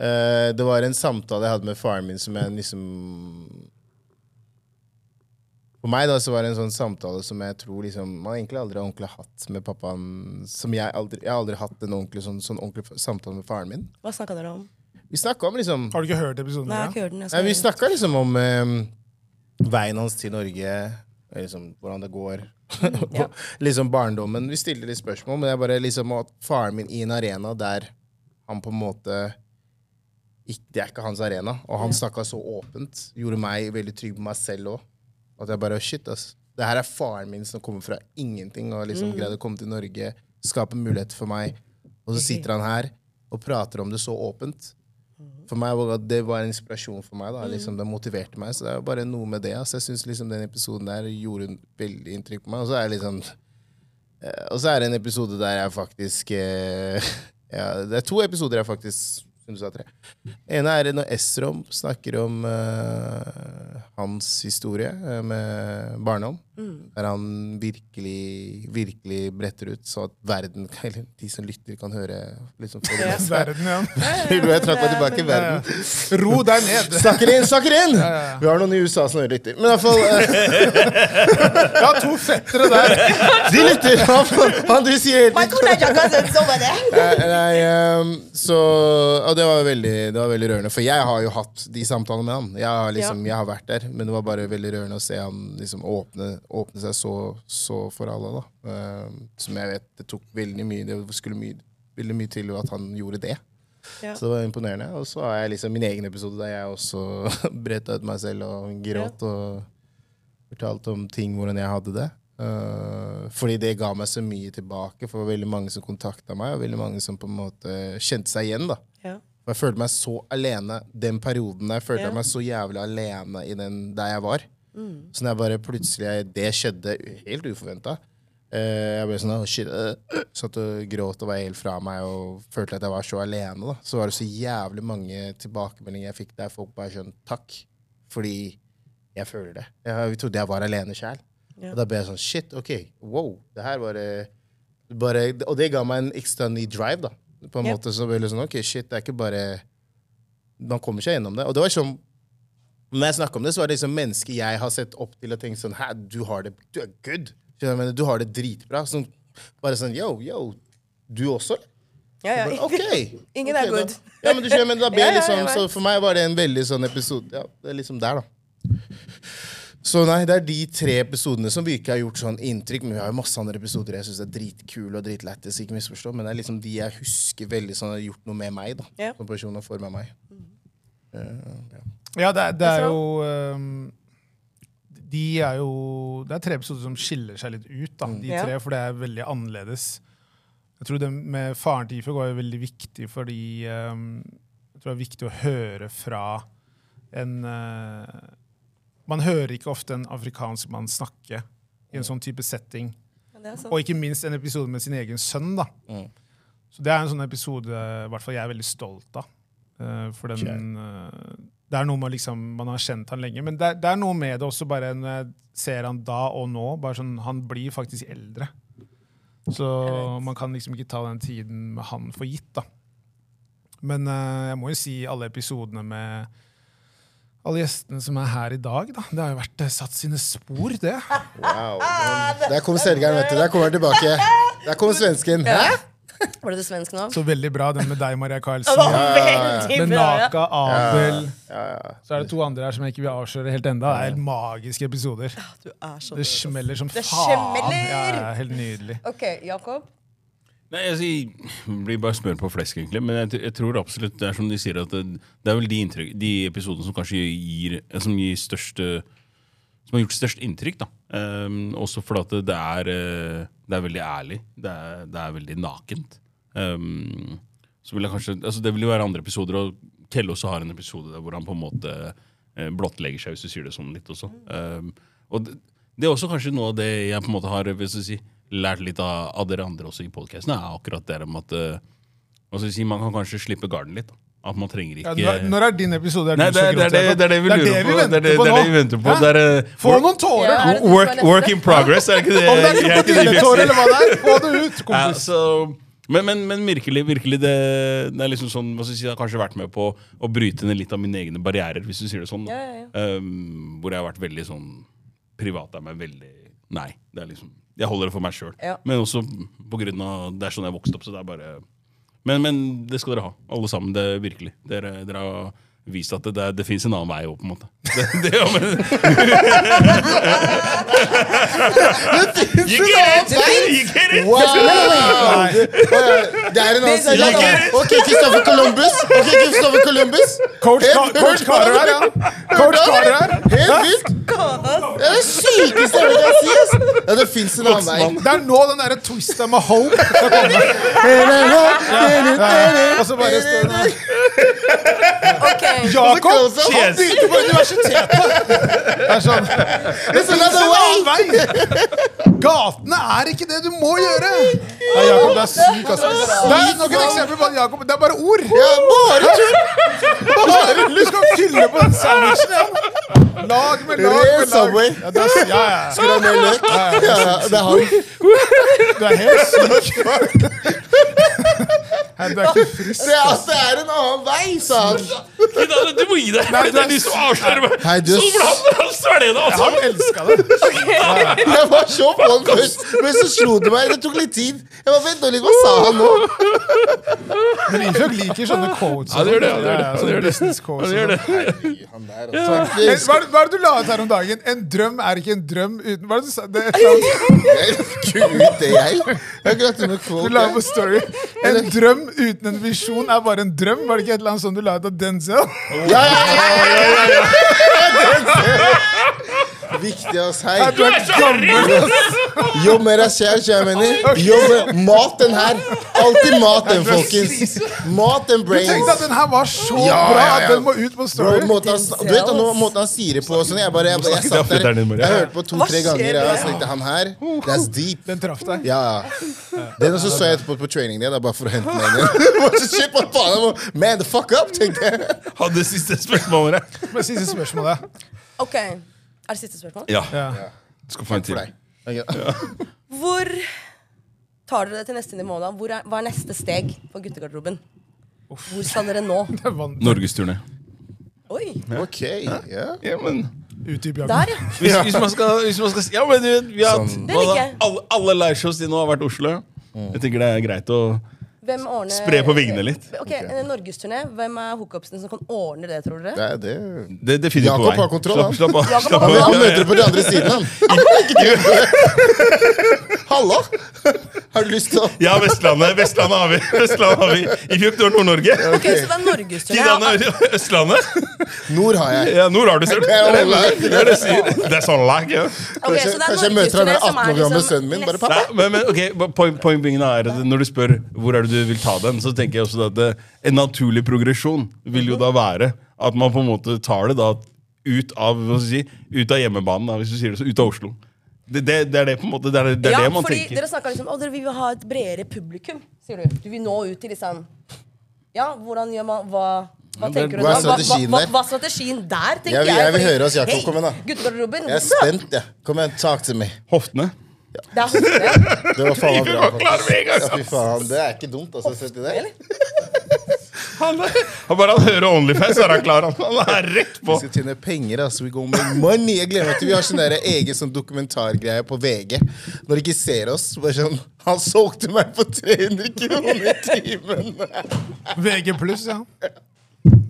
B: Eh, det var en samtale jeg hadde med faren min som jeg liksom For meg da så var det en sånn samtale som jeg tror liksom man egentlig aldri har ordentlig hatt med pappaen. Som Jeg aldri, jeg har aldri hatt en ordentlig sånn, sånn ordentlig samtale med faren min.
G: Hva snakka dere om?
B: Vi snakka om liksom
A: Har du ikke hørt episoden?
G: Nei, jeg har
A: Ja?
G: ikke hørt den. Jeg
B: Nei,
G: skal
B: vi
G: høre den.
B: snakka liksom om eh, veien hans til Norge, eh, liksom, hvordan det går. *laughs*
G: ja.
B: liksom barndommen. Vi stilte litt spørsmål, men det er bare liksom at faren min i en arena der han på en måte ikk- Det er ikke hans arena. Og han snakka så åpent. Gjorde meg veldig trygg på meg selv òg. At jeg bare Shit, ass. Det her er faren min som kommer fra ingenting og har liksom greide å komme til Norge, skape muligheter for meg, og så sitter han her og prater om det så åpent. For meg var det- Det var en inspirasjon for meg. da liksom, Det motiverte meg. Så det er jo bare noe med det. ass. jeg synes liksom Den episoden der gjorde en veldig inntrykk på meg. Og så er det liksom eh, Og så er det en episode der jeg faktisk eh, *laughs* ja, Det er to episoder jeg faktisk som du sa, tre. ene er når Esrom snakker om eh, hans historie eh, med barndom.
A: Mm.
B: Der han virkelig, virkelig bretter ut, så at verden, *laughs* eller de som lytter, kan høre liksom, få det med seg.
A: Verden,
B: *laughs*
A: ja.
B: Vil du jeg trakk meg tilbake i verden?
A: Ro deg ned!
B: Snakker inn, snakker inn! Vi har noen i USA som lytter. Men i hvert fall eh, *laughs*
A: *laughs* Jeg har to fettere der!
B: De lytter! Han, han du sier helt
G: Michael Jackson, så var det.
B: Eh, *laughs* Nei, ehm, så Og det var, veldig, det var veldig rørende, for jeg har jo hatt de samtalene med han. Jeg har, liksom, jeg har vært der, men det var bare veldig rørende å se han liksom åpne, åpne seg så, så for alle. da Ehm, Som jeg vet, det tok veldig mye Det skulle mye, veldig mye til at han gjorde det.
G: Ja.
B: Så det var imponerende. Og så har jeg liksom min egen episode der jeg også *laughs* bretta ut meg selv og gråt. og fortalte om ting, hvordan jeg hadde det. Eh, fordi det ga meg så mye tilbake for det var veldig mange som kontakta meg, og veldig mange som på en måte kjente seg igjen. da.
G: Ja.
B: Og jeg følte meg så alene den perioden. der, Jeg følte
G: Ja.
B: meg så jævlig alene i den der jeg var. Så når jeg bare plutselig Det skjedde helt uforventa. jeg ble sånn, «Å, shit, øh, øh», Satt og gråt og var helt fra meg og følte at jeg var så alene. da. Så var det så jævlig mange tilbakemeldinger jeg fikk der folk bare skjønte takk. Fordi jeg føler det. Jeg trodde jeg var alene sjæl.
G: Ja.
B: Og da ble jeg sånn Shit, OK. Wow. Det her var eh, bare, Og det ga meg en ekstra ny drive, da. På en
G: Ja.
B: måte så ble det sånn OK, shit, det er ikke bare Man kommer seg gjennom det. Og det var sånn når jeg snakker om det, så er det liksom mennesker jeg har sett opp til og tenkt sånn Hæ, du har det Du er good. Skjønner du hva jeg mener? Du har det dritbra. Sånn, bare sånn Yo, yo. Du også? eller?»
G: Ja, ja.
B: Bare, OK.
G: *laughs* Ingen
B: Ok,
G: er good.
B: Da. *laughs* Ja, men du skjønner, men da ble
G: *laughs* Ja, ja, jeg
C: sånn,
B: liksom,
G: vet.
B: så For meg var det en veldig sånn episode Ja, det er liksom der, da. Så nei, det er de tre episodene som virkelig har gjort sånn inntrykk. Men vi har jo masse andre episoder jeg syns er dritkule og dritlættis, ikke misforstå, men det er liksom de jeg husker veldig sånn har gjort noe med meg, da.
G: Ja. Mm.
B: Som person og forma meg. Eh, Ja, ja.
A: Ja, det, er- det
G: Altså-
A: er jo ehm, De er jo Det er tre episoder som skiller seg litt ut, da, de
G: Mm. Ja.
A: tre, for det er veldig annerledes. Jeg tror det med faren til Ifjord var jo veldig viktig, fordi ehm, jeg tror det er viktig å høre fra en eh, Man hører ikke ofte en afrikansk mann snakke i en sånn type setting.
G: Ja, det er sant.
A: Og ikke minst en episode med sin egen sønn. da.
B: Mm.
A: Så Det er en sånn episode i hvert fall jeg er veldig stolt av. Eh, for den, eh, det er noe med liksom, Man har kjent han lenge, men det, er- det er noe med det også bare når jeg ser han da og nå. bare sånn, Han blir faktisk eldre. Så man kan liksom ikke ta den tiden med han for gitt. da. Men eh, jeg må jo si alle episodene med alle gjestene som er her i dag, da. Det har jo vært eh, satt sine spor, det.
B: Wow. Der kom selgeren, vet du. Der kommer han tilbake. Der kom svensken. Hæ?
G: *laughs* Var det det svenske nå?
A: Så veldig bra, den med deg, Maria
G: Det
A: Karlsen.
G: var veldig
A: Med
G: bra! ja.
A: Naka, Abel Så er det to andre her som jeg ikke vil avsløre helt enda. Det er helt magiske episoder.
G: Du er så
A: Det smeller som
G: Det
A: faen.
G: smeller!
A: Ja, ja, helt
G: *laughs*
A: nydelig.
G: OK, Jakob.
D: Nei, jeg sier, *sighs* blir bare smør på flesk, egentlig. Men jeg, tr- jeg tror absolutt det er som de sier, at det, det er vel de, inntrykk, de episodene som kanskje gir eh, Som gir største Som har gjort størst inntrykk, da. Ehm, også fordi at det, det, er, eh, det er veldig ærlig. Det er, det er veldig nakent. Ehm, så vil jeg kanskje altså Det vil jo være andre episoder, og Kelle også har en episode der hvor han på en måte eh, blottlegger seg, hvis du sier det sånn litt også. Ehm, og det, det er også kanskje noe av det jeg på en måte har hvis du sier, lært litt av, av dere andre også i podkasten, er akkurat det om at eh, hva skal jeg si, man kan kanskje slippe garden litt. da. At man trenger
A: Ja,
D: ikke
A: når- når er din episode? Er
D: Nei,
A: du
D: det,
A: så
D: er- det, er det, det er det vi
A: gråter?
D: lurer på. Det er det,
A: på
D: det, er det
A: nå.
D: vi venter på.
A: Hæ?
D: Det er, eh,
A: Få
D: work-
A: noen tårer!
G: Ja.
A: da. *laughs*
D: Work, work in progress, er det ikke det?
A: Om det er
D: Jeg er ikke det vi-
A: krokodilletårer eller hva det er, få det ut,
D: *laughs* ja,
A: kompis!
D: så, men, men, men virkelig, virkelig det, det er liksom sånn, hva skal jeg si, det har kanskje vært med på å bryte ned litt av mine egne barrierer, hvis du sier det sånn. Da.
G: Ja, ja,
D: Um, hvor jeg har vært veldig sånn privat av meg. Veldig Nei. det er liksom, Jeg holder det for meg sjøl.
G: Ja.
D: Men også på grunn av det er sånn jeg vokste opp. så det er bare... Men, men det skal dere ha, alle sammen. det er virkelig. Dere, dere har vist at det, det, det fins en annen vei òg, på en måte. *laughs* Det, det, ja, men,
A: *laughs*
D: you get it! You get it!
B: Wow! Det er en annen side. da. Ok, Kristoffer Columbus. Ok, Kristoffer Columbus.
A: Coach, Ka-
B: Helt
A: coach
B: vilt.
A: Karer her, ja. Coach Karer her.
B: Helt vilt. Det er det sykeste jeg altså. kan si. ass. Ja, det fins en annen vei.
A: Det er nå den derre twista med hope skal komme.
B: *laughs*
A: Og så bare står det
G: OK.
A: Jakob!
B: Han begynte på universitetet!
A: Det er sånn
B: It's another way!
A: annen vei! Gatene er ikke det du må gjøre! Nei, Jakob, du er syk, altså. Det er nok et eksempel på at Jakob Det er bare ord!
B: Ja, bare tull!
A: Du skal, du skal fylle på den sandwichen igjen! Lag med lag
B: Ren
A: med lag.
B: Subway.
A: Ja, du er, ja, ja.
B: Skulle ha mer løk. Ja, ja, det er han.
A: Du er
D: *laughs*
A: helt syk. Nei, du er ikke frisk.
B: Det er, altså, det er en annen vei, sa han.
D: Du må gi deg! Det er de som avslører meg!
B: Hei, du.
D: Hvordan svelger det, altså?
A: Han elska det.
B: Jeg var så på han først, men så slo det meg. Det tok litt tid. Jeg var, Vent nå litt, hva sa han nå?
A: Men Infjok liker sånne quotes.
D: Ja, det gjør det, ja, det gjør det,
A: Ja, ja,
D: ja, det
A: sånne
D: gjør det.
A: business quotes og sånn.
B: Han der, altså.
A: Men Hva er, det- hva er det du la ut her om dagen? En drøm er ikke en drøm uten Hva er det du sa? Det er et eller annet-
B: Jeg fikk ut det, jeg. Jeg har ikke noe
A: Du la
B: quote.
A: ut på Story. En drøm uten en visjon er bare en drøm. Var det ikke et eller annet sånt du la ut av Denzel?
B: Ja, ja, ja, ja, ja, ja. Viktig, ass.
A: Ja, du
B: Hei.
A: er gammel!
B: Jobb med deg selv, kjære venner. Jobb med Mat den her. Alltid mat den, folkens. Mat den
A: Du tenkte at
B: brains.
A: den her var så
B: Ja,
A: bra
B: ja, ja.
A: at den må ut på
B: Bro,
A: Story.
B: måten han, sn- du vet da, nå, måten han sier det på og sånn, jeg bare, jeg, jeg, satt der, jeg hørte på to-tre ganger, og jeg tenkte han her, that's deep.
A: Den traff deg.
B: Ja, ja. Den også så jeg etterpå på training day, da, bare for å hente den igjen. Bare så Shit, *laughs* hva faen, jeg må man the fuck up, tenkte jeg.
D: Hadde siste spørsmålet.
A: Men siste spørsmålet.
G: ok. Er det siste spørsmål?
D: Ja.
A: Ja.
D: Du skal få en til.
B: For deg. Ok.
G: Hvor tar dere det til neste nivå da? Hvor er, hva er neste steg for guttegarderoben? Hvor skal dere
B: *laughs*
G: nå?
A: Jeg vant.
D: Norgesturné.
G: Oi,
B: Ok, ja.
D: Ja, men
A: Utdyp, Jakob.
G: der ja.
D: hvis, hvis man skal, hvis man skal si- Ja, men du, vet, vi har hatt
G: Det liker jeg.
D: alle, alle liveshows de nå har vært Oslo. Jeg tenker det er greit å
G: Hvem ordner Eh,
D: spre på vingene litt.
G: Ok, en Norgesturné. Hvem er hookupsene som kan ordne det, tror dere?
B: Det er det.
D: Det, det finner vi på
B: Jakob
D: vei.
B: har kontroll, han.
D: slapp, slapp av.
G: Jakob
D: Slapp
G: har
D: av.
B: Men han
D: Ja,
G: kontroll.
B: møter
D: ja,
B: det på den andre siden, han. Ikke tenk
G: *laughs*
B: på det. Halla! Har du lyst til å
D: Ja, Vestlandet. Vestlandet har vi. Vestlandet har vi. I fjor Nord-Norge.
G: Ok, Så det er Norgesturné.
D: Tidane Østlandet.
B: Nord har jeg.
D: Ja, nord har du selv. Det er
B: lag.
D: det jeg sier. Det er sånn lag, ja.
G: Ok, så det er
B: Kanskje- kanskje jeg møter han når jeg er
G: Norgesturné
B: 18
G: som
B: år gammel
G: liksom
B: sønnen min, bare,
G: neste-
B: pappa.
D: Nei, men, men ok, poeng- Poengbingen er at når du spør hvor er det du vil ta den, så tenker jeg også at det, en naturlig progresjon vil
G: Mhm.
D: jo da være at man på en måte tar det da ut av, hva skal jeg si, ut av hjemmebanen, da, hvis du sier det så, ut av Oslo. Det, det, det er det på en måte, det er det, er
G: ja,
D: det man
G: fordi
D: tenker.
G: dere snakka liksom Å, dere vil jo ha et bredere publikum, sier du. Du vil nå ut til liksom Ja, hvordan gjør man Hva, hva
D: det-
G: tenker du
B: hva er
G: da?
B: strategien
G: hva, hva,
B: der?
G: hva er strategien der, tenker
B: Jeg
G: jeg?
B: vil- jeg vil
G: fordi-
B: høre oss, Jakob. Kom igjen da.
G: Guttegarderoben. altså,
B: Jeg er spent, jeg. Ja. Kom igjen, talk to me.
D: Hoftene.
G: Det
B: *laughs*
G: er hodet.
B: Det var faen meg bra.
D: Klar med en gang,
B: Ja, fy faen, det er ikke dumt, altså. Sett i det.
D: *laughs* Han, er- han bare han hører Onlyfans, så er han klar. Han, han er rett
B: Vi
D: på.
B: skal tjene penger, ass. We gonna make money. Jeg glemmer at vi har sånn der egen sånn dokumentargreie på VG. Når de ikke ser oss, bare sånn Han solgte meg for 300 kroner i timen!
A: VG pluss,
B: *laughs*
A: ja.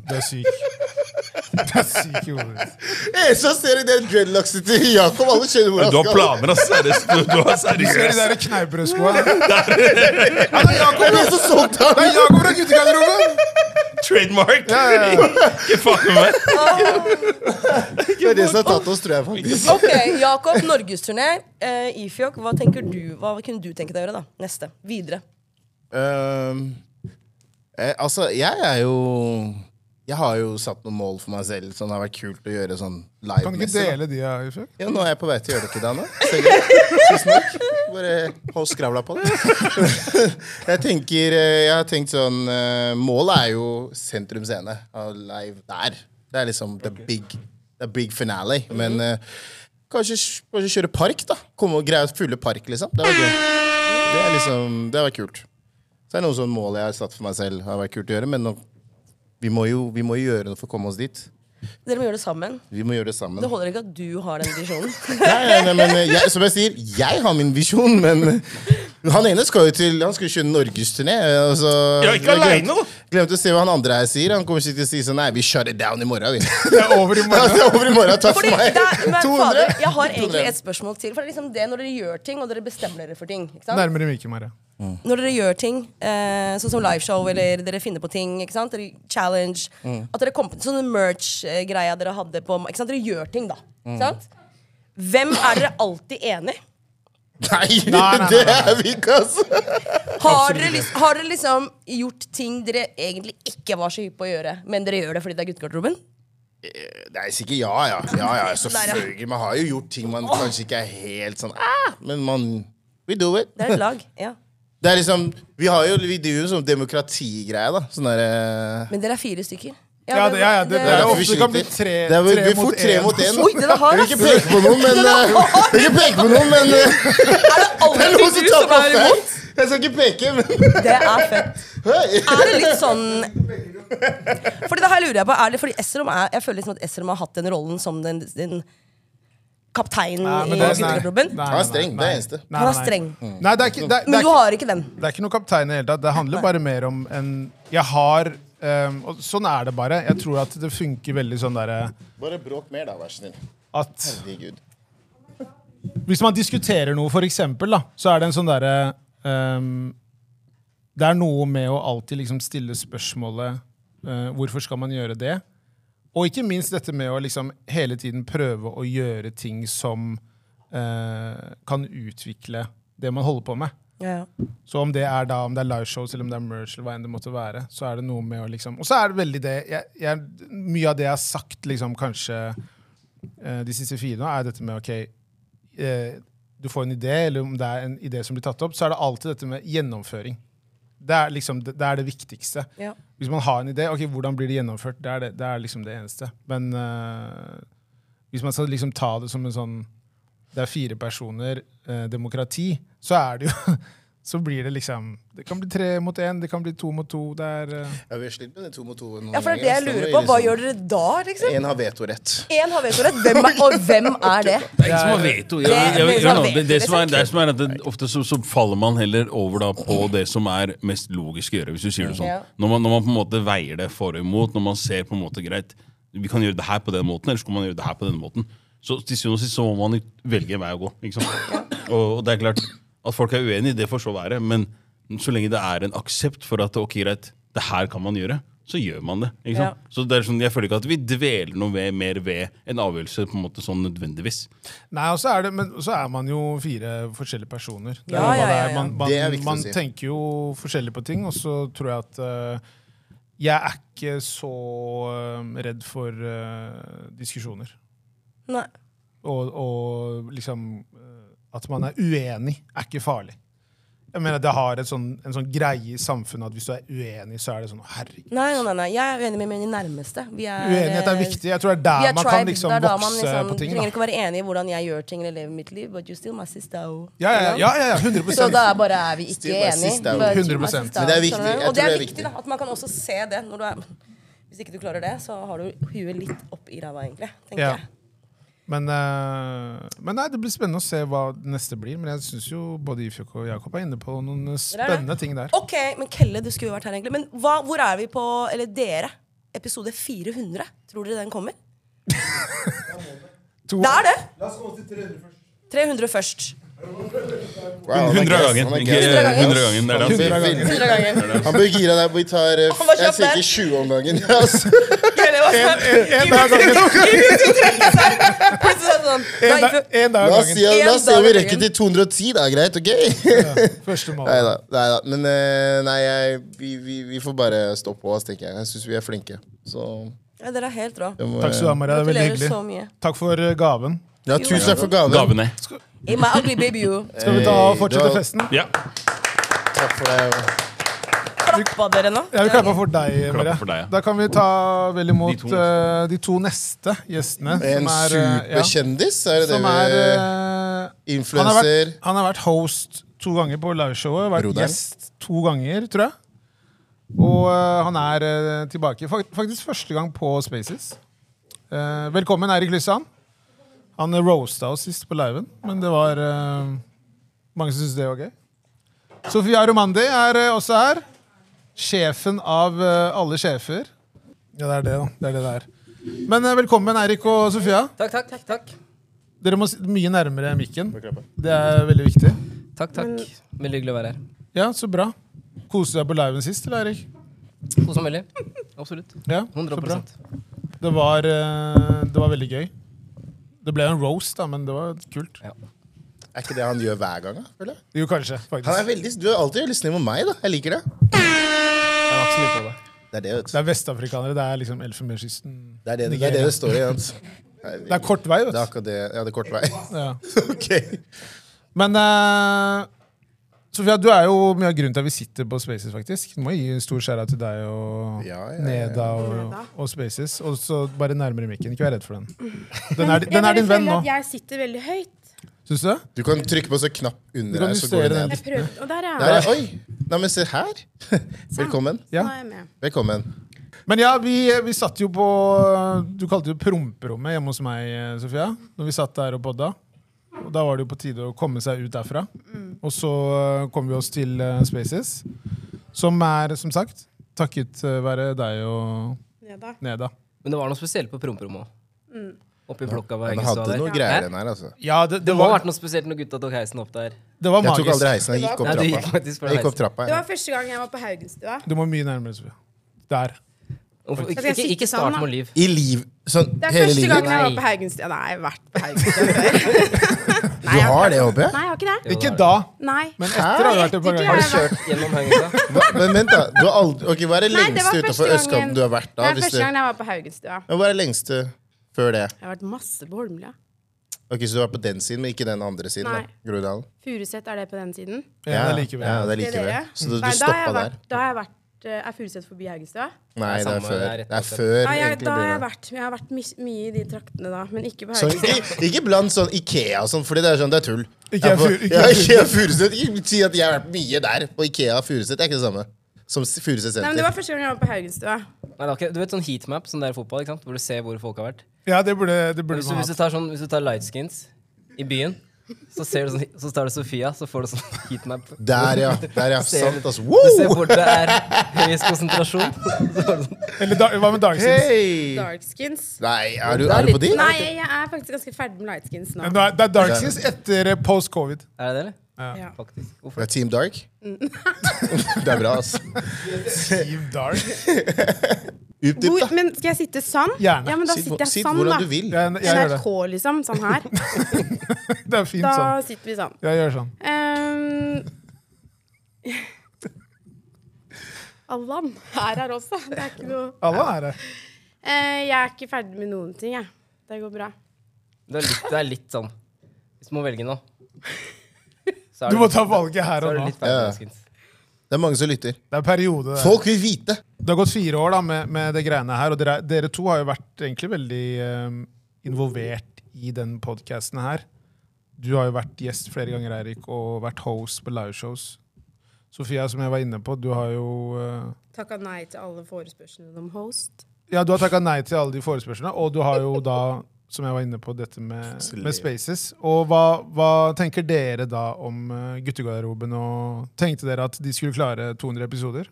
A: Du er syk. Du er syk i hodet.
B: Eneste han Eh, ser, i det er dreadlocksa til Jakob. Alle skjønner
D: Du
B: hvor han
D: har
B: skal.
D: planer, ass. Seriøst. Du, du er
A: Ser *laughs* du
D: seriøs.
A: de der
D: *laughs*
A: kneippbrødskoa? Det
B: Hvem er det som solgte han?
A: er Jakob fra guttegarderoben!
D: Trademark. Ikke fuck med meg.
B: Det er det som har tatt oss, tror jeg faktisk.
G: Ah, Ok, Jakob, norgesturné. Uh, Ifjok, hva, tenker du, hva kunne du tenke deg å gjøre da? Neste. Videre.
B: Ehm, eh, altså, jeg er jo Jeg har jo satt noen mål for meg selv, så det har vært kult å gjøre sånn
A: Kan du ikke
B: live-messig. da.
A: dele de her? Ufjøk?
B: Ja, nå er jeg på vei til å gjøre det til deg nå. Seriøst. Tusen takk. Bare hold skravla på det. *laughs* Jeg tenker, eh, jeg har tenkt sånn eh, Målet er jo Sentrum Scene. ha Live der. Det er liksom the big, the big finale. Men eh, kanskje, kanskje kjøre park, da. Komme og greie å fylle park, liksom. Det var gøy. Det er liksom, det var kult. Så er det noen sånne mål jeg har satt for meg selv. Det har vært kult å gjøre, men nå, vi, må jo, vi må jo gjøre noe for å komme oss dit.
G: Dere må gjøre det sammen.
B: Vi må gjøre det sammen.
G: Det holder ikke at du har den visjonen.
B: *laughs* Nei, nei, nei, men eh, jeg, som jeg sier, jeg har min visjon, men eh, han ene skal jo til Han skal jo kjøre norgesturné. eh, og så-
D: Ja, ikke
B: Jeg
D: alene,
B: glemte- Glemte å se hva han andre her sier. Han kommer sikkert til å si sånn Nei, vi shut it down i morgen, vi.
A: Det er over i
B: *laughs* Ja,
A: morgen.
B: det er over i morgen. Takk for
G: Fordi,
B: meg.
G: det er, men, fader,
B: 200.
G: jeg har egentlig et spørsmål til. For det er liksom det når dere gjør ting, og dere bestemmer dere for ting. Ikke sant?
A: Nærmere mikken, Maria.
D: Mm.
A: Mm.
G: Når dere gjør ting, eh, sånn som liveshow, eller dere finner på ting, ikke sant? Dere, challenge
A: Mm.
B: Mm.
G: At dere kom på sånne merch-greia dere hadde på ikke sant? Dere gjør ting, da. Ikke sant? Hvem er dere alltid enig?
B: *laughs* Nei,
A: nei, nei,
B: det er vi ikke, altså.
G: Har dere, lis- har dere liksom gjort ting dere egentlig ikke var så hypp på å gjøre, men dere gjør det fordi det er guttegarderoben?
B: Eh, Nei, sikkert ja, ja. Ja, ja, selvfølgelig. Man har jo gjort ting man kanskje ikke er helt sånn ah, Men man We do it.
G: Det er et lag. ja
B: Det er liksom Vi har jo Vi driver jo sånn demokratigreie, da. Sånn derre
G: Men dere er fire stykker.
A: Ja, det, ja, ja, det, det er
B: derfor
A: jo
B: vi
A: ofte det kan bli
B: skyter.
A: tre,
B: Det er vel-
A: tre
B: vi får
A: mot
B: tre
A: én.
B: mot én.
G: Oi, dere har
B: Jeg vil ikke peke på noen, men
G: *laughs* Dere
B: eh,
G: har-
B: Jeg vil ikke peke på noen, men eh,
G: Er det
B: *laughs* Det er
G: alltid
B: noen som
G: du
B: tar
G: som
B: på
G: er
B: feil.
G: imot?
B: Jeg skal ikke peke, men
G: Det er fett.
B: Hei!
G: Er det litt sånn Fordi det her lurer jeg på er det fordi Esrom er, Jeg føler liksom at Esrom har hatt den rollen som den, den kapteinen
A: Nei,
G: i
A: men det er- nei,
G: guttegarderoben.
A: nei, nei,
B: Han er streng,
A: nei.
B: det er eneste.
A: Nei,
G: Han er
A: nei, nei.
G: streng.
A: Nei, det er ikke, det, er- det
G: Men
A: er
G: du
A: ikke,
G: har ikke den.
A: det er ikke noe kaptein i det hele tatt. Det handler bare mer om en Jeg har ehm, Og sånn er det bare. Jeg tror at det funker veldig sånn derre
B: Bare bråk mer, da, vær så snill.
A: at
B: Herregud.
A: Hvis man diskuterer noe, for eksempel, da, så er det en sånn derre ehm, Det er noe med å alltid liksom stille spørsmålet eh, Hvorfor skal man gjøre det? Og ikke minst dette med å liksom hele tiden prøve å gjøre ting som eh, kan utvikle det man holder på med.
G: Ja, ja.
A: Så om det er da, om det er liveshows eller om det er merch, eller hva enn det måtte være, så er det noe med å liksom Og så er det veldig det jeg, jeg, Mye av det jeg har sagt liksom kanskje eh, de siste fire nå, er dette med OK eh, Du får en idé, eller om det er en idé som blir tatt opp, så er det alltid dette med gjennomføring. Det er liksom det, det, er det viktigste.
G: Ja.
A: Hvis man har en idé, ok, hvordan blir det gjennomført? Det er, det, det, er liksom det eneste. Men eh, hvis man skal liksom ta det som en sånn Det er fire personer, eh, demokrati, så er det jo *laughs* Så blir det liksom Det kan bli tre mot én, det kan bli to mot to. Det er eh,
B: Ja, vi har slitt med det to mot to.
G: ja, for det er det jeg lurer på. Hva gjør dere da, liksom?
B: En har vetorett.
G: Én har vetorett, hvem er- og hvem er det?
D: Det er ikke som har veto. Jeg, jeg, jeg, jeg,
G: Det- det som har
D: det, det,
G: veto,
D: som er,
G: det er
D: det som er at det, Ofte så, så faller man heller over da på det som er mest logisk å gjøre. hvis du sier det
G: Ja.
D: sånn. Når man, når man på en måte veier det for og imot, når man ser på en måte greit, vi kan gjøre det her på den måten, eller så kan man gjøre det her på den måten. Så til syvende og sist så må man jo velge en vei å gå. ikke sant? Og, og det er klart at folk er uenige, det får så være, men så lenge det er en aksept for at ok, greit, det her kan man gjøre, så gjør man det. ikke sant? Så det er sånn, Jeg føler ikke at vi dveler noe ved, mer ved en avgjørelse på en måte sånn nødvendigvis.
A: Nei, og så er det, men så er man jo fire forskjellige personer. Det er
G: Ja,
A: jo hva
G: ja,
A: det
G: ja,
A: er.
G: ja.
A: Man, man,
B: Det er viktig å
A: man
B: si.
A: tenker jo forskjellig på ting, og så tror jeg at eh, jeg er ikke så eh, redd for eh, diskusjoner.
G: Nei.
A: Og, og liksom eh, At man er uenig, er ikke farlig. Jeg mener, Det har et sånn, en sånn greie i samfunnet at hvis du er uenig, så er det sånn herregud.
G: Nei, nei, nei, nei. jeg er uenig med mine nærmeste. Vi er,
A: Uenighet er
G: eh,
A: viktig. Jeg tror det er
G: vi er
A: der man kan
G: tribe.
A: liksom
G: Det er da
A: vokse
G: man liksom-
A: på ting.
G: Trenger
A: da.
G: ikke å være enig i hvordan jeg gjør ting eller lever mitt liv, but you still my sister. oh.
A: Ja, ja,
G: You know?
A: ja, ja, ja 100
G: Så da er bare er vi ikke
B: Still my
G: enige.
B: sister, oh.
G: but you my
A: 100%.
G: sister,
B: Men det er
G: skjønner
B: viktig.
G: du?
B: Jeg
G: Og det
B: tror
G: er
B: det er
G: viktig da,
B: viktig.
G: at man kan også se det når du er Hvis ikke du klarer det, så har du huet litt opp i ræva, egentlig. tenker
A: Ja.
G: jeg.
A: Men, eh, men nei, det blir spennende å se hva det neste blir. Men jeg syns jo både Ifjok og Jakob er inne på noen eh,
G: er det.
A: spennende ting der.
G: Ok, men Kelle, du skulle jo vært her egentlig. Men hva, hvor er vi på, eller dere, episode 400? Tror dere den kommer?
A: *laughs* To-
G: Det er det! La oss komme til 300 først.
B: 100
D: 100 av gangen. Ikke 100 av gangen. Det er det. han sier.
B: Han bør gire deg. Vi tar eh,
G: Han var
B: Jeg
G: kjapp der.
B: tenker 20 om gangen. ja, altså.
G: *laughs* 300
A: En,
G: ganger.
A: da- en dag
B: La
A: av
B: oss si,
A: gangen.
B: la oss si
G: Sånn, En dag
B: om vi
G: om
B: rekker til 210. Det er greit, OK?
A: Første mål.
B: Nei da. Men eh, nei, jeg, vi, vi, vi får bare stå på oss, tenker jeg. Jeg syns vi er flinke. Så
G: Ja, dere er helt rå.
B: jeg må,
A: Takk skal du ha, Maria. Det er veldig
G: Gratulerer så
A: hyggelig.
G: mye.
A: Takk for eh, gaven.
B: Ja, tusen takk for gaven.
D: Gavene.
G: In my ugly baby you.
A: Skal vi ta og fortsette festen?
D: Ja.
B: Takk for det.
G: Klappa dere nå?
A: Jeg vil klappe for deg, Maria.
D: for deg, ja.
A: Da kan vi ta vel imot
D: De
A: de
D: to.
A: to, de to neste gjestene.
B: En
A: eh, ja,
B: superkjendis, er det det
A: som er
B: vi
A: eh, han, har
B: Influenser.
A: vært, han har vært host to ganger på liveshowet. Vært
B: Broderen.
A: gjest to ganger, tror jeg. Og eh, han er eh, tilbake. Fak faktisk første gang på Spaces. Eh, velkommen, Eirik Lysand. Han roasta oss sist på liven, men det var eh, mange som syntes det var gøy. Sofia Romandi er eh, også her. Sjefen av eh, alle sjefer. Ja, det er det, da. Det er det det er. Men eh, velkommen, Eirik og Sofia.
H: Takk, takk, takk. Takk,
A: Dere må si- mye nærmere mikken. Det er veldig viktig.
H: takk. takk. Veldig hyggelig å være her.
A: Ja, så bra. Koste du deg på liven sist, eller Erik?
H: Kos meg veldig. Absolutt.
A: Ja, så
H: 100
A: bra. Det var, eh, det var veldig gøy. Det ble en roast, da, men det var kult.
B: Er ikke det han gjør hver gang? da, føler jeg?
A: Jo, kanskje,
B: Han er
A: faktisk.
B: veldig, du er alltid veldig snill mot meg, da. Jeg liker det.
H: Jeg har ikke så mye på det.
B: Det er det, vet
A: Det
B: du.
A: er vestafrikanere. Det er liksom Elfenbenskysten.
B: Det er det det, er det, det står i. Jens.
A: Det er kort vei, vet
B: Det
A: du.
B: er akkurat det. Ja, det er kort vei.
A: *laughs* Ja.
B: *laughs* Ok.
A: Men eh, Sofia, du er jo mye av grunnen til at vi sitter på Spaces, faktisk. Du må gi en stor skjæra til deg og
B: Ja, ja, ja.
A: Neda og, og Spaces. Og så bare nærmere mikken. Ikke vær redd
I: *laughs*
A: for den. Den er, den er din venn nå.
I: Jeg sitter veldig høyt.
A: Syns du det?
B: Du kan trykke på så knapp
A: Du
B: under
A: kan
B: her, så går
A: justere
B: det
A: den
B: ned.
I: Jeg prøvde, og der er
B: Der,
I: jeg.
B: er- oi! Nei, men se her. *laughs* Velkommen.
A: Ja.
I: Sånn. Nå er jeg med.
B: Velkommen.
A: Men ja, vi, vi satt jo på eh, Du kalte det jo promperommet hjemme hos meg, eh, Sofia. Når vi satt der og podda. Og da var det jo på tide å komme seg ut derfra.
I: Mm.
A: Og så eh, kom vi oss til eh, Spaces, som er, som sagt, takket eh, være deg og
I: Ja, da.
A: Neda.
H: Men det var noe spesielt på promperommet òg. Oppi blokka hvor
B: Han
H: jeg
B: hadde noe greier, den her, altså.
A: Ja, det,
H: Det
A: det,
H: må ha
A: var,
H: vært noe spesielt når gutta tok heisen opp der.
A: det var
B: Jeg tok aldri
A: magisk.
B: heisen. Jeg gikk opp
H: Nei, du gikk
B: trappa.
H: faktisk fra
B: Jeg gikk opp
H: heisen.
B: trappa,
I: Det
B: ja.
I: var første gang jeg var på Haugenstua.
A: Du må mye nærmere, Sofia. Der.
H: Hvorfor-
I: Skal
H: Ikke,
I: jeg
H: ikke,
I: sitte
H: ikke
I: sammen,
H: start
I: da?
H: med liv.
B: I liv Sånn
I: Det er
B: hele
I: første
B: livet?
I: gang jeg var
H: Nei.
I: på Haugenstua. Nei, jeg har vært på
B: *laughs*
I: Haugenstua før. Nei,
B: Du
I: jeg
B: har det, håper jeg?
I: Nei, jeg har ikke det.
A: Ikke da,
I: Nei.
A: men etter har du vært det et par
I: Etter
A: ganger.
I: jeg var-
H: Gjennom hengelsa.
B: Hva, men vent, da. Du har aldri, ok, Hva er det
I: Nei, det
B: lengste
I: var
B: utenfor
I: første gangen-
B: østkanten du har vært?
I: Det
B: da?
I: er
B: Hvis
I: første
B: det,
I: gang jeg var på Haugenstua.
B: men hva er det lengste før det?
I: Jeg har vært masse på Holmlia.
B: Ok, Så du var på den siden, men ikke den andre siden?
I: Nei.
B: da, Groruddalen?
I: Furuset, er det på den siden?
A: Ja, det er
B: ja,
A: likevel.
B: det er
I: Det er
B: likevel.
I: dere.
B: Så
I: Nei,
B: du, du
I: da har jeg
B: stoppa der?
I: vært, da har jeg vært eh, Er Furuset forbi Haugenstua?
B: Nei, det
H: samme,
B: er før.
H: det er rett
B: Det er
H: bak der.
B: før
I: Ja, jeg,
B: egentlig
I: da har
B: blir
I: jeg
B: det.
I: vært, jeg har vært mye, mye i de traktene da, men ikke på
B: Så
I: Haugenstua.
B: Sånn, ikke, ikke blant sånn Ikea og sånn, fordi det er sånn, det er tull. Jeg er
A: Ikea
B: på-
A: Furu- Ikea
B: Ja,
A: Furuset.
B: Ikea Furuset. Ikke Si at jeg har vært mye der. På Ikea Furuset det er ikke det samme som s- Furuset
I: Nei, men Det
B: senter.
I: var første gang jeg var på Haugenstua.
H: Nei, det var ikke- Du vet sånn heatmap som det er i fotball, ikke sant? hvor du ser hvor folk har vært?
A: Ja, det burde, det burde
H: Hvis du,
A: man
H: hvis du tar,
A: hatt.
H: sånn, hvis du tar lightskins i byen, så, ser du sånn, så tar du Sofia, så får du sånn *laughs* heatmap.
B: Der,
H: *laughs*
B: ja. Der, ja.
H: Ser-
B: Sant, altså.
H: Du ser
B: Wow!
H: hvor det er høyest konsentrasjon.
B: *laughs*
H: Så får du sånn
A: Eller da, hva med dagskins?
B: Hei!
I: Darkskins.
B: Nei, er du, er du på de?
I: Nei, jeg er faktisk ganske ferdig med lightskins nå.
A: Ja, nå er- Det er dagskins etter eh, post covid.
H: Er det det, eller?
I: Ja.
H: Faktisk.
B: Det
H: Hvorfor?
B: er Team Dark?
I: Mm.
B: det er bra, altså.
A: Team Dark.
B: Utdyp,
I: Hvor,
B: da.
I: men skal jeg sitte sånn?
A: Gjerne.
I: Ja, men da
B: Sitt,
I: sitter jeg
B: sitt
I: sånn,
B: hvordan
I: da.
B: du vil.
A: Jeg, jeg gjør det.
I: NRK, liksom. Sånn
A: *laughs*
I: her.
A: *laughs* Det er *laughs* fint
I: Da
A: sånn.
I: sitter vi sånn.
A: Jeg gjør sånn.
I: Ehm, *laughs* Allan er her også. Det er ikke noe
A: Alle er her.
I: Eh, Jeg er ikke ferdig med noen ting, jeg. Det går bra.
H: Det er litt, det er litt sånn Hvis du må velge nå, så er
A: Du
H: det
A: må
H: litt-
A: ta valget her
H: så er
A: og
H: det
A: nå.
H: litt feil
B: Ja.
H: menneskens.
B: Det er mange som lytter.
A: Det er periode. det.
B: Folk vil vite!
A: Det har gått fire år da med, med det greiene her, og dere, dere to har jo vært egentlig veldig eh, involvert i den podkasten her. Du har jo vært gjest flere ganger, Eirik, og vært host på liveshows. Sofia, som jeg var inne på, du har jo eh,
I: Takka nei til alle forespørslene om host.
A: Ja, du har takka nei til alle de forespørslene, og du har jo da, som jeg var inne på, dette med, med Spaces. Og hva, hva tenker dere da om eh, guttegarderoben, og tenkte dere at de skulle klare 200 episoder?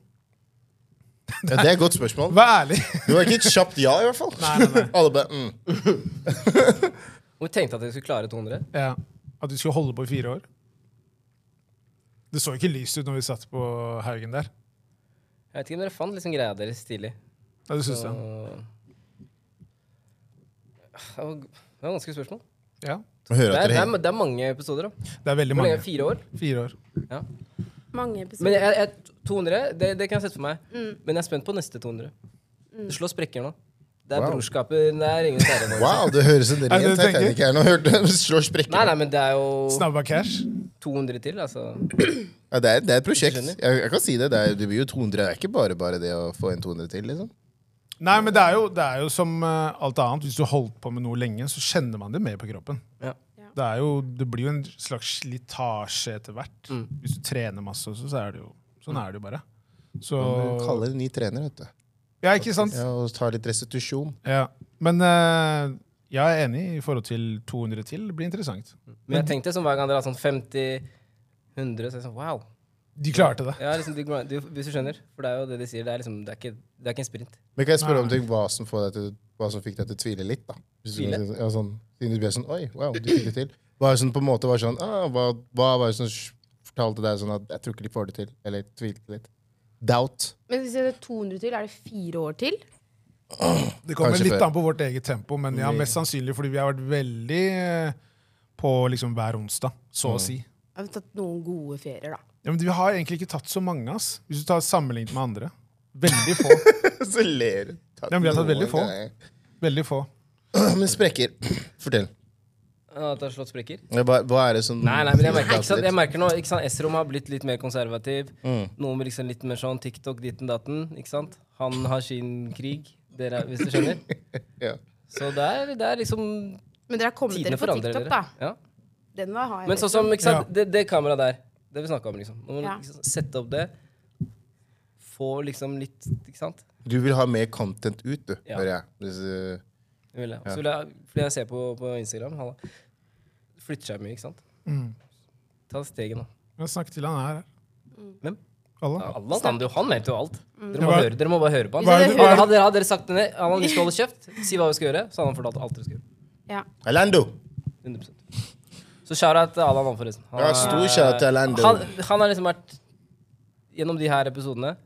B: Ja, det er et godt spørsmål.
A: Vær ærlig!
B: Det var ikke et kjapt ja, i hvert fall.
A: Nei, nei, nei.
B: *laughs* Alle mm. bare mm.
H: *laughs* Hvor tenkte jeg at jeg skulle klare 200?
A: *laughs* Ja. At vi skulle holde på i fire år. Det så ikke lyst ut når vi satt på Haugen der.
H: Jeg vet ikke om dere fant liksom greia deres tidlig.
A: Ja, det syns
H: Så... Ah,
A: jeg.
H: Det var det var vanskelig spørsmål.
A: Ja.
B: Må høre
H: Det er,
B: at
H: det,
B: dere
H: er, det er mange episoder. da.
A: Det er veldig
H: Hvor
A: mange.
H: lenge? Fire år?
A: Fire år.
I: Mange
H: Men
I: episoder.
H: jeg, jeg, 200, det, det kan jeg sette for meg. Men jeg er spent på neste 200. Det slår sprekker nå. Det er
B: Wow.
H: brorskapet Det er ingen sære. faktisk.
B: Wow, det høres ut som
A: Er det
B: ren
A: det du tenker?
B: Titanic her. Nå hørte jeg det *laughs* slår sprekker.
H: Nei, nei, men det er jo
A: Snabba cash.
H: 200 til, altså.
B: Ja, det, er, det er et prosjekt.
H: Skjønner.
B: Jeg, jeg kan si det. Det, er, det blir jo 200. Det er ikke bare bare det å få en 200 til, liksom.
A: Nei, men det er, jo, det er jo som eh, alt annet. Hvis du holdt på med noe lenge, så kjenner man det mer på kroppen.
H: Ja.
A: Det, er jo, det blir jo en slags slitasje etter hvert.
H: Mm.
A: Hvis du trener masse også, så er det jo Sånn er det jo bare. Så
B: Du kaller en ny trener, vet du.
A: Ja, ikke sant?
B: Ja, og tar litt restitusjon.
A: Ja. Men eh, jeg er enig i forhold til 200 til. Det blir interessant.
H: Mm. Men jeg tenkte som hver gang dere har sånn 50, 100, så er jeg sånn wow.
A: De klarte det.
H: Ja, liksom, de, grind- du, hvis du skjønner. For det er jo det de sier. Det er, liksom, det er, ikke, det er ikke en sprint.
B: Men kan jeg spørre om ting, hva som, får deg til, hva som fikk deg til å tvile litt? da? Hvis du-
H: Tvile?
B: Ja, sånn, siden du ble sånn, Oi, wow, du fikk det til. Hva er det som på en måte var sånn, ah, hva, hva var det som sj- fortalte deg sånn at jeg tror ikke de får det til? Eller tvilte litt? Doubt.
I: Men hvis det er 200 til, er det fire år til?
A: Det kommer
B: Kanskje
A: litt
B: før.
A: an på vårt eget tempo, men
H: Mm.
A: ja, mest sannsynlig fordi vi har vært veldig eh, på liksom hver onsdag, så
B: Mm.
A: å si.
I: Jeg har tatt noen gode ferier,
A: *laughs*
I: da.
A: Ja, men vi har egentlig ikke tatt så mange, ass. Hvis du tar sammenlignet med andre. Veldig få.
B: Så ler du. Tatt
A: Ja, men vi har tatt
B: noen
A: veldig få.
B: greier.
A: Veldig få.
B: *clears throat* Men sprekker. *clears throat* Fortell.
H: Ja, At det har slått sprekker.
B: Hva, hva er sånn- det som
H: Nei, nei, men jeg merker, ikke sant? Jeg merker nå, ikke sant, S-rom har blitt litt mer konservativ.
B: Mm.
H: Noen blir liksom litt mer sånn TikTok, ditten, datten, ikke sant? Han har sin krig, dere, er- hvis du skjønner.
B: *laughs* Ja.
H: Så det er, det er liksom
I: Men dere har kommet
H: Tidene
I: dere på
H: forandrer
I: TikTok,
H: dere.
I: da.
H: Ja.
I: Den var har jeg.
H: Men sånn som, ikke sant, det, det kameraet der, det vi snakka om, liksom. Nå må du
I: Ja.
H: liksom sette opp det. Få liksom litt, ikke sant?
B: Du vil ha mer content ut, du,
H: Ja.
B: hører jeg. Hvis, eh,
H: Det vil jeg. Så vil jeg, fordi jeg ser på, på Instagram, halla. Flytter seg mye, ikke sant?
A: Mm.
H: Ta steget nå.
A: Men snakk til han her.
H: Hvem?
A: Alle.
H: Allan, han, du, han vet jo alt. Dere må,
A: Ja, hva-
H: høre, dere må bare høre på han.
A: Hva er det- hva er det-
H: Hadde, hadde dere sagt til henne, Allan, vi skal holde kjeft, si hva vi skal gjøre, så hadde han fortalt alt dere skal gjøre.
I: Ja.
B: Orlando!
H: 100%. Så shout-out til Allan, han, forresten. Han
B: Ja,
H: er-
B: stor shout-out til Allan, du.
H: Han, han har liksom vært gjennom de her episodene,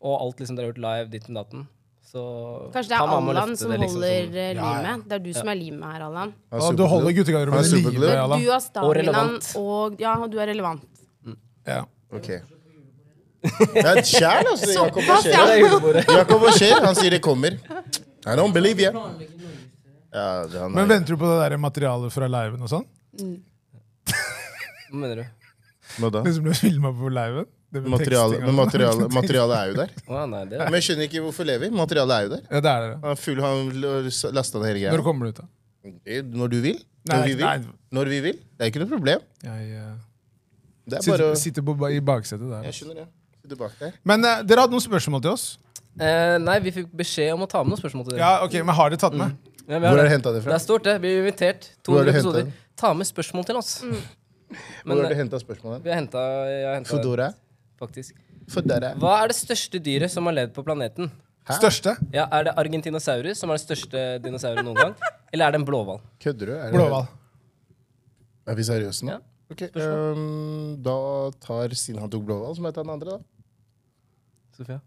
H: og alt liksom dere har gjort live ditten datten. Så
I: Kanskje det
H: han
I: er
H: var med å
I: Allan
H: løfte
I: som
H: det liksom
I: holder
H: som-
I: eh, limet. Det er du som er limet her, Allan.
B: Han er
A: Ja, du
B: superglad.
A: holder guttegarderoben
B: Han er
A: i live,
B: superglue.
A: Allan.
I: Du har
H: Og
I: staven din, han,
H: relevant.
I: og ja, du er relevant.
A: Ja.
B: Ok. Det er et kjærl, altså. Jakob og
H: Ja, det
B: Skjer.
H: er julebordet.
B: Jakob og Skjer, han sier det kommer. I don't believe you. Ja, det han
A: Men
B: er.
A: venter du på det der materialet fra liven og sånn?
H: Hva mener du?
B: Hva da?
A: Det som ble filma Liksom, på liven? Det med
B: Materiale,
A: teksting og
B: men
A: sånn. *laughs*
B: materiale, materialet er jo der.
H: Å, ja, nei, det er
B: Men jeg skjønner ikke hvorfor lever. Materialet er jo der.
A: Ja, det er det.
B: Han, er full, han lasta ned hele
A: Når
B: greia. Eh,
A: kommer det ut, da?
B: Når du vil. Når
A: Nei,
B: vi
A: nei.
B: vil. Når vi vil. Det er ikke noe problem.
A: Jeg eh,
B: Det er bare
A: sitter,
B: å
A: sitter på, ba- i baksetet der.
B: Jeg skjønner det. Sitter bak der.
A: Men eh, dere hadde noen spørsmål til oss?
H: Eh, nei, vi fikk beskjed om å ta med noen spørsmål til dere. Mm.
A: Ja, ok, men Har dere tatt med?
H: Ja, vi har
B: Hvor har
H: det.
B: du henta det
H: Det
B: fra?
H: er stort, det. Vi er invitert.
B: Hvor
H: 200
B: har du hentet
H: episoder. Ta med spørsmål til oss.
B: Hvor
H: Men
B: har du
H: eh,
B: hentet spørsmålet?
H: vi har henta Jeg har hentet
B: Fodora?
H: faktisk.
B: Fodora?
H: Hva er det største dyret som har levd på planeten?
B: Hæ?
A: Største?
H: Ja, Er det argentinosaurus, som er den største dinosauren noen
A: *laughs*
H: gang? Eller er det en blåhval?
B: Kødder du? Er det-
A: Blåhval.
B: Er vi seriøse nå?
H: Ja.
B: Ok, ehm, da tar Siden han tok blåhval, så må jeg ta den andre, da.
H: Sofia?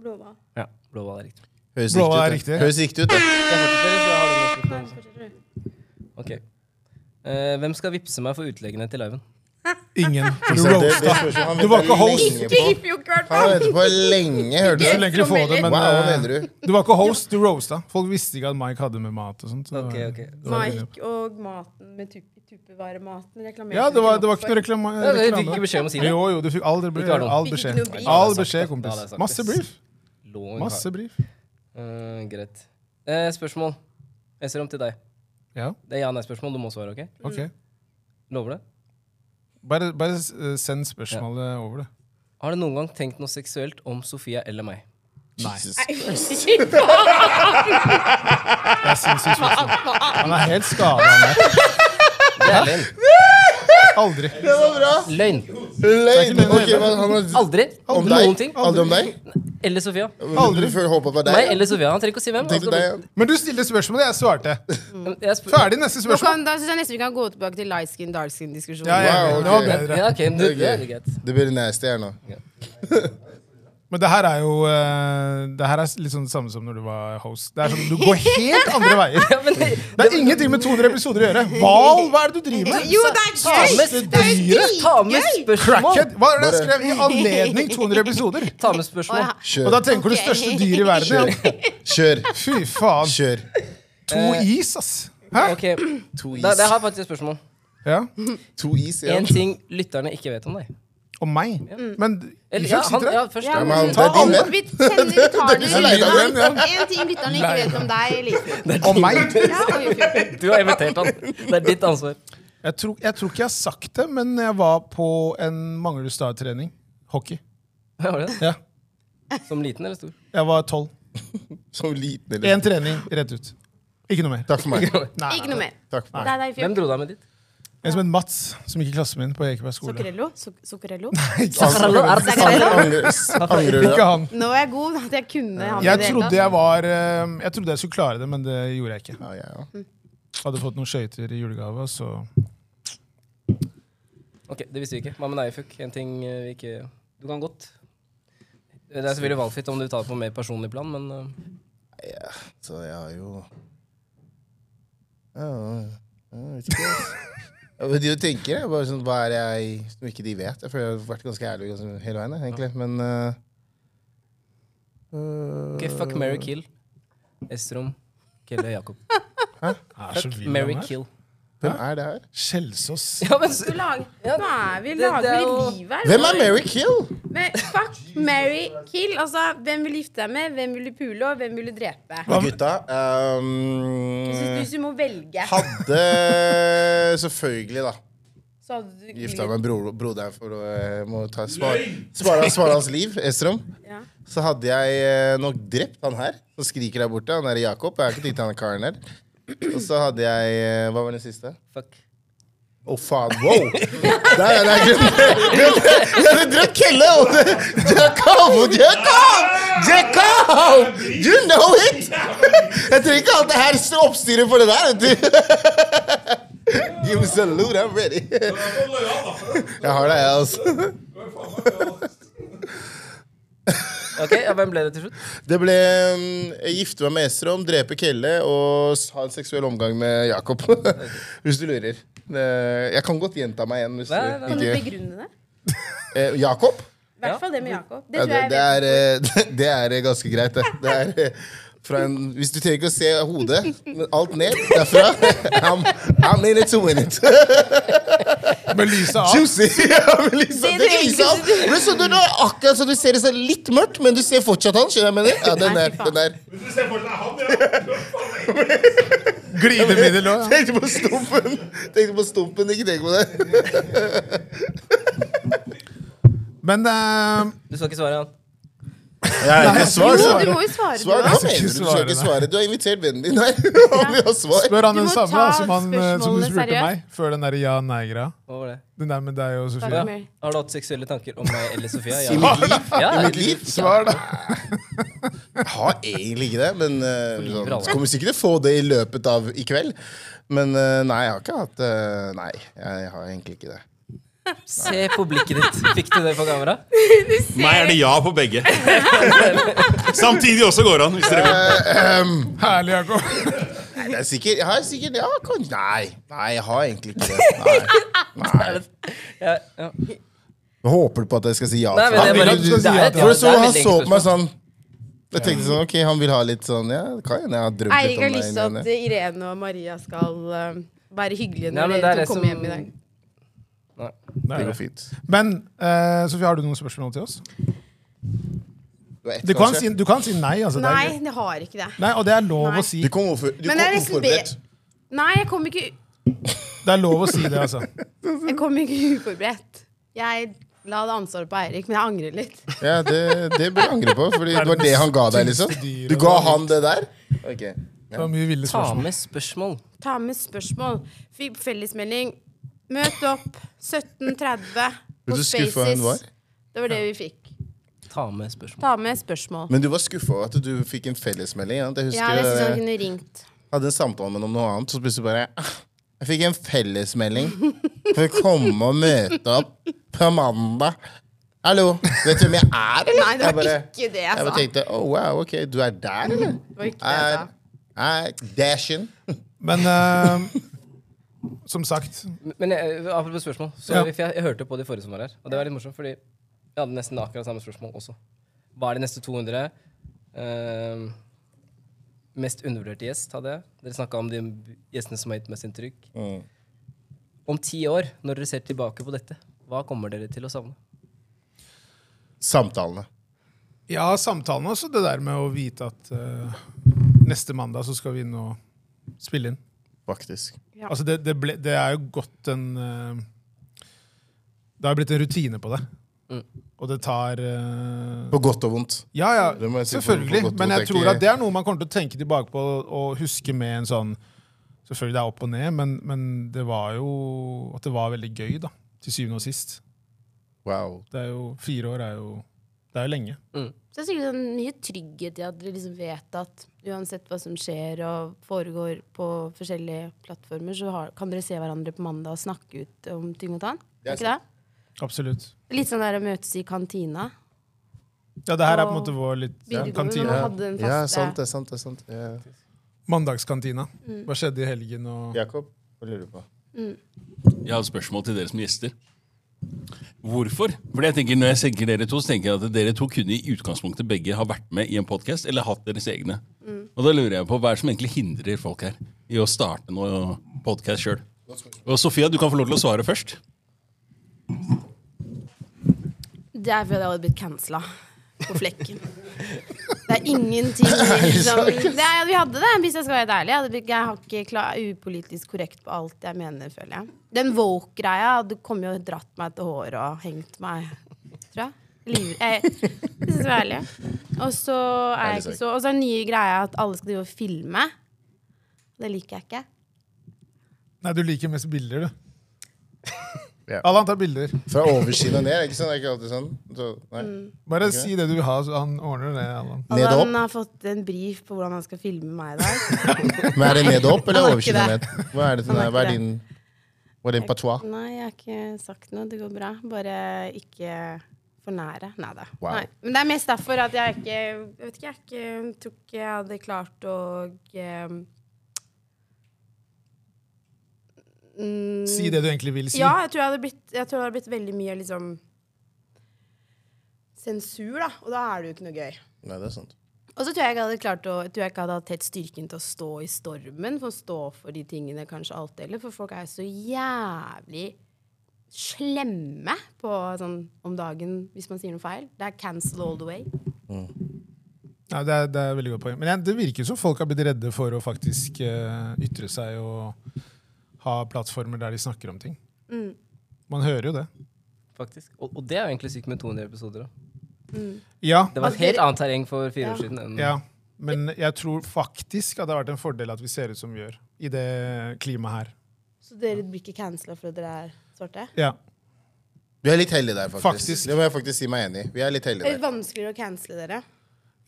I: Blåhval.
H: Ja, blåhval er riktig.
B: Høres
A: Blåhval er
B: ut, da.
A: riktig.
B: Høres riktig ut. da.
H: Skal jeg fortsette, eller skal jeg ha det med spørsmål? Ok. Eh, hvem skal vippse meg for utleggene til Lauven?
A: Ingen. *laughs* Du
B: Så det- det
A: roasta.
B: spørsmålet han
A: Du var ikke
B: ventet
A: host.
B: lenge på. Han ventet på lenge, hørte
A: Så
B: du?
A: lenge du får det, men
B: Wow, hva mener
A: eh,
B: du?
A: du var ikke host, du roasta. Folk visste ikke at Mike hadde med mat og sånt. så det var-
H: Ok, ok.
A: det var-
I: Mike og maten med tupp- Tupperware-maten reklamerte
A: Ja, det var,
I: ikke
A: det var
I: nok
A: ikke noe
I: for.
A: reklame.
H: Ja, du fikk
A: reklame.
H: ikke beskjed om å si det.
A: Jo, jo, du fikk all,
H: Ikke var det.
A: all
I: Fikk ikke
A: beskjed.
I: noe brief.
A: All
H: Ja, det er sant.
A: beskjed,
H: Ja, det er
A: kompis.
H: sant.
A: Masse brief.
H: Lå en
A: Masse brief.
H: kar. Eh, greit. Eh, spørsmål. Esrom til deg.
A: Ja,
H: Det er ja-nei-spørsmål. Du må svare, OK?
A: ok.
H: Lover det?
A: Bare, bare eh, send spørsmålet over, du.
H: Har du noen gang tenkt noe seksuelt om Sofia eller meg?
A: *laughs* Jeg synes jo sånn. Han er helt skada, han der.
H: Det er løgn.
A: Aldri.
H: Løgn.
B: Løgn! Ok, hva, han har
H: Aldri.
B: om
H: Noen
B: deg?
H: ting.
B: Aldri om deg?
H: Eller Sofia.
B: Aldri. Du føler håpet på deg?
H: Meg eller Sofia. Han trenger ikke å si hvem.
B: Tenkte
H: Altså,
B: deg,
A: Men du stilte spørsmålet, jeg svarte.
H: Mm. jeg spør-
A: Ferdig neste
I: Nå
A: spørsmål.
I: kan, da syns jeg nesten vi kan gå tilbake til light skin, dark skin-diskusjonen.
A: Ja, jeg, er enig.
I: *laughs*
A: det var
B: Wow, ok.
A: bedre.
H: Ja, ok, men du,
B: Det er
H: det er
B: gøy.
H: greit.
B: det blir nasty her nå.
A: Men det her er jo eh, Det her er litt sånn det samme som når du var host. Det er sånn, Du går helt
H: *laughs*
A: andre veier.
H: Ja, men det,
A: Det er ingenting med 200 episoder å gjøre. Hval, hva er det du driver med?
I: Jo, det er
H: ta med,
I: gøy! Det er jo
A: dyret.
I: dritgøy!
H: ta med spørsmål!
A: Crackhead! Hva er det jeg skrev i anledning 200 episoder?
H: Ta med
I: Å,
H: spørsmål.
I: ja.
A: Og
B: Kjør.
A: da tenker du største dyr i verden. Ja.
B: Kjør.
A: Fy faen.
B: Kjør.
A: To
H: Eh,
A: is, ass. Hæ?
H: Ok,
B: Eh. To
H: da,
B: is.
H: da har jeg faktisk et spørsmål.
A: Ja.
B: To is, ja. Mm.
H: En ting lytterne ikke vet om deg.
A: Og meg. Men
H: Eller, ja, han,
A: folk sitter
H: ja,
A: her.
H: først
I: Ja,
H: da.
B: men
I: men,
B: det er din venn.
I: vi kjenner
B: *laughs*
I: vi tar det
B: som er lei deg,
I: litt langt. En ting lytterne ikke vet om deg, Elise.
A: Og meg.
I: Ja, og Jofrid.
H: Du har invitert han. Det er ditt ansvar.
A: Jeg tror, jeg tror ikke jeg har sagt det, men jeg var på en Manglerudstad-trening. Hockey.
H: Ja, var det det?
A: Ja.
H: Som liten eller stor?
A: Jeg var tolv.
B: *laughs* Så liten, eller?
A: Én trening, rett ut. Ikke noe mer.
B: Takk for meg.
A: Nei,
I: Ikke noe mer.
B: Takk for meg.
I: Det er deg,
H: Hvem
I: Fjord.
H: dro deg med dit?
A: En som het Mats, som gikk i klassen min på Ekeberg skole.
I: Zuccarello? Zuc- Zuccarello?
H: Sakharov, er det
I: Zuccarello?
B: Angrer, angrer du?
A: Ikke han.
I: Nå er jeg god at jeg kunne han i
A: Jeg
I: det hele
A: trodde
I: tatt.
A: jeg var eh, Jeg trodde jeg skulle klare det, men det gjorde jeg ikke.
B: Ja, ja, ja.
I: Mm.
A: Hadde fått noen skøyter i julegave, og så
H: Ok, Det visste vi ikke. Hva med deg, Fuck? En ting eh, vi ikke Du kan godt. Det er selvfølgelig valgfritt om du tar det på mer personlig plan, men eh,
B: Så jeg har jo Ja, Jeg vet ikke. ass. Jeg vet ikke hva de tenker. Jeg. Bare sånn, hva er det jeg som ikke de vet? Jeg føler jeg har vært ganske ærlig ganske, hele veien, jeg, egentlig. Men eh,
H: ok, fuck Mary Kill. Estrom. Kelle Jakob. Fuck Mary Kill.
B: hvem er det her?
A: Skjelsås.
H: Ja, men s-
I: Du lag- Nå er vi
H: det
I: lager vi
H: er jo-
I: liv her.
B: Hvem er Mary Kill?
I: Men fuck, marry, kill. Altså, hvem vil gifte deg med, hvem vil du pule, og hvem vil du drepe?
B: Gutta
I: Jeg synes
B: ehm,
I: du må velge.
B: Hadde selvfølgelig, da.
I: Så hadde du
B: Gifta meg med bro, broderen for å eh, må ta, spare, spare, spare hans liv, Estrom.
I: Ja.
B: Så hadde jeg eh, nok drept han her, som skriker der borte. Han der Jakob. Jeg har ikke tenkt han karen der. Og så hadde jeg eh, Hva var den siste?
H: fuck.
B: Å, faen. Wow! Der er det *laughs* glemt Jeg hadde drept Kelle! og det- Jakob! Jakob! Jakob! You know it! *laughs* Jeg trenger ikke alt det her oppstyret for det der. vet du. *laughs* Give me salute, I'm ready. Jeg har deg, jeg, altså.
H: Ok, ja, Hvem ble det til slutt?
B: Det ble mm, jeg gifte meg med Estrom, drepe Kelle og s- ha en seksuell omgang med Jakob. *laughs* Hvis du lurer. Det- Jeg kan godt gjenta meg igjen. Hvis du
H: Nei, nei,
I: Kan du
B: ikke
I: begrunne det?
B: eh, Jakob?
I: I hvert fall det med Jakob. Det
B: Ja,
I: tror
B: det,
I: jeg
B: det,
I: jeg
B: er, eh, *laughs* det er eh, ganske greit, det. det er, eh, fra en, hvis du trenger ikke å se hodet, men alt ned derfra *laughs* I'm, I'm in it to win it.
A: *laughs* Med lyset av.
B: Juicy! *laughs* Ja, men
I: Det
B: liksom, det
I: er det
B: lyser av.
I: enkleste.
B: Men så du, det er akkurat så du ser det så litt mørkt, men du ser fortsatt han. skjønner jeg hva jeg mener? Ja, den
I: Nei,
B: der.
I: fy faen.
B: Den der.
A: Glidemiddel òg.
B: *laughs* Tenkte på stumpen, tenkte på stumpen, ikke tenk på det.
A: *laughs* Men eh,
H: Du skal ikke svare, han.
I: vet.
B: Svar,
I: Jo,
B: svar.
I: du må jo svare,
B: Svar,
I: du
B: hva
I: òg.
B: mener du? Du skal ikke
A: Svarene.
B: svare. Du har invitert vennen din *laughs* her. Han vil ha svar.
A: spør han
I: Du
A: den
I: må
A: samme
I: ta
A: da, som, han, eh, som du
I: spørsmålene
A: spurte
I: seriøst.
A: meg før den der ja-nei-greia.
H: Hva var det?
A: Den der med deg og
H: Ja.
A: Sofie.
I: Fuck Mary.
H: Har du hatt seksuelle tanker om meg eller Sofia?
B: I
H: Ja.
B: mitt liv?
H: Ja,
B: I mitt liv?
A: Svar, da.
B: Jeg har egentlig ikke det,
H: *laughs*
B: men eh,
H: livet, altså.
B: sånn,
H: alle.
B: så kommer jeg sikkert til å få det i løpet av i kveld. Men eh, nei, jeg har ikke hatt eh, Nei, jeg har egentlig ikke det.
H: *laughs* Se på blikket ditt. Fikk du det på kamera?
D: Meg er det ja på begge. Samtidig også går han, hvis dere vil.
A: Herlig, Jakob.
B: *laughs* Nei, det er sikkert, jeg har sikkert ja, kan, nei, nei, jeg har egentlig ikke
H: *laughs*
B: det. Nei, nei.
H: Ja, ja.
B: Jeg håper du på at jeg skal si ja?
H: Nei, men det er
B: til
H: bare
B: det?
A: du skal si
H: det er
A: ja
H: et-
A: til-
H: ja,
B: For
H: det
B: så
H: er
B: han
H: veldig
B: så
H: enkelt
B: på meg sånn Jeg tenkte sånn, ok, han vil ha litt sånn Ja, det kan hende jeg har drømt
I: Eirik
B: litt
I: har
B: om
I: lyst
B: meg.
I: til
B: men,
I: at Irene og Maria skal eh, Være hyggelige
H: Nei,
I: når
H: men det er
I: dere
H: det
I: to kommer
H: som-
I: hjem i dag.
B: Det går fint.
A: Men eh, Sofie, har du noen spørsmål til oss?
B: Du, er ett
A: Du kan
B: kanskje.
A: si, du kan si nei. Altså,
I: Nei,
A: Det er,
I: jeg har ikke det.
A: gøy. nei. Og det er lov
I: Nei.
A: å si.
B: du kom overfor- du
I: Men
B: kom
I: det er liksom
B: uforberedt.
I: Nei, jeg kom ikke,
A: Det er lov å si det, altså.
I: jeg kom ikke uforberedt. Jeg la det ansvaret på Eirik, men jeg angrer litt.
B: Ja, det, det bør du angre på, Fordi det var det han ga deg, liksom. Du ga han det der? Ok.
A: Det var mye ville
H: Ta
A: spørsmål.
H: med spørsmål.
I: Ta med spørsmål. Fikk fellesmelding. Møt opp 17.30
B: Vet
I: på
B: du hvor
I: Spaces.
B: skuffa hun var?
I: Det var det vi fikk.
H: Ta med spørsmål.
I: Ta med spørsmål.
B: Men du var skuffa over at du fikk en fellesmelding. Ja. Jeg husker
I: Ja, jeg synes han
B: jeg
I: kunne ringt.
B: hadde en samtale med noen om noe annet, så plutselig bare «Ah, Jeg fikk en fellesmelding. For å komme og møte opp på mandag. Hallo! Vet du hvem jeg er, eller?
I: Nei, det
B: Jeg
I: var
B: bare,
I: ikke det
B: jeg
I: jeg
B: bare
I: sa. Mm,
B: tenkte oh, wow, ok, du er der, eller?
I: Det var ikke det jeg
B: Er,
I: sa.
B: er Dashin.
A: Men eh, som sagt,
H: Men eh, apropos spørsmål. Sorry, for jeg, jeg hørte på de forrige som var her. Og det var litt morsomt, fordi vi hadde nesten akkurat samme spørsmål også. Hva er de neste 200? Ehm, mest undervurderte gjest hadde jeg. Dere snakka om de gjestene som har gitt mest inntrykk.
B: Mm.
H: Om ti år, når dere ser tilbake på dette, hva kommer dere til å savne?
B: Samtalene.
A: ja, samtalen også. Det der med å vite at eh, neste mandag så skal vi inn og spille inn.
B: Faktisk.
A: Altså, det, det, ble, det er jo godt en eh, Det har blitt en rutine på det. Og det tar eh,
B: Mm. På godt og vondt.
A: Ja, ja,
B: Det må jeg si på- på
A: selvfølgelig.
B: godt og
A: men jeg
B: vondt,
A: tror
B: ikke-
A: at det er noe man kommer til å tenke tilbake på og huske med en sånn Selvfølgelig det er opp og ned, men, men det var jo at det var veldig gøy, da. Til syvende og sist.
B: Wow. Mm.
A: Det er jo, fire år er jo Det er jo lenge.
I: Så det er sikkert sånn mye trygghet i at dere liksom vet at uansett hva som skjer og foregår på forskjellige plattformer, så har, kan dere se hverandre på mandag og snakke ut om ting og tang. Er ikke det?
A: Absolutt.
I: Litt sånn der å møtes i kantina.
A: Ja, det her er på en
I: Og
A: måte vår litt
I: videregående,
A: kantine.
I: man hadde den faste.
B: Ja, sant det, sant det. sant det. Ja.
A: Mandagskantina.
I: Mm.
A: Hva skjedde i helgen og
B: Jakob, hva lurer du på?
D: Jeg har et spørsmål til dere som gjester. Hvorfor? Fordi jeg tenker Når jeg tenker dere to, så tenker jeg at dere to kunne i utgangspunktet begge ha vært med i en podkast eller hatt deres egne. Og da lurer jeg på hva er det som egentlig hindrer folk her i å starte noe podkast sjøl. Og Sofia, du kan få lov til å svare først.
I: Det er fordi jeg hadde blitt cancela på flekken. Det er ingenting liksom. det er, Vi hadde det, hvis jeg skal være helt ærlig. Jeg, hadde blitt, jeg har ikke klar, er upolitisk korrekt på alt jeg mener, føler jeg. Den woke-greia hadde kommet og dratt meg til håret og hengt meg, tror jeg. Liv, jeg, jeg synes det var ærlig. Og så er jeg ikke så Og så er den nye greia at alle skal drive og filme. Det liker jeg ikke.
A: Nei, du liker mest bilder, du.
B: *laughs* Ja.
A: Alle han tar bilder.
B: Fra oversiden og ned, er det ikke sånn? Det er ikke alltid sånn. Så, nei.
A: Bare si det du vil ha, så han ordner det. Alan.
I: Og
B: Ned og
I: Altså, han har fått en brief på hvordan han skal filme meg i dag.
B: *laughs* Men er det ned og opp,
I: Han
B: eller
I: har
B: oversiden og
I: ikke
B: ned? Hva er det som
I: Han
B: er,
I: har
B: hva er
I: ikke
B: din, hva er din patois?
I: Nei, jeg har ikke sagt noe. Det går bra. Bare ikke for nære. Neida.
B: Wow.
I: Nei Men det er mest derfor at jeg ikke Jeg vet ikke, jeg ikke, tror ikke jeg hadde klart å eh, mm,
A: Si det du egentlig vil si.
I: Ja, jeg tror, jeg, hadde blitt, jeg tror det hadde blitt veldig mye liksom sensur, da. Og da er det jo ikke noe gøy.
B: Nei, det er sant.
I: Og så tror jeg ikke jeg hadde klart å, jeg tror jeg ikke hadde hatt helt styrken til å stå i stormen, for å stå for de tingene kanskje alt deler, for folk er jo så jævlig slemme på sånn om dagen hvis man sier noe feil. Det er cancel all the way. Mm.
A: Ja, det, er, det er et veldig godt poeng. Men jeg- det virker som folk har blitt redde for å faktisk eh, ytre seg og ha plattformer der de snakker om ting.
I: Mm.
A: Man hører jo det.
H: Faktisk. Og, og det er jo egentlig sykt med 200 episoder. Da.
E: Mm.
A: Ja,
H: Det var et helt annet terreng for fire år siden. Enn,
A: ja. Men jeg tror faktisk at det har vært en fordel at vi ser ut som vi gjør i det klimaet her.
I: Så dere blir ikke cancela fordi dere er svarte?
A: Ja.
B: Vi er litt heldige der, faktisk.
A: Faktisk.
B: Det må jeg faktisk si meg enig i. Vi er litt
I: Det er
B: heldige
I: litt
B: der.
I: vanskeligere å cancele dere.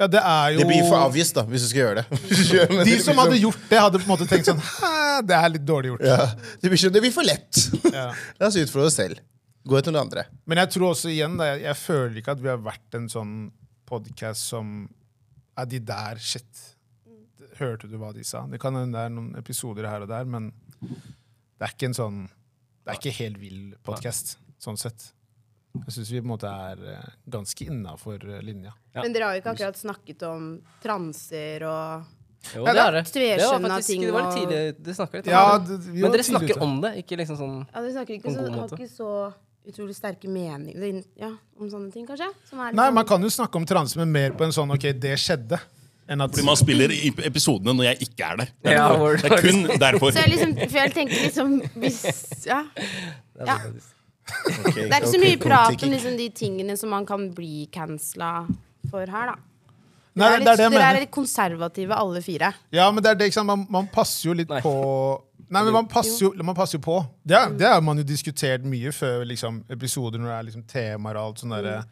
A: ja, det er jo
B: Det blir for obvious, da, hvis du skal gjøre det. *laughs* Skjønner du?
A: De som hadde
B: Det blir
A: gjort det, hadde på en måte tenkt sånn Hæ, det er litt dårlig gjort.
B: sånn- ja. det, blir sånn- det blir for lett.
A: Ja.
B: *laughs* La oss utfordre oss selv. Gå etter noen andre.
A: Men jeg tror også igjen, da, jeg, jeg føler ikke at vi har vært en sånn podkast som Er de der, shit. Hørte du hva de sa? Det kan hende det er noen episoder her og der, men det er ikke en sånn Det er ikke helt vill podkast, sånn sett. Jeg syns vi på en måte er eh, ganske innafor linja.
H: Ja.
I: Men dere har jo ikke akkurat snakket om transer og
H: Jo, det er det.
I: Tverskjønna
H: Det var faktisk,
I: ting
H: det var
I: og-
H: litt tidlig, dere snakka litt om
A: Ja,
H: det.
A: d- vi var
H: Men dere
A: tidlig ute.
H: snakker om det, ikke liksom sånn
I: Ja, dere snakker ikke
H: På en
I: så,
H: god
I: har
H: måte.
I: ikke så utrolig sterke meninger ja, om sånne ting, kanskje? Som er litt
A: Nei,
I: sånn-
A: man kan jo snakke om transe, men mer på en sånn OK, det skjedde. Enn at
J: Fordi man spiller i episodene når jeg ikke er der. Det er
H: Ja,
J: derfor.
H: hvor-
J: det er kun
B: *laughs*
J: derfor.
I: Så jeg
J: *laughs*
I: liksom, for jeg tenker liksom hvis, ja. ja. Det er ikke så mye prat om liksom, de tingene som man kan bli cancela for her, da.
A: Nei,
I: Dere er
A: det er det jeg
I: litt- Dere er
A: mener.
I: litt konservative, alle fire.
A: Ja, men det er det, ikke sant? Man, man passer jo litt
H: Nei.
A: på Nei, men man passer jo, man passer jo på.
C: *laughs*
A: Det, er- det har man jo diskutert mye før liksom, episoder når det er liksom, temaer og alt sånn derre
I: Mm.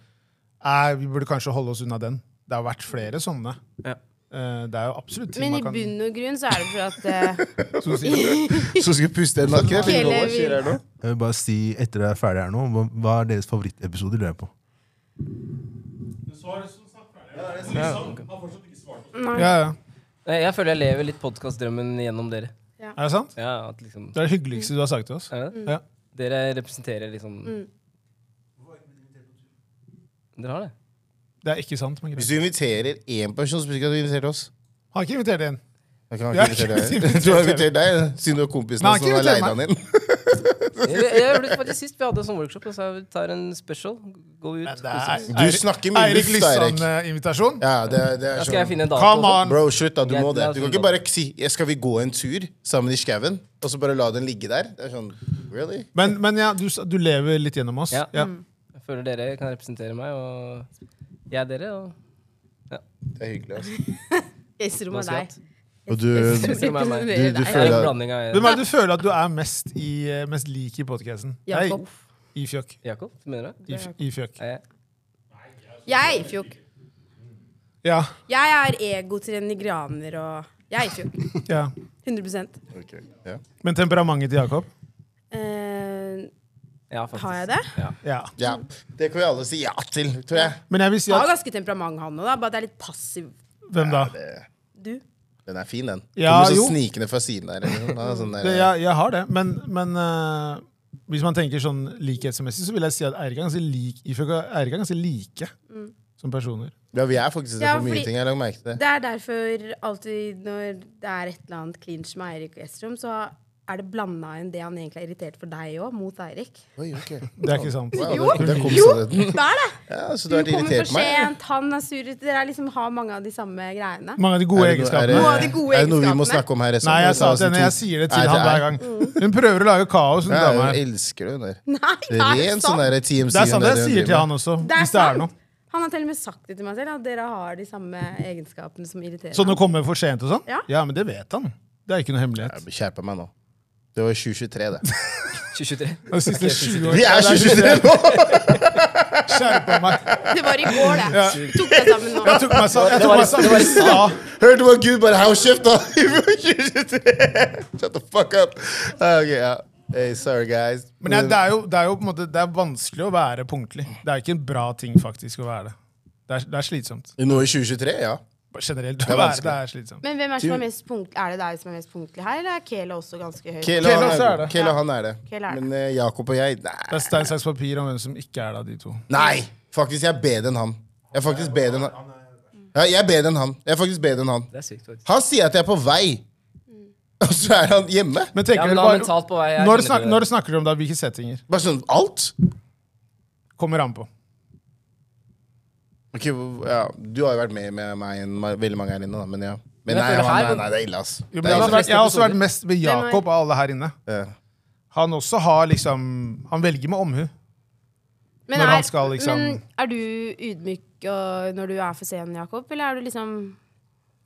A: «Nei, Vi burde kanskje holde oss unna den. Det har vært flere sånne.
H: Ja.
A: Eh, det er jo absolutt ting
I: Men i
A: man kan
I: bunn og grunn så er det for at eh,
A: *laughs* Så sier-
I: *laughs*
B: Så skal vi puste en nakke.
I: hele
C: Jeg vil bare si, etter dere er ferdige her nå, hva, hva er deres favorittepisode? lurer jeg på?
A: Ja, ja.
H: Nei, Jeg føler jeg lever litt podkastdrømmen gjennom dere.
A: Er det sant?
H: Ja, at liksom
A: Det er det hyggeligste du har sagt til oss.
H: er
I: Mm.
H: det?
A: Ja.
H: Dere representerer liksom Dere har det?
A: Det er ikke sant, men
B: Hvis
A: greit.
B: du inviterer én person, så betyr ikke at du inviterer oss.
A: Har ikke invitert en.
B: Jeg
A: Jeg
B: kan ikke
A: har ikke
B: invitere deg.
A: invitert
B: *laughs* Du har invitert deg, siden du er kompisen
A: Nei,
B: hans
A: jeg
B: som
A: har
B: var
A: ikke
B: leid han inn.
A: *laughs*
H: Jeg, jeg gjorde det faktisk sist. Vi hadde en sånn workshop. Og så jeg tar en special. Går ut.
A: Det er
B: Du snakker mye
A: Eirik
B: luft, Eirik.
A: Lysand-invitasjon.
B: Ja, det, det
H: Da
B: er
H: skal jeg
B: sånn.
H: finne en dato.
A: Come
H: og sånn.
A: on!
B: Bro, slutt da, du
H: Jeg-
B: må det.
H: jeg-
B: Du kan ikke bare si ja, 'skal vi gå en tur sammen i skauen', og så bare la den ligge der. Det er sånn, really?
A: Men, men ja, du, sa- du lever litt gjennom oss.
H: Ja. Mm.
A: Ja.
H: Jeg føler dere kan representere meg, og jeg er dere. Og
B: Det er
I: *laughs*
B: hyggelig, altså.
I: Gjesterommet er deg.
B: Og du,
H: Gjesterommet er meg.
I: Representerer deg.
H: Jeg
B: Du- du
H: er en
B: Føler-
H: blanding av
A: Hvem er det du føler at du er mest, i, eh, mest lik i podkasten?
I: Jakob.
A: I fjøk.
H: Jakob, mener du?
A: I, f- i fjøk.
H: Er jeg-
I: Jeg, fjokk.
A: Ja.
I: Jeg er egotrener i graner og Jeg, fjokk.
A: ja.
I: 100
B: Ok, ja.
A: Men temperamentet til
B: *laughs*
A: Jakob?
I: eh,
H: Ja, faktisk.
I: Har jeg det?
A: Ja.
B: ja. Det kan vi alle si ja til, tror jeg.
A: Men jeg vil si
I: Har
A: at
I: ganske temperament, han òg, bare at jeg er litt passiv.
A: Hvem da?
I: Du.
B: Den er fin, den.
A: Ja,
B: Kommer
A: jo.
B: så snikende fra siden der. eller noe. Den er Sånn
A: Det,
B: der
A: jeg, jeg har det, men, men eh, hvis man tenker sånn likhetsmessig, så vil jeg si at Eirik er ganske lik i fjøk, og Eirik er ganske like
H: Mm.
A: som personer.
B: ja, vi er faktisk
I: Ja,
B: på mye
I: fordi-
B: ting. Jeg har lagt merke til det.
I: Det er derfor alltid når det er et eller annet clinch med Eirik og Estrom, så er det blanda inn det han egentlig er irritert for deg òg, mot Eirik.
B: Oi, ok.
A: *laughs* Det er ikke sant.
B: Jo, det er
I: Jo,
B: komiskheten.
I: det er det!
B: Ja, så du
I: Du
B: har vært
I: kommer
B: irritert
I: for
B: meg.
I: sent, han er sur. Dere er liksom har mange av de samme greiene.
A: Mange av de gode
B: Er det noe- er det-
A: egenskapene.
I: Noe av de gode
B: Er det noe vi må
I: egenskapene.
B: snakke om her? Espen?
A: Nei, jeg sa
B: Ta oss
A: til
B: en
A: henne.
B: to-
A: Jeg sier det
B: Nei,
A: til han hver
B: er-
A: gang. Hun prøver å lage kaos. Hun dama
B: Ja,
A: her.
B: Jeg elsker det, hun der.
I: *laughs* Nei, det er
B: Ren sånn
I: sant!
B: der
A: Det er
B: TMC.
A: sant det
B: hun
A: jeg
B: der, hun
A: sier til
B: driver med.
A: han også.
I: Det er
A: Hvis det er
I: sant!
A: noe.
I: Han har til og med sagt det til meg selv, at dere har de samme egenskapene som irriterer.
A: Sånn å komme for sent og sånn?
I: Ja.
A: Ja, men det vet
B: *laughs*
A: han. Det er ikke noe hemmelighet.
B: Jeg Skjerper meg nå. Det var 2023,
A: *laughs*
B: det.
H: 2023.
A: De siste 20
B: Vi
A: år
B: er 2023 nå!
A: skjerpa meg.
I: Det var i går, det. Du tok deg sammen nå.
A: Jeg tok meg sa- jeg tok meg sammen i stad.
B: Hørte hva Gud bare How kjeft, da! *laughs* Vi var 2023! Shut the fuck up. Ah, Ok, ja. Hey, sorry, guys.
A: Men jeg, det, er jo, det er jo på en måte Det er vanskelig å være punktlig. Det er ikke en bra ting faktisk å være det. Det er, det er slitsomt.
B: Nå i 2023, ja.
A: Bare Generelt
B: er
A: å være
B: vanskelig.
A: det er slitsomt.
I: Men hvem er, som er, mest punkt, er det deg som er mest punktlig her, eller er Kela også ganske høy?
B: Kela,
A: Kela
B: han,
A: også er
B: er,
A: det.
B: Kela, han er det.
I: Kela er det.
B: Men eh, Jakob og jeg
A: Det
B: nei.
A: er stein, saks, papir om hvem som ikke er det av de to.
B: nei! Faktisk, jeg er bedre enn han. Jeg er faktisk bedre enn han. Ja, jeg er bedre enn han. Jeg er faktisk bedre enn han.
H: Det er sykt, faktisk.
B: Han sier at jeg er på vei, og så er han hjemme.
A: Men
H: Ja,
A: tenker
H: men da er
A: dere bare-
H: mentalt på vei. jeg
A: når,
H: kjenner
A: snak,
H: til det.
A: når snakker dere om da hvilke settinger?
B: Bare sånn alt.
A: Kommer an på.
B: Ok, ja, Du har jo vært med med meg enn ma- veldig mange her inne, da, men ja. Men
H: Men
B: nei,
H: jeg føler
B: han,
H: her-
B: nei, nei, det er ille, ass.
A: Jo,
B: Det
A: men jeg,
B: er
A: har
B: ille.
A: også vært, jeg har også vært
H: Altså, episoder.
A: mest ved
I: Hvem er-
A: Jakob av alle her inne.
B: Ja.
A: Han også har liksom Han velger med omhu.
I: Men
A: Når
I: er,
A: han skal liksom-
I: men er du ydmyk og, når du er for sen, Jakob, eller er du liksom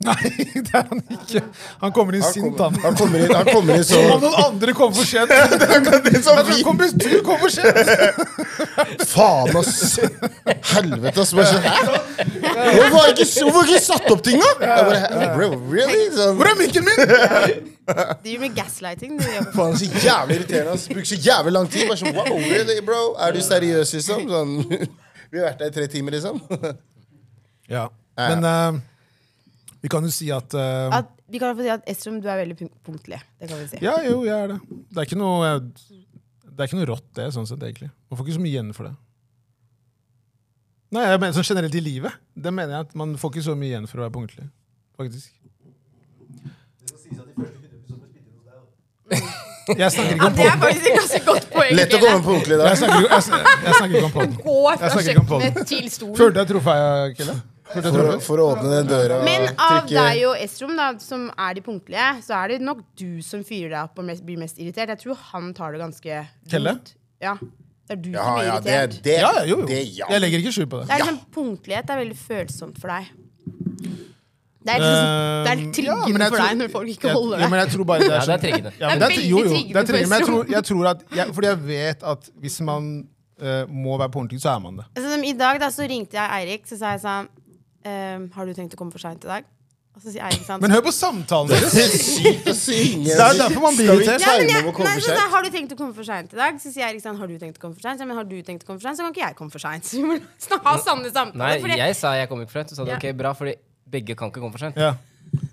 A: Nei, det er han ikke. Han kommer inn
B: Han
A: sint,
B: kommer-
A: han.
B: Han kommer inn, han kommer inn
A: *laughs*
B: så
A: Som om noen
B: *laughs*
A: andre kom for sent.
B: Det er så
A: Altså,
B: fint.
A: kom, du kom for sent!
B: Faen, ass! Helvete, ass.
H: *laughs*
B: Bare sånn, hæ? Hvorfor har jeg ikke, hvorfor har jeg ikke satt opp ting, da? Jeg bare, hæ? Bro, really? Sånn,
A: Hvor er minken min?!
I: Du driver med gaslighting. Du, Jakob.
B: faen, så jævlig irriterende. ass. Bruker så jævlig lang tid. Bare sånn, wow, really, bro? Er du seriøs, liksom? Sånn, *laughs* vi har vært der i tre timer, liksom. *laughs*
A: Ja. Men eh, vi kan jo si at, eh,
I: at, vi kan i hvert fall si at Estrom, du er veldig punk- punktlig. Det kan vi si.
A: Ja, jo, jeg er det. Det er ikke noe eh, Det er ikke noe rått, det, sånn sett, egentlig. Man får ikke så mye igjen for det. Nei, jeg mener sånn generelt i livet. Det mener jeg at Man får ikke så mye igjen for å være punktlig. Faktisk.
C: sies at de første 100 episodene spilte inn hos deg.
A: *laughs* Jeg snakker ikke om
I: Det er
A: podden.
I: faktisk et ganske godt poeng.
B: Lett å komme på ordentlig da.
A: Jeg snakker, ikke- jeg, sn- jeg snakker ikke om podden.
I: Gå fra
A: snakker ikke om
I: kjøkkenet til stolen.
A: Følte jeg trofeet, Kille? Følte jeg
B: For, å-
A: truffet?
B: for å åpne den døra og
I: Men av
B: trykke
I: deg og Estrom, da, som er de punktlige, så er det nok du som fyrer deg opp og mest, blir mest irritert. Jeg tror han tar det ganske
A: Kelle?
I: rolig. Ja. Det er du
B: Ja,
I: som blir
B: ja, det,
I: irritert.
B: det,
A: Ja, jo, jo.
B: det ja.
A: Jeg legger ikke skjul på det.
I: Det er liksom Punktlighet er veldig følsomt for deg. Det er, liksom, det er
A: Eh, ja, men
I: triggende
A: jeg
I: for
A: tror-
I: deg når folk ikke
A: jeg,
I: holder
A: ja,
I: deg.
A: men jeg tror bare det er
H: Ja, det er
A: sånn.
H: triggende.
A: Ja, men
I: Det er
A: det-
I: veldig
A: jo, jo, det
I: triggende
A: er triggende, men jeg
I: for
A: tror, jeg tror at jeg, Fordi jeg vet at hvis man eh, må være på ordentlig, så er man det.
I: Så, Altså, som I dag da, så ringte jeg Eirik, så sa jeg sånn ehm, Har du tenkt å komme for seint i dag? Og så sier Eirik sånn
A: Men hør på samtalen deres!
B: Det er sykt å
A: *laughs*
B: synge.
A: Det er jo derfor man blir
B: Skal vi
A: irritert.
I: Ja, men
B: time
I: jeg,
B: om å
I: nei,
B: komme for
I: så da,
B: sent?
I: har du tenkt å komme for seint i dag? Så sier Eirik sånn, har du tenkt å komme for seint? Så, jeg, men har du tenkt å komme for seint, så kan ikke jeg komme for seint. *laughs* Så vi må snak- ha sanne
H: Nei,
I: samtaler. for det-
H: jeg sa jeg kom ikke for sent. Du sa
I: Ja.
H: ok, bra, fordi begge kan ikke komme for sent.
A: Ja.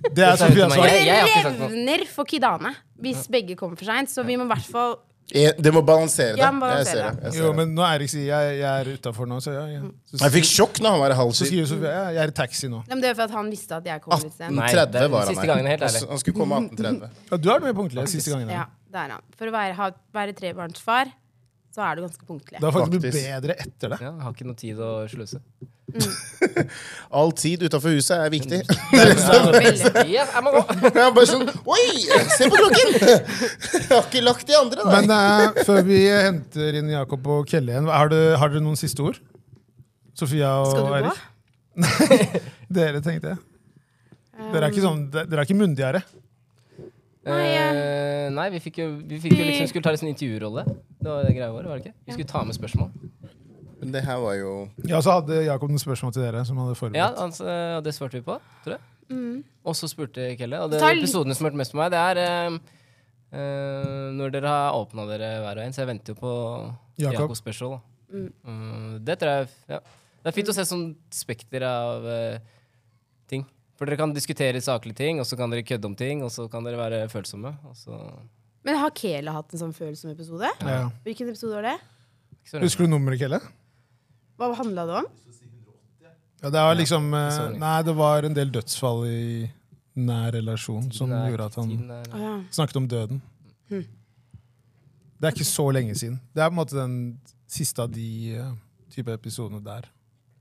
A: Det er
H: Det sa hun til
A: Sofia
H: meg.
A: svar.
H: Jeg- jeg har ikke
I: det
H: sagt noe.
I: revner for Kidane hvis begge kommer for seint, så vi må i hvert fall
B: Eh, Det må balansere *laughs* det.
I: Ja, må
B: Jeg ser
I: balansere.
B: det.
A: Jo,
B: Jeg ser det.
A: men når Eirik sier jeg, jeg er utafor nå, så ja, ja. Så,
B: Jeg fikk sjokk når han var i halv
A: så
B: syv.
A: skriver Sofia ja, jeg er i taxi nå.
I: Ja, men Det er for at han visste at jeg kom litt sent.
H: Nei,
B: 18.30
H: det-
B: var han
H: siste gangen, helt ærlig.
B: Han s- Han skulle komme 18.30.
A: Ja, du er med punktlig siste gangen.
I: Ja,
A: Ja.
I: det er han. For å være, ha, være trebarnsfar, så er du ganske punktlig.
A: Det har faktisk blitt
B: Faktisk.
A: bedre etter det.
H: Ja, jeg har ikke noe tid å sløse.
B: All tid utafor huset er viktig. *laughs*
I: Veldig.
H: Mm. Ja, jeg må gå.
B: Jeg er bare sånn Oi! Se på klokken! *laughs* Jeg har ikke lagt de andre, da.
A: Men
B: *laughs*
A: eh, før vi henter inn Jakob og Kelle igjen, har du- har dere noen siste ord? Sofia
I: Skal
A: og
I: du gå?
A: Eirik? *laughs* Dere, tenkte jeg. Dere er ikke, sånn, de- dere er ikke myndigere.
I: Nei, ja.
H: Eh, nei, vi fikk jo, vi fikk jo
I: Vi-
H: liksom, skulle ta litt sånn intervjurolle. Det var det greia vår, var det ikke? Vi skulle ta med spørsmål.
B: Men det her var jo
A: Ja, så hadde Jakob noen spørsmål til dere. som han hadde
H: Ja,
A: forberedt.
H: altså, og det svarte vi på, tror jeg. Og så spurte Kelle. Og det,
I: Ta litt-
H: episoden som hørte mest på meg, det er eh, eh, når dere har åpna dere hver og en. Så jeg venter jo på
A: Jakob.
H: Jakob Special. Da. Eh, det tror jeg ja. Det er fint å se sånn spekter av eh, ting. For dere kan diskutere saklige ting, og så kan dere kødde om ting, og så kan dere være følsomme. Og så,
I: Men har Kela hatt en sånn følsom episode?
A: Ja.
I: Hvilken episode var det?
H: ikke så
A: Husker du nummeret, Kelle?
I: Hva handla det om?
A: Ja, det var liksom eh,
H: sorry.
A: Nei, det var en del dødsfall i nær relasjon som
H: Tiden er-
A: gjorde at han
H: tiden er-
I: Å ja. Hm.
A: snakket om døden. Det er ikke så lenge siden. Det er på en måte den siste av de eh, type episodene der.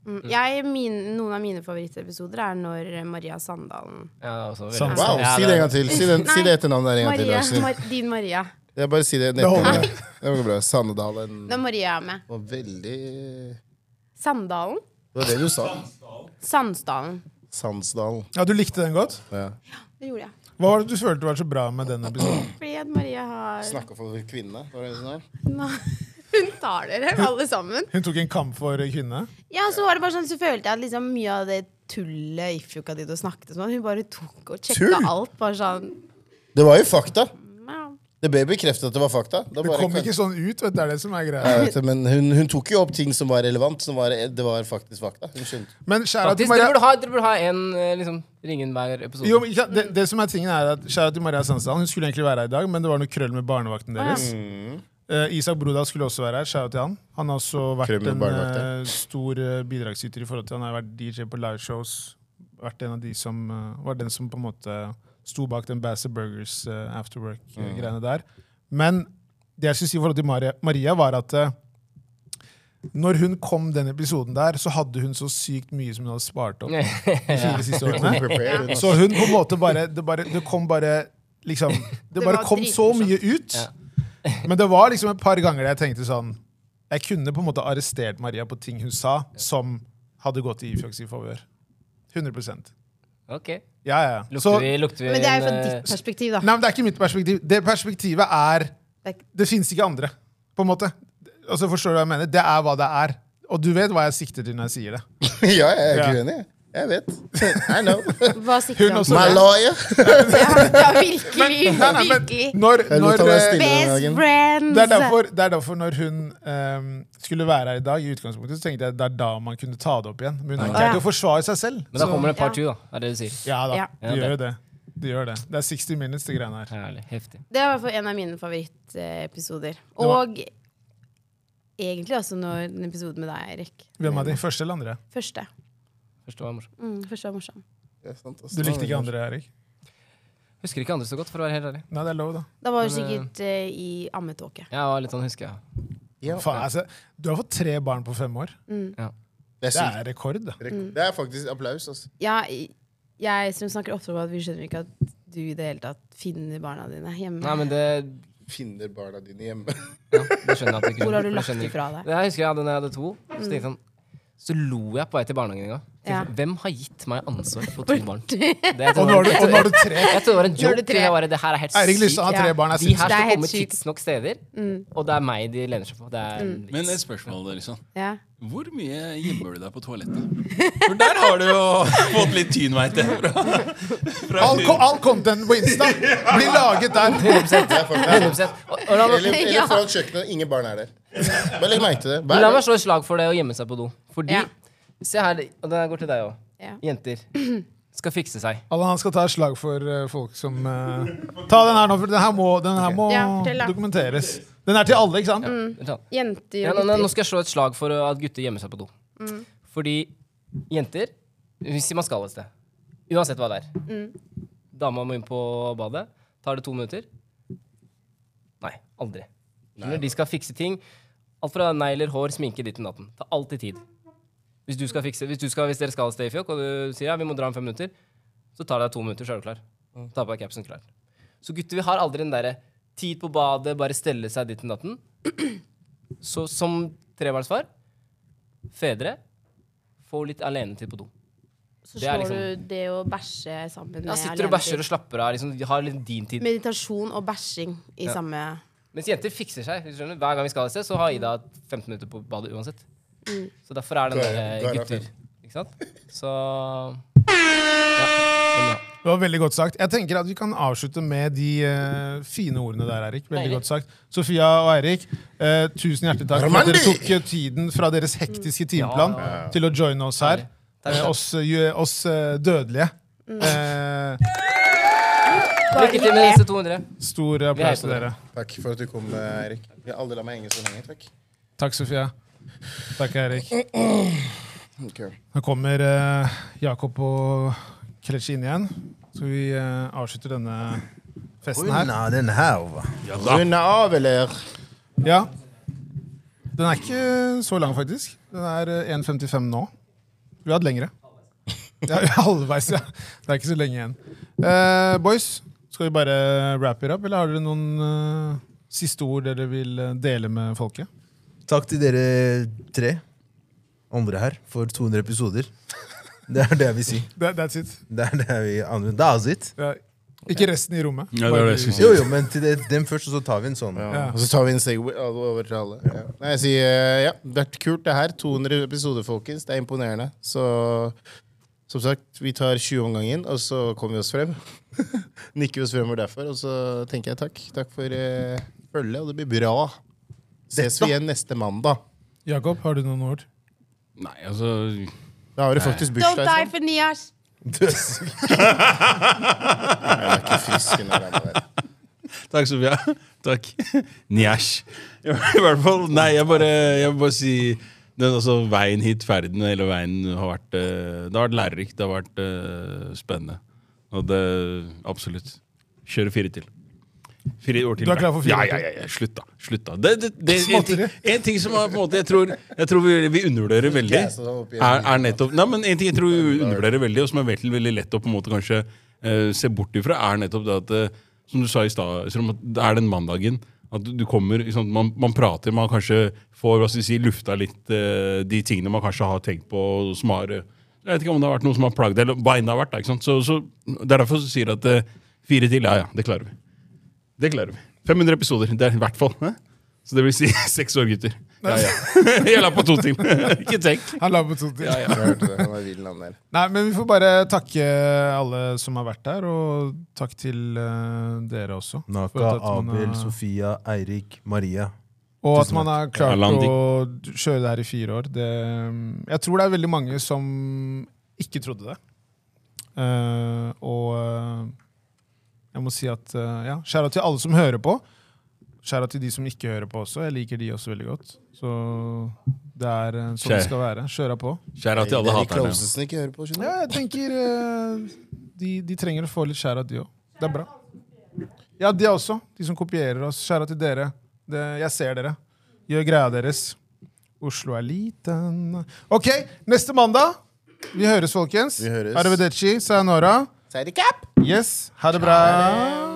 I: Mm. Jeg, min, noen av mine favorittepisoder er når Maria Sandalen
H: Ja, altså, veldig-
A: Sant.
B: Wow!
H: Ja,
B: Si det en gang til. Si, den, si det etternavnet der en gang til.
I: Maria,
B: Aksel.
I: Mar Din Maria.
B: Jeg bare si det.
A: Det holder.
B: etternavnet. Det var bra. Sandedalen
I: Da Maria er med.
B: var veldig Det
I: Sandalen?
B: var det du sa.
I: Sandsdalen.
B: Sandsdalen.
A: Ja, Du likte den godt?
B: Ja.
I: Det gjorde jeg.
A: Hva var det du følte var så bra med den episoden?
I: Fordi at Maria har
B: Snakka for kvinnene. Var det sånn her?
I: Hun tar dere, alle sammen.
A: Hun tok en kamp for kvinnene.
I: Ja, så var det bare sånn, så følte jeg at liksom mye av det tullet Ifjok hadde og snakket sånn, hun bare tok og sjekka
B: Tull?
I: alt. Bare sånn
B: Det var jo fakta.
I: ja.
B: Det ble bekreftet at det var fakta. Da
A: Det
B: bare
A: kom ikke sånn ut, vet du. Det er det som er greia.
B: Jeg vet det, men hun, hun tok jo opp ting som var relevant. Som var, det var faktisk fakta. Hun skjønte.
A: Men kjære til
H: Faktisk, dere
A: Maria
H: burde ha, dere burde ha en eh, liksom, ringe inn hver episode.
A: jo, men ikke sant, det, det som er tingen er at Kjære til Maria Sandsdalen, hun skulle egentlig være her i dag, men det var noe krøll med barnevakten deres. Eh, Isak Brodal skulle også være her. Kjære til han. Han har også vært
B: Krøll med
A: en
B: barnevakten.
A: eh, stor eh, bidragsyter i forhold til Han har vært DJ på liveshows. Vært en av de som eh, var den som på en måte sto bak den Basser Burgers eh, afterwork-greiene
B: Mm.
A: der. Men det jeg skulle si i forhold til Maria, Maria var at eh, når hun kom den episoden der, så hadde hun så sykt mye som hun hadde
H: *laughs*
A: spart opp de fire siste årene. Så hun på en måte bare Det, bare, det kom bare liksom
H: *laughs*
A: Det
I: Det
A: bare
I: var
A: kom så mye ut. *laughs* Men det var liksom et par ganger der jeg tenkte sånn Jeg kunne på en måte arrestert Maria på ting hun sa, som hadde gått i Ifjoks i favør. 100
H: Ok.
A: Ja, ja. ja. Så,
H: Lukter vi, lukter vi
I: Men det er jo fra
H: en, eh,
I: ditt perspektiv, da.
A: nei, men det er ikke mitt perspektiv. Det perspektivet er
I: Det er ikke-
A: Det fins ikke andre, på en måte. Altså, forstår du hva jeg mener? Det er hva det er. Og du vet hva jeg sikter til når jeg sier det.
B: *laughs* *laughs* Ja, jeg er ikke
A: Ja.
B: uenig. jeg. Jeg vet. I know.
I: *laughs* Hva sikter
A: Hun
I: han
A: også-
I: på?
B: My lawyer.
I: *laughs* Ja, ja, virkelig.
A: Nei, nei, men
I: virkelig.
A: når,
B: Jeg lot
A: når,
B: han være
A: eh,
B: stille den
I: Best
B: dagen.
I: friends.
A: Det er derfor, det er derfor når hun ehm, skulle være her i dag, i utgangspunktet, så tenkte jeg det er da man kunne ta det opp igjen. Men hun er ikke her til å forsvare seg selv.
H: Men da
A: så-
H: kommer det et par
I: Ja.
H: to, da. Er det du sier.
A: ja da,
I: Ja.
A: de gjør jo det. De gjør det. Det er 60 minutes, de greiene her.
H: Herlig. Heftig.
I: Det var i hvert fall en av mine favorittepisoder. Og egentlig også når en episode med deg, Erik.
A: Hvem er de? Første eller andre?
I: Første.
H: Første var morsom.
I: Mm, første var morsom.
B: Det er sant, altså. ass.
A: Du likte ikke andre, Erik?
H: Husker ikke andre så godt, for å være helt ærlig.
A: Nei, det er lov, da.
I: Da var du
H: Men, eh,
I: sikkert eh, i ammetåke.
H: Jeg var litt sånn, husker jeg.
A: Faen, altså, du har fått tre barn på fem år.
I: Mm.
B: Det er
A: Det
B: sykt.
A: er rekord. da.
B: Rekord. Det er faktisk applaus. Altså.
I: Ja, jeg som snakker ofte om at vi skjønner ikke at du i det hele tatt finner barna dine hjemme.
H: Nei, men det,
B: Finner barna dine hjemme.
H: ja, det skjønner jeg at du ikke
I: Hvor har
H: for
I: du
H: det
I: lagt
H: skjønner-
I: ifra deg? Mm.
H: Det her husker jeg hadde når jeg hadde to. Så, tenkte jeg sånn, så lo jeg på vei til barnehagen en gang. Tenkte
I: Ja.
H: sånn, Hvem har gitt meg ansvar for
I: *laughs*
H: to barn? Det jeg
A: Og
H: tror
A: nå
H: var-
A: har du, og nå har du tre.
H: Jeg tror det var en
I: Nå er
H: joke.
I: det tre.
H: Det, var, det her er helt
A: Eirik Lysse har
I: Ja.
A: tre barn. er
H: De
A: sinnssykt.
H: her
I: Det er
H: skal
I: helt
H: komme
I: sykt. Mm.
H: tidsnok steder, og det er meg de lener seg på. Det er en
J: Men et
H: vits.
J: spørsmål, liksom.
I: Ja.
J: Hvor mye gjemmer du deg på toalettet? For der har du jo fått litt tyn, veit jeg. Fra, fra
A: All, ko- all contenten på
B: *laughs*
A: Insta blir laget der.
H: 100%.
B: Det er
H: 100%.
B: faktisk-
H: Og, og la,
B: Eller,
H: meg,
B: eller
I: Ja.
B: foran kjøkkenet, ingen barn er der. Bare legg merke til det. Hver
H: la meg
B: gang.
H: slå et slag for det å gjemme seg på do. Fordi
I: Ja.
H: Se her, og det går til deg òg.
I: Ja.
H: Jenter
I: *clears throat*
H: skal fikse seg.
A: Alle han skal ta et slag for eh, folk som eh, Ta den her nå, for den her må, den her må
I: Ja, fortell da.
A: dokumenteres. Den er til alle, ikke sant?
I: Mm.
H: Ja,
I: Jenter
H: nå,
I: og
H: nå- nå
I: gutter. Mm.
H: skal jeg slå et slag for at gutter gjemmer seg på do. Fordi jenter Hvis man skal et sted, uansett hva det er
I: Mm.
H: Dama må inn på badet. Tar det to minutter? Nei, aldri. Når de skal fikse ting Alt fra negler, hår, sminke, ditt og datten. Tar alltid tid. Hvis, du skal fikse, hvis, du skal, hvis dere skal et sted i fjokk, og du sier ja, vi må dra om fem minutter, så tar det deg to minutter, så er du klar. Ta på deg capsen, klar. Så gutter, vi har aldri den derre tid på badet, bare stelle seg ditt og datten. *clears throat* Så som trebarnsfar, fedre, få litt alenetid på do.
I: Så
H: det er
I: slår
H: liksom-
I: du det å bæsje sammen
H: Da sitter du og bæsjer og slapper av. Liksom, de har litt din tid.
I: Meditasjon og bæsjing i samme
H: Mens jenter fikser seg. hvis du skjønner. Hver gang vi skal et sted, så har Ida 15 minutter på badet uansett. Så derfor er den
B: Du er- du
H: der
B: er
H: gutter.
B: fem.
H: Ikke sant? Så
A: Det var veldig godt sagt. Jeg tenker at Vi kan avslutte med de eh, fine ordene der, Eirik. Veldig
H: Eirik.
A: godt sagt. Sofia og Eirik, eh, tusen hjertelig takk for at dere tok eh, tiden fra deres hektiske timeplan til å joine oss her. Eh, oss eh, gjø- oss eh, dødelige. Eh,
H: Mm. Lykke til med disse 200.
A: stor
H: Vi heier på
A: applaus til
H: dere.
A: dere.
B: Takk for at du kom, Erik. Jeg har aldri la meg henge så lenge. Takk.
A: Takk, Sofia. Takk,
B: *clears throat*
A: Eirik.
B: Ok.
A: Nå kommer eh, Jakob og Kelechi inn igjen. Så vi eh, avslutter denne festen her.
C: Unna den her, hva?
B: Runde av, eller?
A: Ja. Den er ikke så lang, faktisk. Den er eh, 1,55 nå. Vi har hatt lengre. Ja, vi er halvveis, ja. Det er ikke så lenge igjen. Eh, boys, skal vi bare wrap it up, eller har dere noen eh, siste ord dere vil eh, dele med folket?
C: Takk til dere tre andre her for 200 episoder. Det er det jeg vil si.
A: *laughs* That, that's it.
C: Det er det vi andre. Det er sitt.
A: Ja. Ikke resten i rommet.
D: Ja, det var det jeg
A: Bare-
D: skulle si.
C: Jo, jo, men til det, dem først, og så tar vi en sånn.
A: Ja.
B: Og så tar vi en segway alle over til alle. Ja. Nei, jeg sier eh, ja, det har vært kult det her. 200 episoder, folkens. Det er imponerende. Så som sagt, vi tar 20 om gangen, og så kommer vi oss frem. *laughs* Nikker vi oss fremover derfor, og så tenker jeg takk. Takk for eh, følget, og det blir bra. Ses vi igjen neste mandag.
A: Jakob, har du noen ord?
D: Nei, altså
B: Da har du faktisk
I: Don't
B: bursdag. liksom.
I: die for niars!
B: *laughs* Jeg er ikke frisk under den der.
D: Takk, Sofia. *laughs* Takk. Njæsj. *laughs* I hvert fall. Nei, jeg bare, jeg bare si den, altså, Veien hit, ferden, hele veien har vært eh, Det har vært lærerikt, det har vært eh, spennende. Og det Absolutt. Kjøre fire til. Fire år til.
A: Du er klar for fire
D: ja,
A: år
D: ja,
A: til?
D: ja, ja, slutt, da. Slutt, da. Det, det, det, en, ting,
A: Småtteri.
D: en ting som er på en måte Jeg tror, jeg tror vi, vi undervurderer veldig, er, er nettopp Nei, men en ting jeg tror vi undervurderer veldig, og som er veldig, veldig lett å på en måte kanskje eh, se bort ifra, er nettopp det at eh, Som du sa i stad, Øystrøm, at det er den mandagen at du- du kommer, ikke sant, man, man prater, man kanskje får hva skal vi si, lufta litt eh, de tingene man kanskje har tenkt på, og som har eh, Jeg vet ikke om det har vært noe som har plagd deg, eller hva enn det har vært. da, Ikke sant? Så, så Det er derfor jeg sier at eh, fire til, ja ja, det klarer vi. Det klarer vi. 500 episoder, det er i hvert fall. hæ? Så det vil si *laughs* seks år, gutter. Ja,
A: *laughs*
D: ja. *laughs* Jeg la på to til. Ikke tenk.
A: Han la på to til.
B: Jeg hørte det. Han var vill, han der.
A: Nei, men vi får bare takke alle som har vært der, og takk til eh, dere også. For
C: Naka,
A: at man har-
C: Abel, Sofia, Eirik, Maria.
A: eh, Og at man har klart
D: Alandi.
A: å kjøre det her i fire år. Det, mm, jeg tror det er veldig mange som ikke trodde det. Eh, og eh, jeg må si at eh, ja, skjæra til alle som hører på. Skjæra til de som ikke hører på også. Jeg liker de også veldig godt. Så det er eh, sånn det
D: Skjær.
A: skal være. Kjøra på.
D: Kjære til alle
B: Det er de
D: haterne.
B: closeste som ikke hører på, skjønner du.
A: Ja, jeg tenker eh, de, de trenger å få litt skjæra, de òg. Det er bra. Ja, de også. De som kopierer oss. Skjæra til dere. Det, jeg ser dere. Gjør greia deres. Oslo er liten OK, neste mandag. Vi høres, folkens.
B: Vi høres.
A: Arrivederci. Sayonara.
B: Så er det cap!
A: Yes, ha det bra.